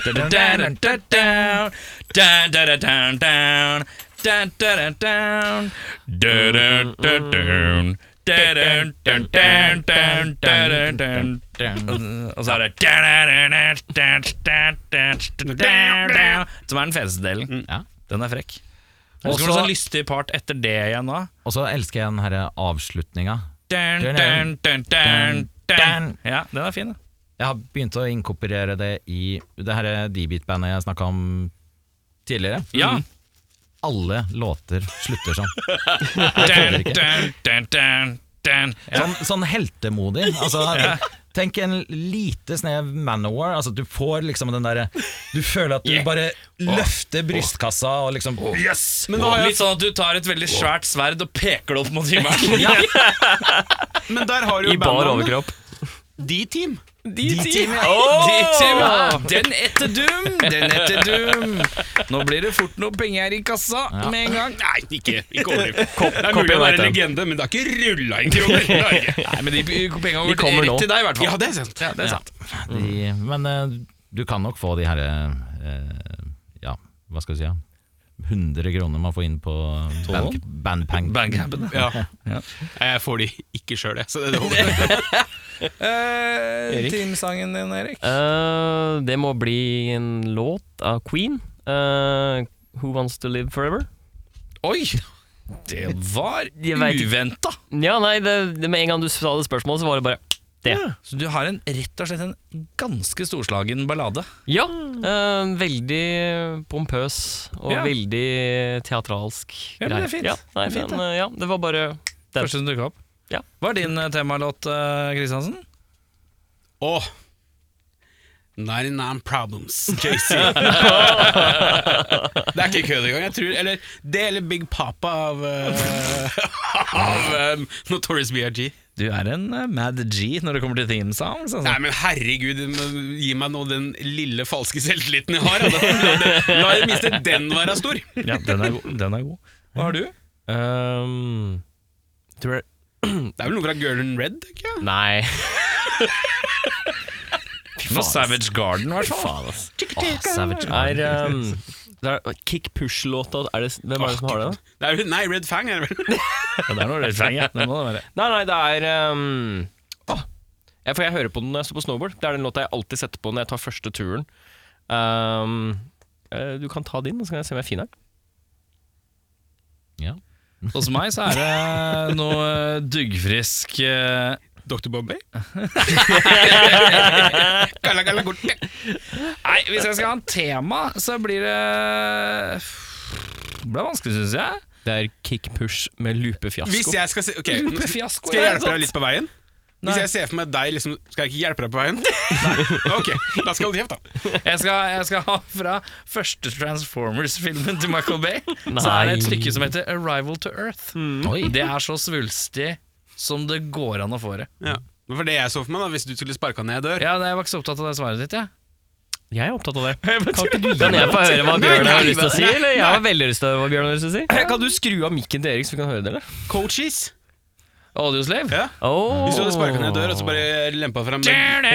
Dun, dun, dun, dun, dun. Dun, dun, dun, dun, dun. Dun, dun, dun, dun. Dun, dun, dun, dun. Dun, dun, dun, dun, dun. Dun, dun, dun. Og så er det dun, dun, dun, dun, dun, dun, dun, dun, dun. Som er den feteste delen. Ja. Den er frekk. Og Og så kommer det så- sånn lystig part etter det igjen da. Og så elsker jeg den her avslutninga. Dun, Dun, dun, dun, dun, dun. dun. Ja, den er fin. da. Jeg har begynt å inkorporere det i det her D-beat-bandet jeg snakka om tidligere. Ja. Alle låter slutter sånn. dun, dun, dun, dun, dun. Ja. Sånn, sånn heltemodig. Altså, Tenk en lite snev Manowar. Altså, du får liksom den derre Du føler at du bare løfter brystkassa og liksom Yes! Men da har jeg, Litt sånn at du tar et veldig svært sverd og peker det opp mot himmelen. men der har jo I bar bandnavnet. overkropp. D-Team. D-team, ja. D-team, ja. Den etter Doom, den etter Doom. Nå blir det fort noe penger i kassa med en gang. Nei, ikke, ikke overdriv. Det er mulig å være legende, men det har ikke rulla inn kroner i Norge. Nei, men de pengene De går kommer nå. rett til deg, i hvert fall. Ja, det er sant. Ja, det er sant. De, men eh, du kan nok få de her eh, Ja, hva skal vi si? ja? 100 kroner man får inn på band, bandpang. Bandcampen, da. Ja. Jeg får de ikke sjøl, jeg. Så det er det. Eh, Teamsangen din, Erik. Eh, det må bli en låt av Queen. Eh, Who Wants To Live Forever? Oi! Det var Jeg vet ikke. uventa. Ja, nei, det, det, med en gang du sa det spørsmålet, så var det bare det. Så du har en, rett og slett en ganske storslagen ballade. Ja. eh, veldig pompøs og Mm. Ja. veldig teatralsk. Ja, men det greie. er fint. Ja, nei, Det er fint, men, eh, ja, det var bare Den. Første som dukka opp. Ja. Hva er din eh, temalåt, eh, Kristiansen? Åh. 99 Problems, JC. det er ikke kødd engang. Jeg tror, eller det eller Big Papa av, eh, av eh, Notorious BRG. Du er en eh, mad G når det kommer til teamsounds. Altså. Nei, men herregud, du må- gi meg nå den lille falske selvtilliten jeg har. da. La i det minste den være stor. Ja, den er god. Den er god. Hva har du? Um, tror jeg Det er vel noe fra Girl in Red? Ikke? jeg? Nei. Noe Savage Garden, i hvert fall. Savage er um, det er Kick Push-låta er det, Hvem er det som har det? da? Det er, vel- nei, Red Fang er det vel. Ja, det er noe Red Fang, ja. Det må det være. Nei, nei, det er um, åh. jeg, For jeg hører på den når jeg står på snowboard. Det er den låta jeg alltid setter på når jeg tar første turen. Um, eh, du kan ta din, og så kan jeg se om jeg finner den. Ja. Hos meg så er det noe eh, duggfrisk eh, Dr. Bombay? Kalla, kalla, korte. Nei, hvis jeg skal ha en tema, så blir eh, det eh, Det ble vanskelig, syns jeg. Det er Kick Push med Hvis lupefiasko. jeg skal se, ok, nå- Fiasko, Skal jeg ja, hjelpe deg litt på veien? Hvis jeg ser for meg deg, liksom, skal jeg ikke hjelpe deg på veien? Nei. Ok, da skal du kjeft, da. Jeg skal, jeg skal ha fra første Transformers-filmen til Michael Bay. Så er det et stykke som heter Arrival to Earth. Mm. Oi. Det er så svulstig som det går an å få det. Ja. Men for det jeg så for meg, da, hvis du skulle sparka ned ei dør Ja, nei, Jeg var ikke så opptatt av det svaret ditt. Ja. Jeg er opptatt av det. Kan jeg få høre hva Bjørn har lyst til å si, eller? Jeg har veldig lyst til å høre hva Bjørn har lyst til å si. Eh, Kan du skru av mikken til Erik, så vi kan høre det? eller? Coaches! Audioslave. Ja. Oh. Hvis du hadde sparka ned ei dør og så bare lempa fram den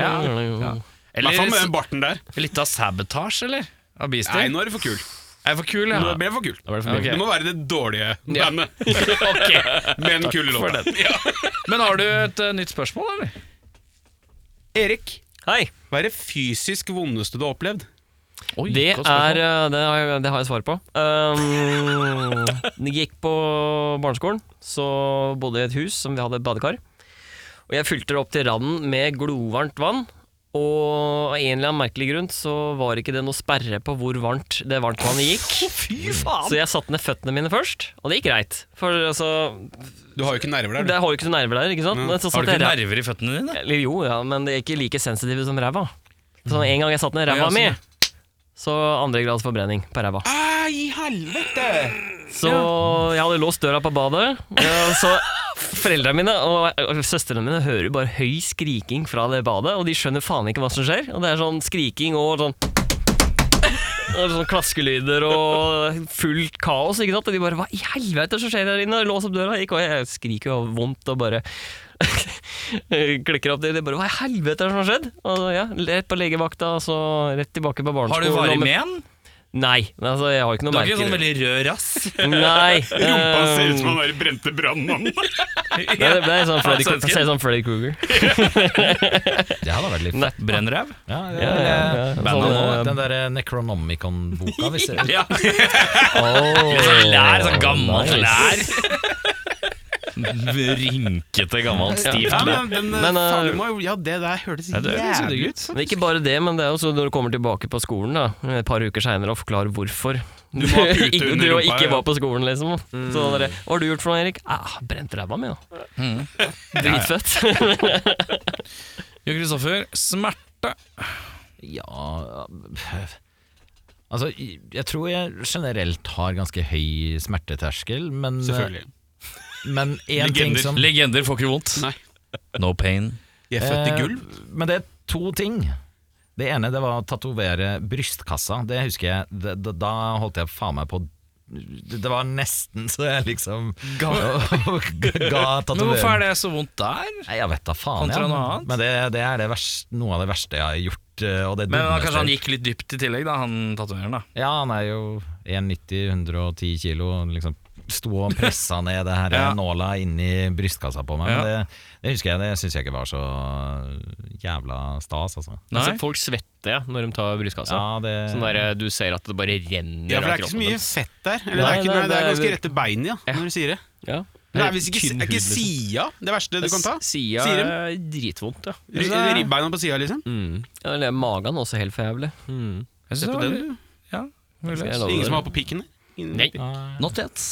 Ja. Hva faen med Eller den barten der? litt av Sabotage, eller? Av Nei, Beastie? nå er det for kul. Er jeg for kul, Nå ja? ble det for kul. Ok. Det må være det dårlige Ja. bandet. Ok. Med den kule låta. Ja. Men har du et eh, nytt spørsmål, eller? Erik, Hei. hva er det fysisk vondeste du har opplevd? Oi, Det godt spørsmål. er eh, Det har jeg, det har jeg svar på. Um, jeg gikk på barneskolen, så bodde jeg i et hus som vi hadde et badekar. Og jeg fylte det opp til randen med glovarmt vann. Og av en eller annen merkelig grunn så var ikke det noe sperre på hvor varmt det varmtvannet gikk. Så jeg satte ned føttene mine først, og det gikk greit. For altså, Du har jo ikke nerver der, du. det har jo ikke noe nerver der, ikke sant? Men så Mm. Har du satte jeg ikke ra- nerver i føttene dine? eller jo, ja, men det er ikke like sensitive som ræva. Så en gang jeg satt ned Ja, ræva sånn, mi, ja. så andre grads forbrenning på ræva. Ai, i helvete! Så jeg hadde låst døra på badet, og så foreldrene mine og og søstrene mine hører jo bare høy skriking fra det badet, og de skjønner faen ikke hva som skjer. Og det er sånn skriking og sånn og sånn klaskelyder og fullt kaos. ikke sant? Og de bare 'hva i helvete som skjer her inne?' Lås opp døra. Gikk, og jeg skriker jo vondt og bare klikker opp det. De bare 'hva i helvete er det som har skjedd?' Og så, ja, Rett på legevakta, og så rett tilbake på barneskolen. Har du varig og med- men? Nei. altså Jeg har ikke noe Du har merker. ikke sånn veldig rød rass? Nei. Rumpa ser eh, ut som han der brente brannmannen. Det det ble sånn Freddy, Ja, svensken. det ser ut som Freddy Krueger. Det hadde vært litt Nei. Brennræv? ja, det, Ja, ja, ja. bandet Sånn, nå, eh, Den der Necronomicon-boka, hvis jeg Ja. Åh. Lær, sånn Nice. gammelt lær. Rynkete, gammelt, Ja, stivt lær. men, den, Men, eh, faen, du må jo- ja, det der hørtes det høres jo digg jævlig ut. ut. Men ikke bare det, men det er jo så når du kommer tilbake på skolen da, et par uker seinere og forklarer hvorfor. Du må ha pute Ikke- under du rumpa, ikke ja. var på skolen, liksom. Mm. Så dere, Hva har du gjort for noe, Erik? Ah, brent ræva mi, da. Mm. Dritfett. Jo Kristoffer, smerte. Ja Altså, jeg tror jeg generelt har ganske høy smerteterskel, men eh, Selvfølgelig. Men én ting som Legender får ikke vondt. Nei. No pain, Jeg er født i Eh, gulv. Men det er to ting. Det ene det var å tatovere brystkassa. Det husker jeg. Da, da- da holdt jeg faen meg på det det var nesten så jeg liksom ga, ga Men hvorfor tatovering. er det så vondt der? Nei, jeg vet da faen. Kontra noe annet? Men det, det er det verste, noe av det verste jeg har gjort. eh, Og det Men da, dummeste kanskje han jeg- gikk litt dypt i tillegg, da, han tatovereren. da Ja, han er jo 1,90-110 kilo. og Liksom sto og pressa ned det her Ja. nåla inni brystkassa på meg. Ja. Men det, det husker jeg, det syns jeg ikke var så jævla stas, altså. Nei. Altså, folk svetter ja, når de tar brystkassa. Ja, det, Sånn der, eh, du ser at det bare renner Ja, for av det er ikke så kroppen mye deres. fett der. Eller Nei, det, er ikke, nei, nei, det er det er- ganske rette bein, ja, når du sier det. Ja. Nei, hvis ikke, Tynn er ikke hud, liksom. sida det verste du kan ta? Sida Sier er dritvondt, ja. Mm. Ri- Ribbeina på sida, liksom? Ja, eller magen er også helt for jævlig. Jeg Se synes på det den, var- du. Ja, mulig. Jeg Ingen som lover det. har på pikken? Ingen Nei. pikk. Not yet.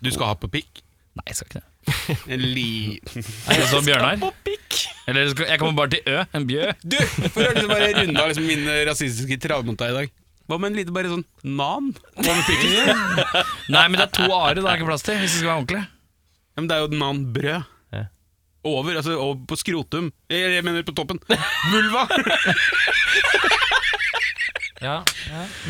Du skal ha på pikk? Nei, jeg skal ikke det. En li... Jeg skal på pikk. Eller skal- jeg kommer bare til Ø, en bjø. Du, for å liksom bare runde av liksom min rasistiske traume mot deg i dag. Hva med en lite bare sånn nan over pikken? Ja, Nei, men det er to are det er ikke plass til, hvis det skal være ordentlig. men det er jo nanbrød. Ja. Over, altså over på skrotum. Eh, Jeg, jeg mener på toppen. Vulva! ja.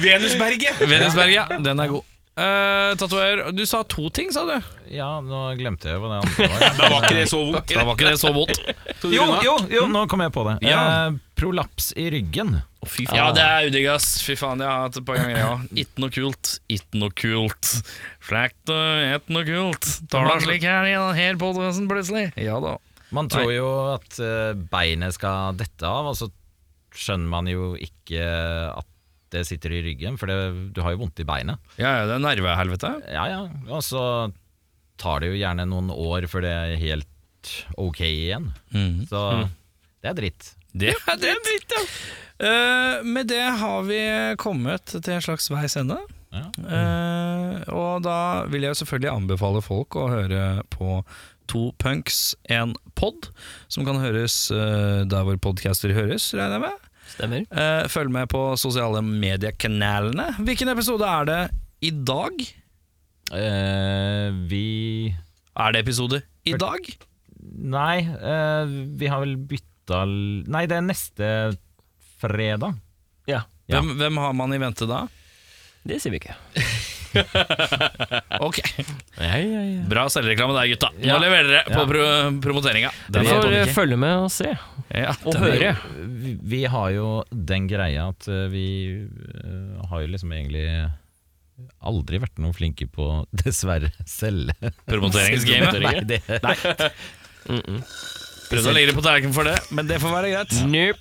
Venusberget! Venusberg, ja. Den er god. Uh, Tatover, du sa to ting, sa du? Ja, nå glemte jeg hva det andre var. Da var ikke det så vondt. Da var ikke det så vondt. Tok du Jo, unna? jo, jo, nå kom jeg på det. Ja. Eh, prolaps i ryggen. Ja, det er udigg, ass. Fy faen, jeg har hatt et par ganger, ja. Ikke noe kult, ikke noe kult. Flækt og et noe kult. Tar deg slik her i her podcasten plutselig. Ja da. Man tror jo at eh, beinet skal dette av, og så skjønner man jo ikke at det sitter i ryggen, for det, du har jo vondt i beinet. Ja, ja, det er nervehelvete. Ja, ja, og så tar det jo gjerne noen år før det er helt ok igjen. Så det er dritt. Det er dritt, Mhm. ja. Eh, med det har vi kommet til en slags veis ende. Ja. Eh, og da vil jeg jo selvfølgelig anbefale folk å høre på To punks, en pod, som kan høres eh, der hvor podcaster høres, regner jeg med. Stemmer. Eh, følg med på sosiale mediekanalene. Hvilken episode er det i dag? Eh, vi Er det episode i dag? Nei, eh, vi har vel bytta l- Nei, det er neste fredag. Ja. Hvem, hvem har man i vente da? Det sier vi ikke. Ok, Bra selvreklame der, gutta. Nå leverer dere på Ja. pro promoteringa. Vi Den er får på. eh, følge med og se. Ja, Og den er- høre. Vi, vi har jo den greia at eh, vi eh, har jo liksom egentlig aldri vært noe flinke på, dessverre, selv. Promoteringsgamet. Nei, det, Prøvde å legge det på tallerkenen for det, men det får være greit. Nope.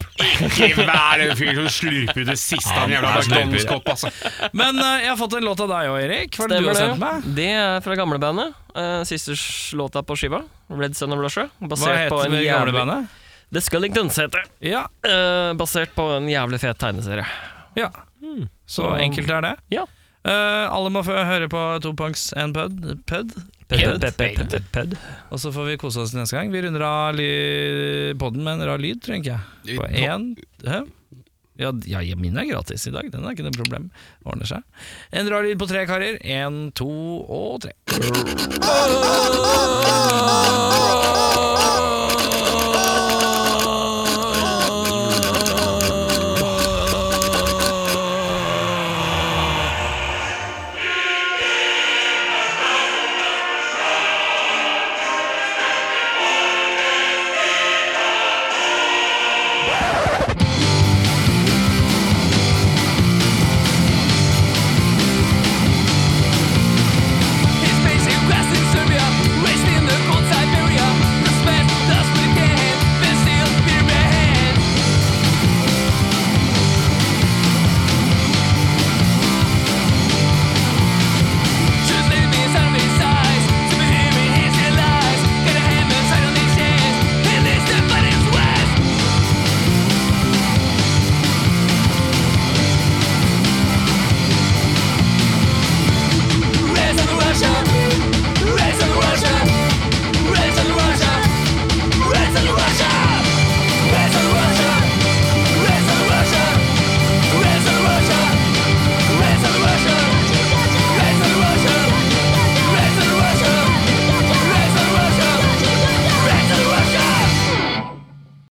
Ikke vær en fyr som slurper ut det siste av en jævla Han er slurper. McDonald's-kopp, altså. Men eh, jeg har fått en låt av deg òg, Erik. Hva er det du har sendt meg? Det er fra gamlebandet. Uh, siste sj- låta på skiva. Red Sun of Russia. Hva Basert på heter en det gamle jævlig bandet? The Scullingtons heter det. Ja, Eh, basert på en jævlig fet tegneserie. ja. Så enkelt er det. Ja. Eh, alle må få høre på To punks and pud. pud. Ped, ped, ped, ped, ped. Og så får vi kose oss neste gang. Vi runder av ly podden med en rar lyd, tenker jeg. På én Hæ? ja, ja, ja, min er gratis i dag. Den er ikke noe problem. Ordner seg. En rar lyd på tre karer. Én, to og tre.